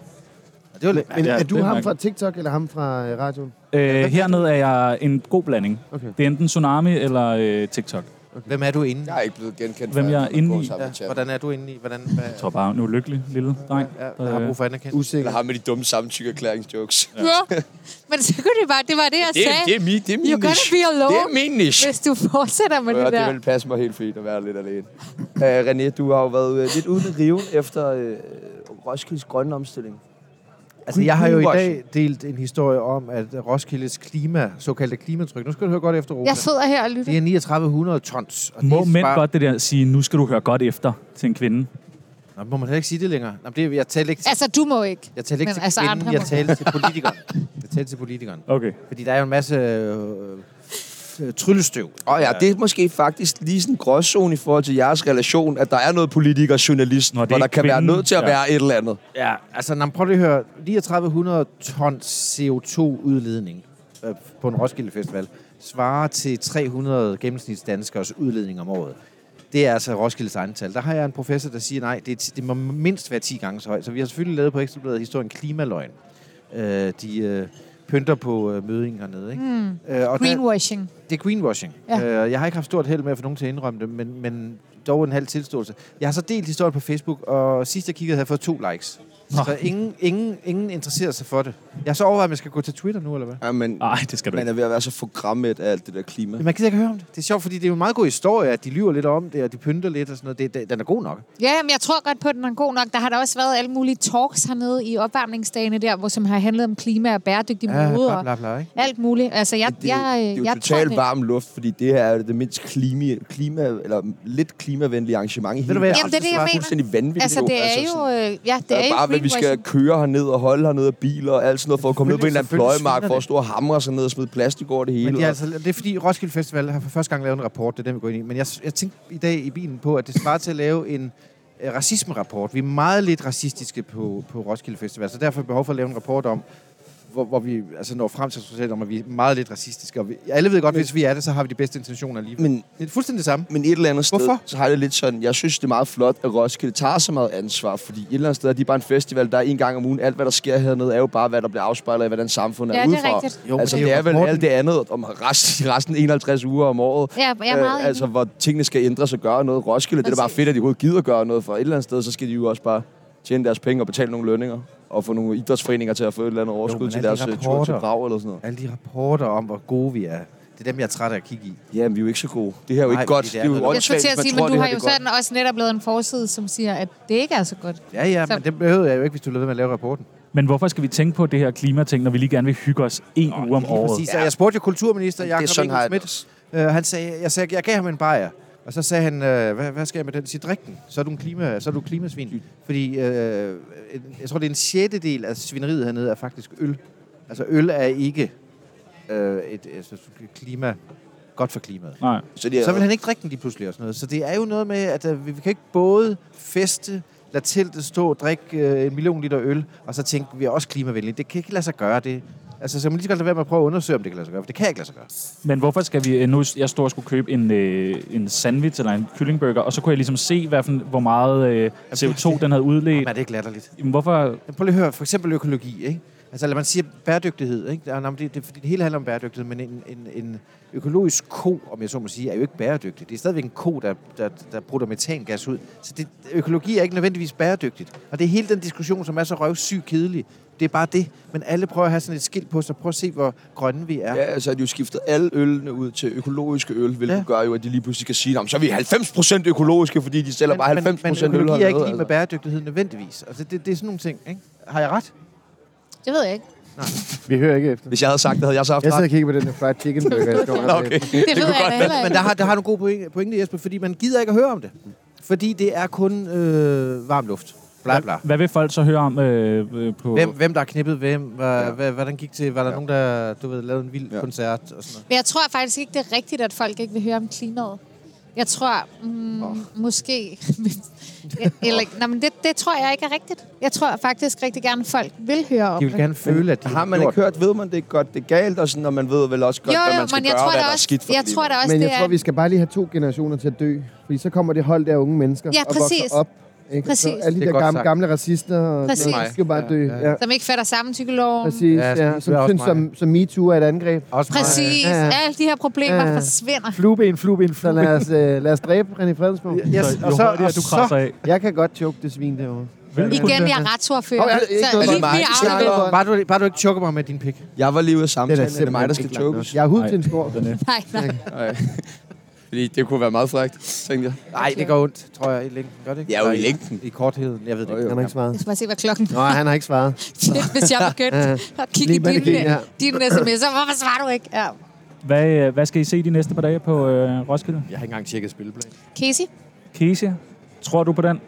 [SPEAKER 4] Og det var lidt,
[SPEAKER 3] Men
[SPEAKER 2] Ja,
[SPEAKER 3] er du
[SPEAKER 2] det er
[SPEAKER 3] ham
[SPEAKER 2] nok.
[SPEAKER 3] fra TikTok, eller ham fra øh, radioen?
[SPEAKER 2] Øh, hernede er jeg en god blanding.
[SPEAKER 3] Okay.
[SPEAKER 2] Det er enten Tsunami eller øh, TikTok.
[SPEAKER 4] hvem er du inde i?
[SPEAKER 1] Jeg er ikke blevet genkendt.
[SPEAKER 2] Hvem
[SPEAKER 1] før
[SPEAKER 2] jeg er
[SPEAKER 1] har
[SPEAKER 2] inde
[SPEAKER 1] gået
[SPEAKER 2] i.
[SPEAKER 1] sammen med
[SPEAKER 4] Ja,
[SPEAKER 1] chatten.
[SPEAKER 4] hvordan er du inde i? Hvordan, hvad,
[SPEAKER 2] Jeg tror bare, en ulykkelig lille dreng.
[SPEAKER 4] ja,
[SPEAKER 2] Øh,
[SPEAKER 4] der har brug for anerkendelse.
[SPEAKER 1] Eller
[SPEAKER 3] Usikker.
[SPEAKER 1] ham med de dumme samtykkeerklæringsjokes.
[SPEAKER 5] Ja. Men så kunne det bare, det var det, jeg
[SPEAKER 1] Det, er,
[SPEAKER 5] sagde.
[SPEAKER 1] det er min, det er min
[SPEAKER 5] You're gonna
[SPEAKER 1] niche.
[SPEAKER 5] be alone.
[SPEAKER 1] Det er min niche.
[SPEAKER 5] Hvis du fortsætter med
[SPEAKER 1] Ja,
[SPEAKER 5] det
[SPEAKER 1] det
[SPEAKER 5] der.
[SPEAKER 1] vil passe mig helt fint at være lidt alene. Uh, René, du har jo været uh, lidt uden at rive efter uh, Roskildes grønne omstilling.
[SPEAKER 4] Altså, jeg har jo i
[SPEAKER 1] Greenwashing.
[SPEAKER 4] dag delt en historie om, at Roskildes klima, såkaldte klimatryk, nu skal du høre godt efter, Rosa.
[SPEAKER 5] Jeg sidder her og lytter.
[SPEAKER 4] Det er 3900 tons. Og
[SPEAKER 2] Må
[SPEAKER 4] det er
[SPEAKER 2] mænd
[SPEAKER 4] bare-
[SPEAKER 2] godt det der sige, nu skal du høre godt efter til en kvinde?
[SPEAKER 4] Nå, må man heller ikke sige det længere. Nå, men det, jeg talte ikke til,
[SPEAKER 5] Altså, du må ikke.
[SPEAKER 4] jeg talte ikke
[SPEAKER 5] men
[SPEAKER 4] til
[SPEAKER 5] altså,
[SPEAKER 4] kvinden,
[SPEAKER 5] andre
[SPEAKER 4] jeg
[SPEAKER 5] må.
[SPEAKER 4] talte til politikeren. Jeg talte til politikeren.
[SPEAKER 2] Okay.
[SPEAKER 4] Fordi der er jo en masse øh, øh, tryllestøv.
[SPEAKER 1] Og ja, det er måske faktisk lige sådan en gråzone i forhold til jeres relation, at der er noget politiker og journalist,
[SPEAKER 2] Nå, det
[SPEAKER 1] hvor
[SPEAKER 2] er
[SPEAKER 1] der
[SPEAKER 2] ikke
[SPEAKER 1] kan være
[SPEAKER 2] kvinden.
[SPEAKER 1] nødt til at
[SPEAKER 2] Ja.
[SPEAKER 1] være et eller andet.
[SPEAKER 4] Ja, altså, når, prøv lige at høre. 3900 tons CO2-udledning øh, på en Roskilde Festival svarer til 300 gennemsnitsdanskers udledning om året. Det er altså Roskildes egen tal. Der har jeg en professor, der siger, nej, det, er ti- det må mindst være 10 gange så højt. Så vi har selvfølgelig lavet på Ekstrabladet historien Klimaløgn. Øh, de øh, pynter på øh, mødingen hernede. Ikke? Mm. Øh, og der,
[SPEAKER 5] Greenwashing.
[SPEAKER 4] det er greenwashing.
[SPEAKER 5] Ja.
[SPEAKER 4] Ja. Øh, jeg har ikke haft stort held med at få nogen til at indrømme det, men, men dog en halv tilståelse. Jeg har så delt historien på Facebook, og sidst jeg kiggede, havde jeg fået to likes. Nå. Så ingen, ingen, ingen interesserer sig for det. Jeg har så overvejet, om jeg skal gå til Twitter nu, eller hvad?
[SPEAKER 1] Ja, men
[SPEAKER 2] Nej, det skal du
[SPEAKER 1] man
[SPEAKER 2] ikke.
[SPEAKER 1] er ved at være så forgrammet af alt det der klima.
[SPEAKER 4] Men man gider ikke høre om det. Det er sjovt, fordi det er jo en meget god historie, at de lyver lidt om det, og de pynter lidt og sådan noget. Det, det, den er god nok.
[SPEAKER 5] Ja, men jeg tror godt på, at den er god nok. Der har der også været alle mulige talks hernede i opvarmningsdagene der, hvor som har handlet om klima og bæredygtig ja, mode
[SPEAKER 4] bla,
[SPEAKER 5] og
[SPEAKER 4] bla, bla, ikke?
[SPEAKER 5] alt muligt. Altså, jeg,
[SPEAKER 1] Det er jo,
[SPEAKER 5] jeg,
[SPEAKER 1] det er jo
[SPEAKER 5] jeg tror
[SPEAKER 1] totalt
[SPEAKER 5] det.
[SPEAKER 1] varm luft, fordi det her er det mindst klima, klima eller lidt klimavenlige arrangement i hele
[SPEAKER 4] du hvad, jeg
[SPEAKER 5] Jamen, det er det, jeg
[SPEAKER 1] er
[SPEAKER 5] mener.
[SPEAKER 1] fuldstændig vanvittigt.
[SPEAKER 5] Altså, det er jo,
[SPEAKER 1] sådan,
[SPEAKER 5] øh, ja, det
[SPEAKER 1] der
[SPEAKER 5] er
[SPEAKER 1] er
[SPEAKER 5] jo
[SPEAKER 1] bare, hvad vi skal køre herned og holde hernede af biler og alt sådan noget, for at komme ned på en eller anden
[SPEAKER 4] Selvfølgelig- selvfølgelig
[SPEAKER 1] pløjemark,
[SPEAKER 4] sviner
[SPEAKER 1] for at
[SPEAKER 4] det.
[SPEAKER 1] stå og hamre sig ned og smide plastik over det hele.
[SPEAKER 4] Men det, er
[SPEAKER 1] og-
[SPEAKER 4] altså, det er fordi Roskilde Festival har for første gang lavet en rapport, det er den, vi går ind i. Men jeg, jeg tænkte i dag i bilen på, at det svarer til at lave en øh, racismerapport. Vi er meget lidt racistiske på, på Roskilde Festival, så derfor er behov for at lave en rapport om, hvor, hvor vi altså når frem til resultatet om, at vi er meget lidt racistiske. Og vi, alle ved godt, men, hvis vi er det, så har vi de bedste intentioner alligevel.
[SPEAKER 1] Men-
[SPEAKER 4] det er fuldstændig det samme.
[SPEAKER 1] men et eller andet sted,
[SPEAKER 4] Hvorfor?
[SPEAKER 1] så har jeg det lidt sådan, jeg synes, det er meget flot, at Roskilde tager så meget ansvar, fordi et eller andet sted er de bare en festival, der er en gang om ugen. Alt, hvad der sker hernede, er jo bare, hvad der bliver afspejlet af, hvordan samfundet
[SPEAKER 5] Ja,
[SPEAKER 1] er
[SPEAKER 5] det er
[SPEAKER 1] udefra.
[SPEAKER 5] rigtigt.
[SPEAKER 4] Jo, men
[SPEAKER 1] altså,
[SPEAKER 4] det
[SPEAKER 1] det
[SPEAKER 4] er
[SPEAKER 1] er,
[SPEAKER 4] jo
[SPEAKER 1] vel
[SPEAKER 4] rapporten.
[SPEAKER 1] alt det andet om resten, resten 51 uger om året.
[SPEAKER 5] Ja, jeg er meget Altså-
[SPEAKER 1] øh, altså, hvor tingene skal ændres og gøre noget. Roskilde, det er da bare
[SPEAKER 5] Præcis.
[SPEAKER 1] fedt, at de overhovedet gider gøre noget, for et eller andet sted, så skal de jo også bare tjene deres penge og betale nogle lønninger og få nogle idrætsforeninger til at få et eller andet overskud
[SPEAKER 4] men
[SPEAKER 1] til
[SPEAKER 4] alle
[SPEAKER 1] deres øh,
[SPEAKER 4] de
[SPEAKER 1] tur til
[SPEAKER 4] rapporter.
[SPEAKER 1] Prag eller sådan noget.
[SPEAKER 4] Alle de rapporter om, hvor gode vi er, det er dem, jeg er træt af at kigge i.
[SPEAKER 1] Ja, men vi er jo ikke så gode. Det her er jo
[SPEAKER 4] Nej,
[SPEAKER 1] ikke godt.
[SPEAKER 4] fordi
[SPEAKER 1] Det
[SPEAKER 4] det
[SPEAKER 1] er,
[SPEAKER 4] er
[SPEAKER 1] jo
[SPEAKER 4] noget-
[SPEAKER 5] Jeg skulle til
[SPEAKER 1] åndssvagt,
[SPEAKER 5] at
[SPEAKER 1] man
[SPEAKER 5] sige,
[SPEAKER 1] tror,
[SPEAKER 5] men
[SPEAKER 1] det
[SPEAKER 5] du har
[SPEAKER 1] her,
[SPEAKER 5] jo
[SPEAKER 1] det er godt.
[SPEAKER 5] sådan også netop lavet en forside, som siger, at det ikke er så godt.
[SPEAKER 4] Ja, ja,
[SPEAKER 5] Så-
[SPEAKER 4] men det behøvede jeg jo ikke, hvis du lød med at lave rapporten.
[SPEAKER 2] Men hvorfor skal vi tænke på det her klimating, når vi lige gerne vil hygge os en uge om
[SPEAKER 4] Lige
[SPEAKER 2] året?
[SPEAKER 4] præcis. Og jeg spurgte jo kulturminister
[SPEAKER 1] Det er
[SPEAKER 4] Jakob
[SPEAKER 1] sådan, har jeg det
[SPEAKER 4] Engel Schmidt. Øh, han sagde, jeg, sagde, jeg gav ham en bajer. Og så sagde han, øh, hvad, hvad skal jeg med den? Sige, drik den. Så er du, en klima, så er du klimasvin. Fordi øh, en- jeg tror, det er en sjettedel af svineriet hernede er faktisk øl. Altså øl er ikke øh, et altså, klima, godt for klimaet.
[SPEAKER 2] Nej.
[SPEAKER 1] Så det er,
[SPEAKER 4] Så vil han ikke drikke den lige pludselig og sådan noget. Så det er jo noget med, at øh, vi vi kan ikke både feste, lad teltet stå, drik øh, en million liter øl, og så tænke, vi er også klimavenlige. Det kan ikke lade sig gøre det. Altså, så må man lige så godt lade være med at prøve at undersøge, om det kan lade sig gøre, for det kan ikke lade sig gøre.
[SPEAKER 2] Men hvorfor skal vi... øh, Nu jeg står og skulle købe en, øh, en sandwich eller en kyllingburger, og så kunne jeg ligesom se, hvad for, hvor meget øh, CO2 den havde udledt.
[SPEAKER 4] Men er det ikke latterligt?
[SPEAKER 2] Jamen, hvorfor...
[SPEAKER 4] Men Prøv lige at høre, for eksempel økologi, ikke? Altså, lad man sige bæredygtighed, ikke? Der er- nå, men Det, det, fordi det hele handler om bæredygtighed, men en, en, en økologisk ko, om jeg så må sige, er jo ikke bæredygtig. Det er stadigvæk en ko, der, der, der bruger metangas ud. Så det, økologi er ikke nødvendigvis bæredygtigt. Og det er hele den diskussion, som er så røvsyg kedelig. Det er bare det. Men alle prøver at have sådan et skilt på sig. Prøv at se, hvor grønne vi er.
[SPEAKER 1] Ja, altså at de jo skiftet alle ølene ud til økologiske øl, hvilket ja.
[SPEAKER 4] Ja.
[SPEAKER 1] gør jo, at de lige pludselig kan sige, "Nå, men så er vi 90% økologiske, fordi de sælger bare 90%
[SPEAKER 4] men, men
[SPEAKER 1] øl.
[SPEAKER 4] økologi er
[SPEAKER 1] hernede,
[SPEAKER 4] ikke lige
[SPEAKER 1] altså.
[SPEAKER 4] med bæredygtighed nødvendigvis. Altså, det, det er sådan nogle ting, ikke? Har jeg ret?
[SPEAKER 5] Det ved jeg ikke.
[SPEAKER 3] Vi hører ikke efter.
[SPEAKER 1] Hvis jeg havde sagt det, havde jeg så haft
[SPEAKER 3] Jeg
[SPEAKER 1] ret.
[SPEAKER 3] sidder og kigger på den der fried chicken burger. Jeg skal
[SPEAKER 1] Nå,
[SPEAKER 3] over
[SPEAKER 1] okay.
[SPEAKER 3] det.
[SPEAKER 5] Det, det ved jeg da heller
[SPEAKER 4] Men
[SPEAKER 5] ikke.
[SPEAKER 4] der har, der har du en god pointe, pointe, Jesper, fordi man gider ikke at høre om det. Fordi det er kun øh, varm luft. Bla, bla.
[SPEAKER 2] Hvad vil folk så høre om øh, øh, på...
[SPEAKER 4] Hvem, hvem der har knippet hvem, hvad,
[SPEAKER 1] Ja.
[SPEAKER 4] ja. hvad, hvordan gik til, var
[SPEAKER 1] Ja.
[SPEAKER 4] der ja. nogen, der du ved, lavede en vild
[SPEAKER 1] Ja.
[SPEAKER 4] ja. koncert og sådan noget.
[SPEAKER 5] Men jeg tror faktisk ikke, det er rigtigt, at folk ikke vil høre om klimaet. Jeg tror, mm, oh. måske... Eller, nej, men det, det tror jeg ikke er rigtigt. Jeg tror faktisk rigtig gerne, at folk vil høre om
[SPEAKER 4] De vil
[SPEAKER 5] det.
[SPEAKER 4] gerne føle, at de
[SPEAKER 1] Har man
[SPEAKER 4] gjort
[SPEAKER 1] ikke hørt, ved man det er godt, det er galt, og sådan, og man ved vel også godt,
[SPEAKER 5] Jo,
[SPEAKER 1] hvad
[SPEAKER 5] jo,
[SPEAKER 1] man skal
[SPEAKER 5] men jeg
[SPEAKER 1] gøre,
[SPEAKER 5] tror
[SPEAKER 1] hvad
[SPEAKER 5] da
[SPEAKER 1] der er
[SPEAKER 5] også,
[SPEAKER 1] skidt for
[SPEAKER 5] jeg tror da også
[SPEAKER 3] Men
[SPEAKER 5] Altså, det
[SPEAKER 3] jeg tror,
[SPEAKER 5] er...
[SPEAKER 3] vi skal bare lige have to generationer til at dø. Fordi så kommer det hold der unge mennesker
[SPEAKER 5] Ja,
[SPEAKER 3] og vokser
[SPEAKER 5] præcis.
[SPEAKER 3] op. Ikke?
[SPEAKER 5] Præcis.
[SPEAKER 3] Så alle de
[SPEAKER 4] Det
[SPEAKER 3] der
[SPEAKER 4] er godt
[SPEAKER 3] gamle,
[SPEAKER 4] sagt.
[SPEAKER 3] gamle racister og
[SPEAKER 5] Præcis.
[SPEAKER 3] sådan noget, de skal jo bare dø. Ja,
[SPEAKER 5] Som ikke fatter samtykkeloven. Præcis.
[SPEAKER 3] Præcis,
[SPEAKER 4] Ja,
[SPEAKER 3] ja.
[SPEAKER 4] sådan-
[SPEAKER 3] Som
[SPEAKER 4] det er også
[SPEAKER 3] synes, som, som MeToo er et angreb.
[SPEAKER 4] Også mig.
[SPEAKER 5] Præcis.
[SPEAKER 3] Ja, ja.
[SPEAKER 5] Alle de her problemer
[SPEAKER 3] Ja, ja.
[SPEAKER 5] forsvinder.
[SPEAKER 3] Flueben, flueben, Så lad os, øh, lad os dræbe René Fredensborg.
[SPEAKER 4] Ja,
[SPEAKER 2] Så, jo
[SPEAKER 4] og så,
[SPEAKER 2] hurtigere
[SPEAKER 4] og
[SPEAKER 2] du
[SPEAKER 4] så,
[SPEAKER 2] krasser af.
[SPEAKER 3] Jeg kan godt choke det svin derovre.
[SPEAKER 2] Vil du kunne
[SPEAKER 5] Igen,
[SPEAKER 2] det?
[SPEAKER 5] jeg er retsordfører.
[SPEAKER 3] Nå, jeg- ikke
[SPEAKER 5] så
[SPEAKER 3] noget
[SPEAKER 5] lige,
[SPEAKER 1] med mig.
[SPEAKER 5] vi
[SPEAKER 1] Vi
[SPEAKER 5] er
[SPEAKER 1] snakker
[SPEAKER 5] afleveret.
[SPEAKER 4] bare du, bare du ikke chokker mig med din pik.
[SPEAKER 1] Jeg var lige ude af samtalen, det er, det
[SPEAKER 3] simpelthen
[SPEAKER 1] mig, der skal
[SPEAKER 3] ikke langt
[SPEAKER 1] chokes.
[SPEAKER 3] nok. Jeg er hud
[SPEAKER 2] Nej.
[SPEAKER 3] til en skor.
[SPEAKER 2] Den, øh,
[SPEAKER 5] Nej, nej.
[SPEAKER 1] Nej. Fordi det kunne være meget frækt, tænkte jeg.
[SPEAKER 4] Nej, det går ondt, tror jeg, i længden. Gør det ikke?
[SPEAKER 1] Ja, jo, i
[SPEAKER 4] Eller
[SPEAKER 1] længden.
[SPEAKER 4] I kortheden, jeg ved det
[SPEAKER 1] Jo,
[SPEAKER 4] ikke.
[SPEAKER 1] jo.
[SPEAKER 3] Han har ikke svaret.
[SPEAKER 5] Jeg skal bare se, hvad klokken
[SPEAKER 3] Nå, han har ikke svaret.
[SPEAKER 5] er, hvis jeg begyndte at kigge i
[SPEAKER 3] Lige
[SPEAKER 5] øh,
[SPEAKER 3] med det
[SPEAKER 5] dine,
[SPEAKER 3] gik, ja.
[SPEAKER 5] dine sms'er. Hvorfor svarer du ikke? Ja.
[SPEAKER 2] Hvad, øh, hvad skal I se de næste par dage på øh, Roskilde?
[SPEAKER 4] Jeg har ikke engang tjekket spilleplan.
[SPEAKER 5] Casey?
[SPEAKER 2] Kesia, tror du på den?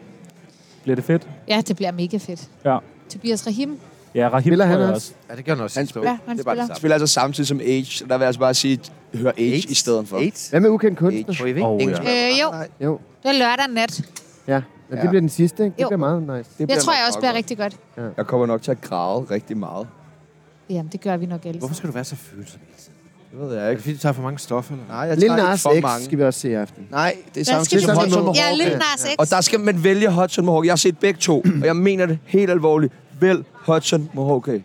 [SPEAKER 2] Bliver det fedt?
[SPEAKER 5] Ja, det bliver mega fedt.
[SPEAKER 2] Ja.
[SPEAKER 5] Tobias Rahim?
[SPEAKER 2] Ja, Rahim
[SPEAKER 3] Spiller
[SPEAKER 2] tror
[SPEAKER 3] han
[SPEAKER 2] jeg
[SPEAKER 3] også?
[SPEAKER 4] Ja, det gør noget
[SPEAKER 1] Han
[SPEAKER 4] sidst.
[SPEAKER 1] spiller.
[SPEAKER 5] Ja, han
[SPEAKER 4] det er bare det
[SPEAKER 5] spiller.
[SPEAKER 1] Jeg
[SPEAKER 4] samme.
[SPEAKER 1] spiller altså samtidig som Age, så der vil jeg altså bare sige, hør Age, i stedet for.
[SPEAKER 4] Eight?
[SPEAKER 3] Hvad med ukendt kunstner?
[SPEAKER 4] På EV?
[SPEAKER 2] Åh, ja.
[SPEAKER 1] Engelsk.
[SPEAKER 5] Øh, jo,
[SPEAKER 3] Jo.
[SPEAKER 5] det er lørdag nat.
[SPEAKER 3] Ja. ja.
[SPEAKER 1] Ja.
[SPEAKER 3] Det bliver den sidste, ikke? Det
[SPEAKER 5] Jo.
[SPEAKER 3] bliver meget nice.
[SPEAKER 1] Det
[SPEAKER 5] Jeg
[SPEAKER 1] bliver
[SPEAKER 5] tror,
[SPEAKER 1] nok
[SPEAKER 5] jeg
[SPEAKER 1] meget
[SPEAKER 5] også bliver
[SPEAKER 1] godt.
[SPEAKER 5] rigtig godt.
[SPEAKER 1] Jeg kommer nok til at grave rigtig meget.
[SPEAKER 5] Jamen, det gør vi nok ellers.
[SPEAKER 4] Hvorfor skal du være så følsom? Er
[SPEAKER 1] Det ved jeg
[SPEAKER 4] det
[SPEAKER 1] ikke.
[SPEAKER 4] fordi, du tager for mange stoffer? Eller?
[SPEAKER 1] Nej, jeg
[SPEAKER 3] Lille
[SPEAKER 1] tager
[SPEAKER 3] Nas
[SPEAKER 1] ikke for
[SPEAKER 3] X
[SPEAKER 1] mange.
[SPEAKER 3] skal vi også se i aften.
[SPEAKER 1] Nej, det er
[SPEAKER 5] Hvad
[SPEAKER 1] samtidig som
[SPEAKER 5] vi-
[SPEAKER 1] Hudson med
[SPEAKER 5] Ja,
[SPEAKER 1] Hawke.
[SPEAKER 5] Lil Nas X.
[SPEAKER 1] Og der skal man vælge Hudson Mohawk. Jeg har set begge to, og jeg mener det helt alvorligt. Vælg Hudson Mohawk. Det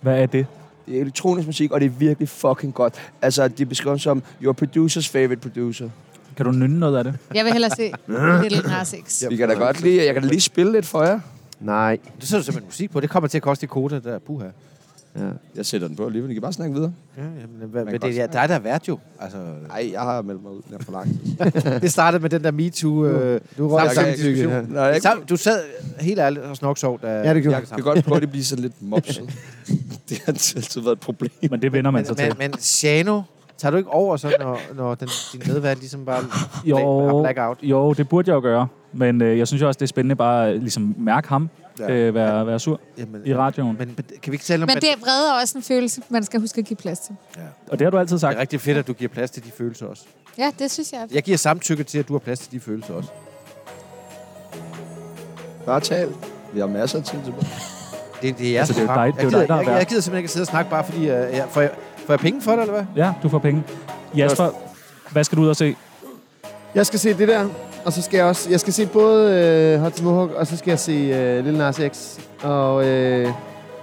[SPEAKER 2] Hvad er det?
[SPEAKER 1] er elektronisk musik, og det er virkelig fucking godt. Altså, de beskriver som your producer's favorite producer.
[SPEAKER 2] Kan du nynne noget af det?
[SPEAKER 5] Jeg vil hellere se Little Nas X.
[SPEAKER 1] Vi kan da godt lige, jeg kan da lige spille lidt for jer.
[SPEAKER 3] Nej.
[SPEAKER 4] Det sætter du simpelthen musik på. Det kommer til at koste i kode, der puha.
[SPEAKER 1] Jeg sætter den på alligevel. I kan bare snakke videre.
[SPEAKER 4] Ja, jamen, hvad,
[SPEAKER 1] kan
[SPEAKER 4] men
[SPEAKER 1] godt
[SPEAKER 4] det er dig, der er vært jo. Altså,
[SPEAKER 1] Nej, jeg har meldt mig ud. Jeg er for langt.
[SPEAKER 4] det startede med den der MeToo. Øh,
[SPEAKER 3] Du røg
[SPEAKER 4] Samtykke.
[SPEAKER 3] samtykke. Ja.
[SPEAKER 1] Nej, jeg,
[SPEAKER 4] sam- du sad helt ærligt og snoksov, da
[SPEAKER 3] Ja, det gjorde
[SPEAKER 1] jeg kan godt prøve, at det bliver sådan lidt mopset. det har altid været et problem.
[SPEAKER 2] Men det vender man sig
[SPEAKER 4] men,
[SPEAKER 2] til.
[SPEAKER 4] men, men Shano, tager du ikke over så, når, når den, din medvært ligesom bare har
[SPEAKER 2] Jo,
[SPEAKER 4] blackout?
[SPEAKER 2] jo, det burde jeg jo gøre. Men øh, jeg synes jo også, det er spændende bare at ligesom, mærke ham.
[SPEAKER 1] Ja.
[SPEAKER 2] Ja. Øh, være, være sur
[SPEAKER 4] Jamen,
[SPEAKER 2] i radioen.
[SPEAKER 4] men men kan vi ikke tale om,
[SPEAKER 5] Men
[SPEAKER 4] at
[SPEAKER 5] det er vrede er også en følelse, man skal huske at give plads til.
[SPEAKER 2] Og det har du altid
[SPEAKER 4] det
[SPEAKER 2] sagt.
[SPEAKER 4] er rigtig fedt, at du giver plads til de følelser også?
[SPEAKER 5] Ja, det synes jeg.
[SPEAKER 4] Jeg giver samtykke til, at du har plads til de følelser også.
[SPEAKER 1] Bare tal. Vi har masser af tid tilbage.
[SPEAKER 4] Det, det er jeres
[SPEAKER 2] Altså, det er jo
[SPEAKER 4] program.
[SPEAKER 2] dig- det er jo
[SPEAKER 4] jeg, gider,
[SPEAKER 2] dig, der har
[SPEAKER 4] jeg, jeg,
[SPEAKER 2] været.
[SPEAKER 4] jeg gider simpelthen ikke at sidde og snakke bare fordi... Øh, jeg, får, jeg, får jeg penge for det, eller hvad?
[SPEAKER 2] Ja, du får penge. Jasper, hvad skal du ud og se?
[SPEAKER 3] Jeg skal se det der, og så skal jeg også... Jeg skal se både øh, Hudson Mohawk, og så skal jeg se øh, Lille Nas X. Og øh, det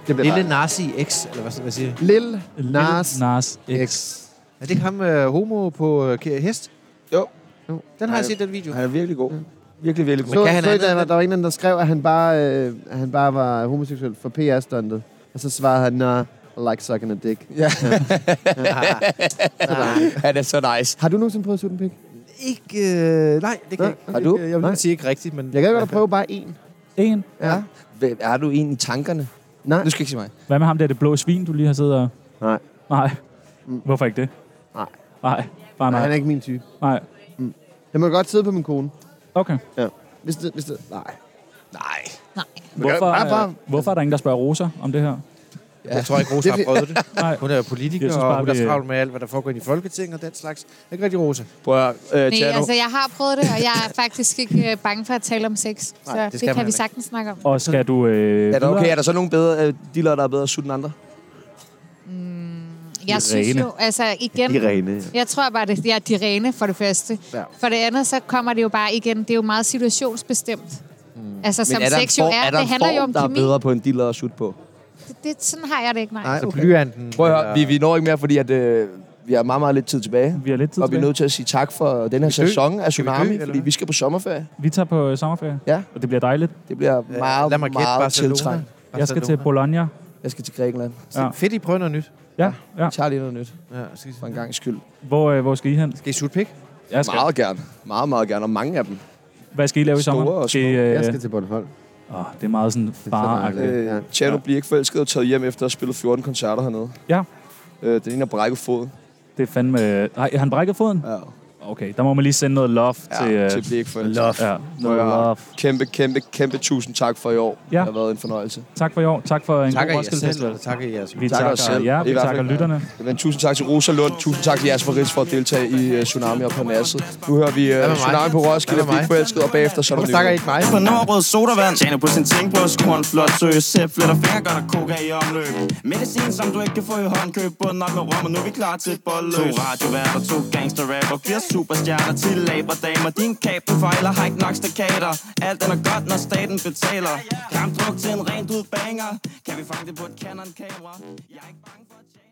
[SPEAKER 3] bliver
[SPEAKER 4] Lille
[SPEAKER 3] Lille,
[SPEAKER 4] Narsi X, eller hvad, hvad siger jeg?
[SPEAKER 3] Lille Nas
[SPEAKER 2] Lil Nas X.
[SPEAKER 3] X.
[SPEAKER 4] Er det ikke ham øh, homo på øh, ke- hest?
[SPEAKER 1] Jo.
[SPEAKER 4] Jo. Den har
[SPEAKER 1] Nej.
[SPEAKER 4] jeg set, den video.
[SPEAKER 1] Han er virkelig god. Virkelig, virkelig god.
[SPEAKER 4] Men
[SPEAKER 3] Så,
[SPEAKER 4] kan han
[SPEAKER 3] så
[SPEAKER 4] andet
[SPEAKER 3] der, var,
[SPEAKER 4] end-
[SPEAKER 3] der var en, anden, der skrev, at han bare, øh, at han bare var homoseksuel for PR-stuntet. Og så svarede han, nah, I like sucking a dick.
[SPEAKER 1] Han er så nice.
[SPEAKER 3] Har du nogensinde prøvet at suge en pik?
[SPEAKER 4] Ikke... Øh, nej, det kan
[SPEAKER 3] Nej,
[SPEAKER 4] jeg ikke.
[SPEAKER 1] har du?
[SPEAKER 4] Jeg vil
[SPEAKER 3] Nej.
[SPEAKER 4] ikke sige ikke rigtigt, men...
[SPEAKER 3] Jeg kan godt prøve bare en.
[SPEAKER 2] En.
[SPEAKER 3] Ja.
[SPEAKER 1] Hvem- Er du en i tankerne?
[SPEAKER 3] Nej.
[SPEAKER 1] Du skal ikke sige mig.
[SPEAKER 2] Hvad med ham der, det blå svin, du lige har siddet og...
[SPEAKER 3] Nej.
[SPEAKER 2] Nej. Hvorfor ikke det?
[SPEAKER 3] Nej.
[SPEAKER 2] Nej, bare
[SPEAKER 3] Nej, han
[SPEAKER 2] nej.
[SPEAKER 3] er ikke min type.
[SPEAKER 2] Nej.
[SPEAKER 3] Jeg må godt sidde på min kone.
[SPEAKER 2] Okay.
[SPEAKER 3] Hvis det, hvis det, nej.
[SPEAKER 1] Nej.
[SPEAKER 5] Nej.
[SPEAKER 2] Hvorfor,
[SPEAKER 3] bare-
[SPEAKER 2] øh, hvorfor er der ingen, der spørger Rosa om det her?
[SPEAKER 4] Ja. Jeg tror ikke, Rosa har prøvet det.
[SPEAKER 2] Nej.
[SPEAKER 4] Hun er jo politiker,
[SPEAKER 2] Jeg
[SPEAKER 4] synes,
[SPEAKER 2] synes bare,
[SPEAKER 4] og hun er
[SPEAKER 2] vi-
[SPEAKER 4] travlt med alt, hvad der foregår inde i Folketinget og den slags. Det er ikke rigtig, Rosa.
[SPEAKER 1] Prøv at øh,
[SPEAKER 5] Nej,
[SPEAKER 1] tage
[SPEAKER 5] altså jeg har prøvet det, og jeg er faktisk ikke øh, bange for at tale om sex.
[SPEAKER 4] Nej,
[SPEAKER 5] så
[SPEAKER 4] det skal
[SPEAKER 5] det, det
[SPEAKER 4] man
[SPEAKER 5] kan vi
[SPEAKER 4] ikke.
[SPEAKER 5] sagtens snakke om.
[SPEAKER 2] Og skal du... Øh,
[SPEAKER 1] Er der, okay,
[SPEAKER 2] videre?
[SPEAKER 1] er der så nogle bedre øh, dealer, der er bedre sut end andre?
[SPEAKER 5] Jeg synes
[SPEAKER 2] rene.
[SPEAKER 5] jo, altså igen,
[SPEAKER 4] rene.
[SPEAKER 5] Jeg tror bare, det er de rene for det første.
[SPEAKER 4] Ja.
[SPEAKER 5] Ja. For det andet, så kommer det jo bare igen, det er jo meget situationsbestemt. Mm. Altså, som
[SPEAKER 1] er der en
[SPEAKER 5] sex jo
[SPEAKER 1] form-
[SPEAKER 5] er,
[SPEAKER 1] er der en
[SPEAKER 5] det handler jo
[SPEAKER 1] form,
[SPEAKER 5] om
[SPEAKER 1] der er
[SPEAKER 5] kemi.
[SPEAKER 1] bedre på en dealer at sut på?
[SPEAKER 5] Det, det, sådan har jeg det ikke, nej.
[SPEAKER 4] Nej,
[SPEAKER 5] nej.
[SPEAKER 4] så Altså, blyanten.
[SPEAKER 1] Prøv at høre, vi, vi når ikke mere, fordi at, øh, vi har meget, meget lidt tid tilbage.
[SPEAKER 2] Vi har lidt tid
[SPEAKER 1] og vi er
[SPEAKER 2] tilbage.
[SPEAKER 1] nødt til at sige tak for den her
[SPEAKER 4] dø?
[SPEAKER 1] sæson af
[SPEAKER 4] Skal vi dø,
[SPEAKER 1] Tsunami,
[SPEAKER 4] eller
[SPEAKER 1] fordi
[SPEAKER 4] hvad?
[SPEAKER 1] vi skal på sommerferie.
[SPEAKER 2] Vi tager på øh, sommerferie.
[SPEAKER 1] Ja.
[SPEAKER 2] Og det bliver dejligt.
[SPEAKER 1] Det bliver meget,
[SPEAKER 4] øh, Lad mig gætte
[SPEAKER 1] meget
[SPEAKER 4] Barcelona.
[SPEAKER 1] tiltrængt.
[SPEAKER 2] Jeg skal til Bologna.
[SPEAKER 1] Jeg skal til Grækenland.
[SPEAKER 2] Ja.
[SPEAKER 4] Fedt, I prøver noget nyt.
[SPEAKER 2] Ja, ja.
[SPEAKER 1] Jeg tager lige noget nyt,
[SPEAKER 4] Ja, skal I,
[SPEAKER 1] for en gang skyld.
[SPEAKER 2] Hvor, øh, hvor skal I hen?
[SPEAKER 4] skal I sutte pik?
[SPEAKER 2] Jeg skal.
[SPEAKER 1] Meget gerne. Meget, meget gerne. Og mange af dem.
[SPEAKER 2] Hvad skal I lave i
[SPEAKER 1] Store
[SPEAKER 2] sommer?
[SPEAKER 1] og
[SPEAKER 2] Skal I,
[SPEAKER 1] små.
[SPEAKER 2] øh,
[SPEAKER 3] Jeg skal til Bornholm.
[SPEAKER 2] åh, det er meget sådan far
[SPEAKER 3] dejligt.
[SPEAKER 1] Øh,
[SPEAKER 3] Ja.
[SPEAKER 1] ja. Tjerno bliver ikke forelsket og taget hjem efter at have spillet 14 koncerter hernede.
[SPEAKER 2] Ja,
[SPEAKER 1] Øh, den ene har brækket foden.
[SPEAKER 2] det er fandme... Nej, har han brækket foden?
[SPEAKER 1] Ja.
[SPEAKER 2] Okay, der må man lige sende noget love
[SPEAKER 1] Ja,
[SPEAKER 2] til... øh,
[SPEAKER 1] til bliver ikke forelsket.
[SPEAKER 2] Ja, noget
[SPEAKER 1] Prøv at høre.
[SPEAKER 2] love.
[SPEAKER 1] Kæmpe, kæmpe, kæmpe tusind tak for i år.
[SPEAKER 2] Ja.
[SPEAKER 1] Det har været en fornøjelse.
[SPEAKER 2] Tak for i år. Tak for en god
[SPEAKER 4] Takker I jer
[SPEAKER 2] Roskilde
[SPEAKER 4] selv,
[SPEAKER 2] Festival.
[SPEAKER 4] eller takker I jeres
[SPEAKER 2] Vi
[SPEAKER 1] Takker
[SPEAKER 2] takker,
[SPEAKER 1] os selv.
[SPEAKER 2] jer,
[SPEAKER 1] I
[SPEAKER 2] vi
[SPEAKER 1] hvert
[SPEAKER 2] takker
[SPEAKER 1] fald.
[SPEAKER 2] lytterne.
[SPEAKER 1] Men tusind tak til Rosa Lund. Tusind tak til Jasper Ritz for at deltage i uh, Tsunami og Parnasset. Nu hører vi
[SPEAKER 4] med
[SPEAKER 1] uh,
[SPEAKER 4] mig?
[SPEAKER 1] Tsunami på Roskilde,
[SPEAKER 4] Hvad med
[SPEAKER 1] Blik
[SPEAKER 4] mig?
[SPEAKER 1] Forelsket, og bagefter så er
[SPEAKER 4] Hvorfor
[SPEAKER 1] der
[SPEAKER 4] takker I
[SPEAKER 1] nyheder.
[SPEAKER 4] ikke mig?
[SPEAKER 6] på nordbrød sodavand Tjener på sin ting på skoen Flot søge sæt Fletter fingre gør der koka i omløb Medicin som du ikke kan få i hånd Køb bunden op med rom Og nu er vi klar til et bolløs To radioværter, to gangster rapper Fire superstjerner til laberdamer Din kab du fejler Har ikke nok stakater Alt den er godt når staten betaler Kampdruk til en rent ud banger Kan vi fange det på et Canon kamera Jeg er ikke bange for at tjene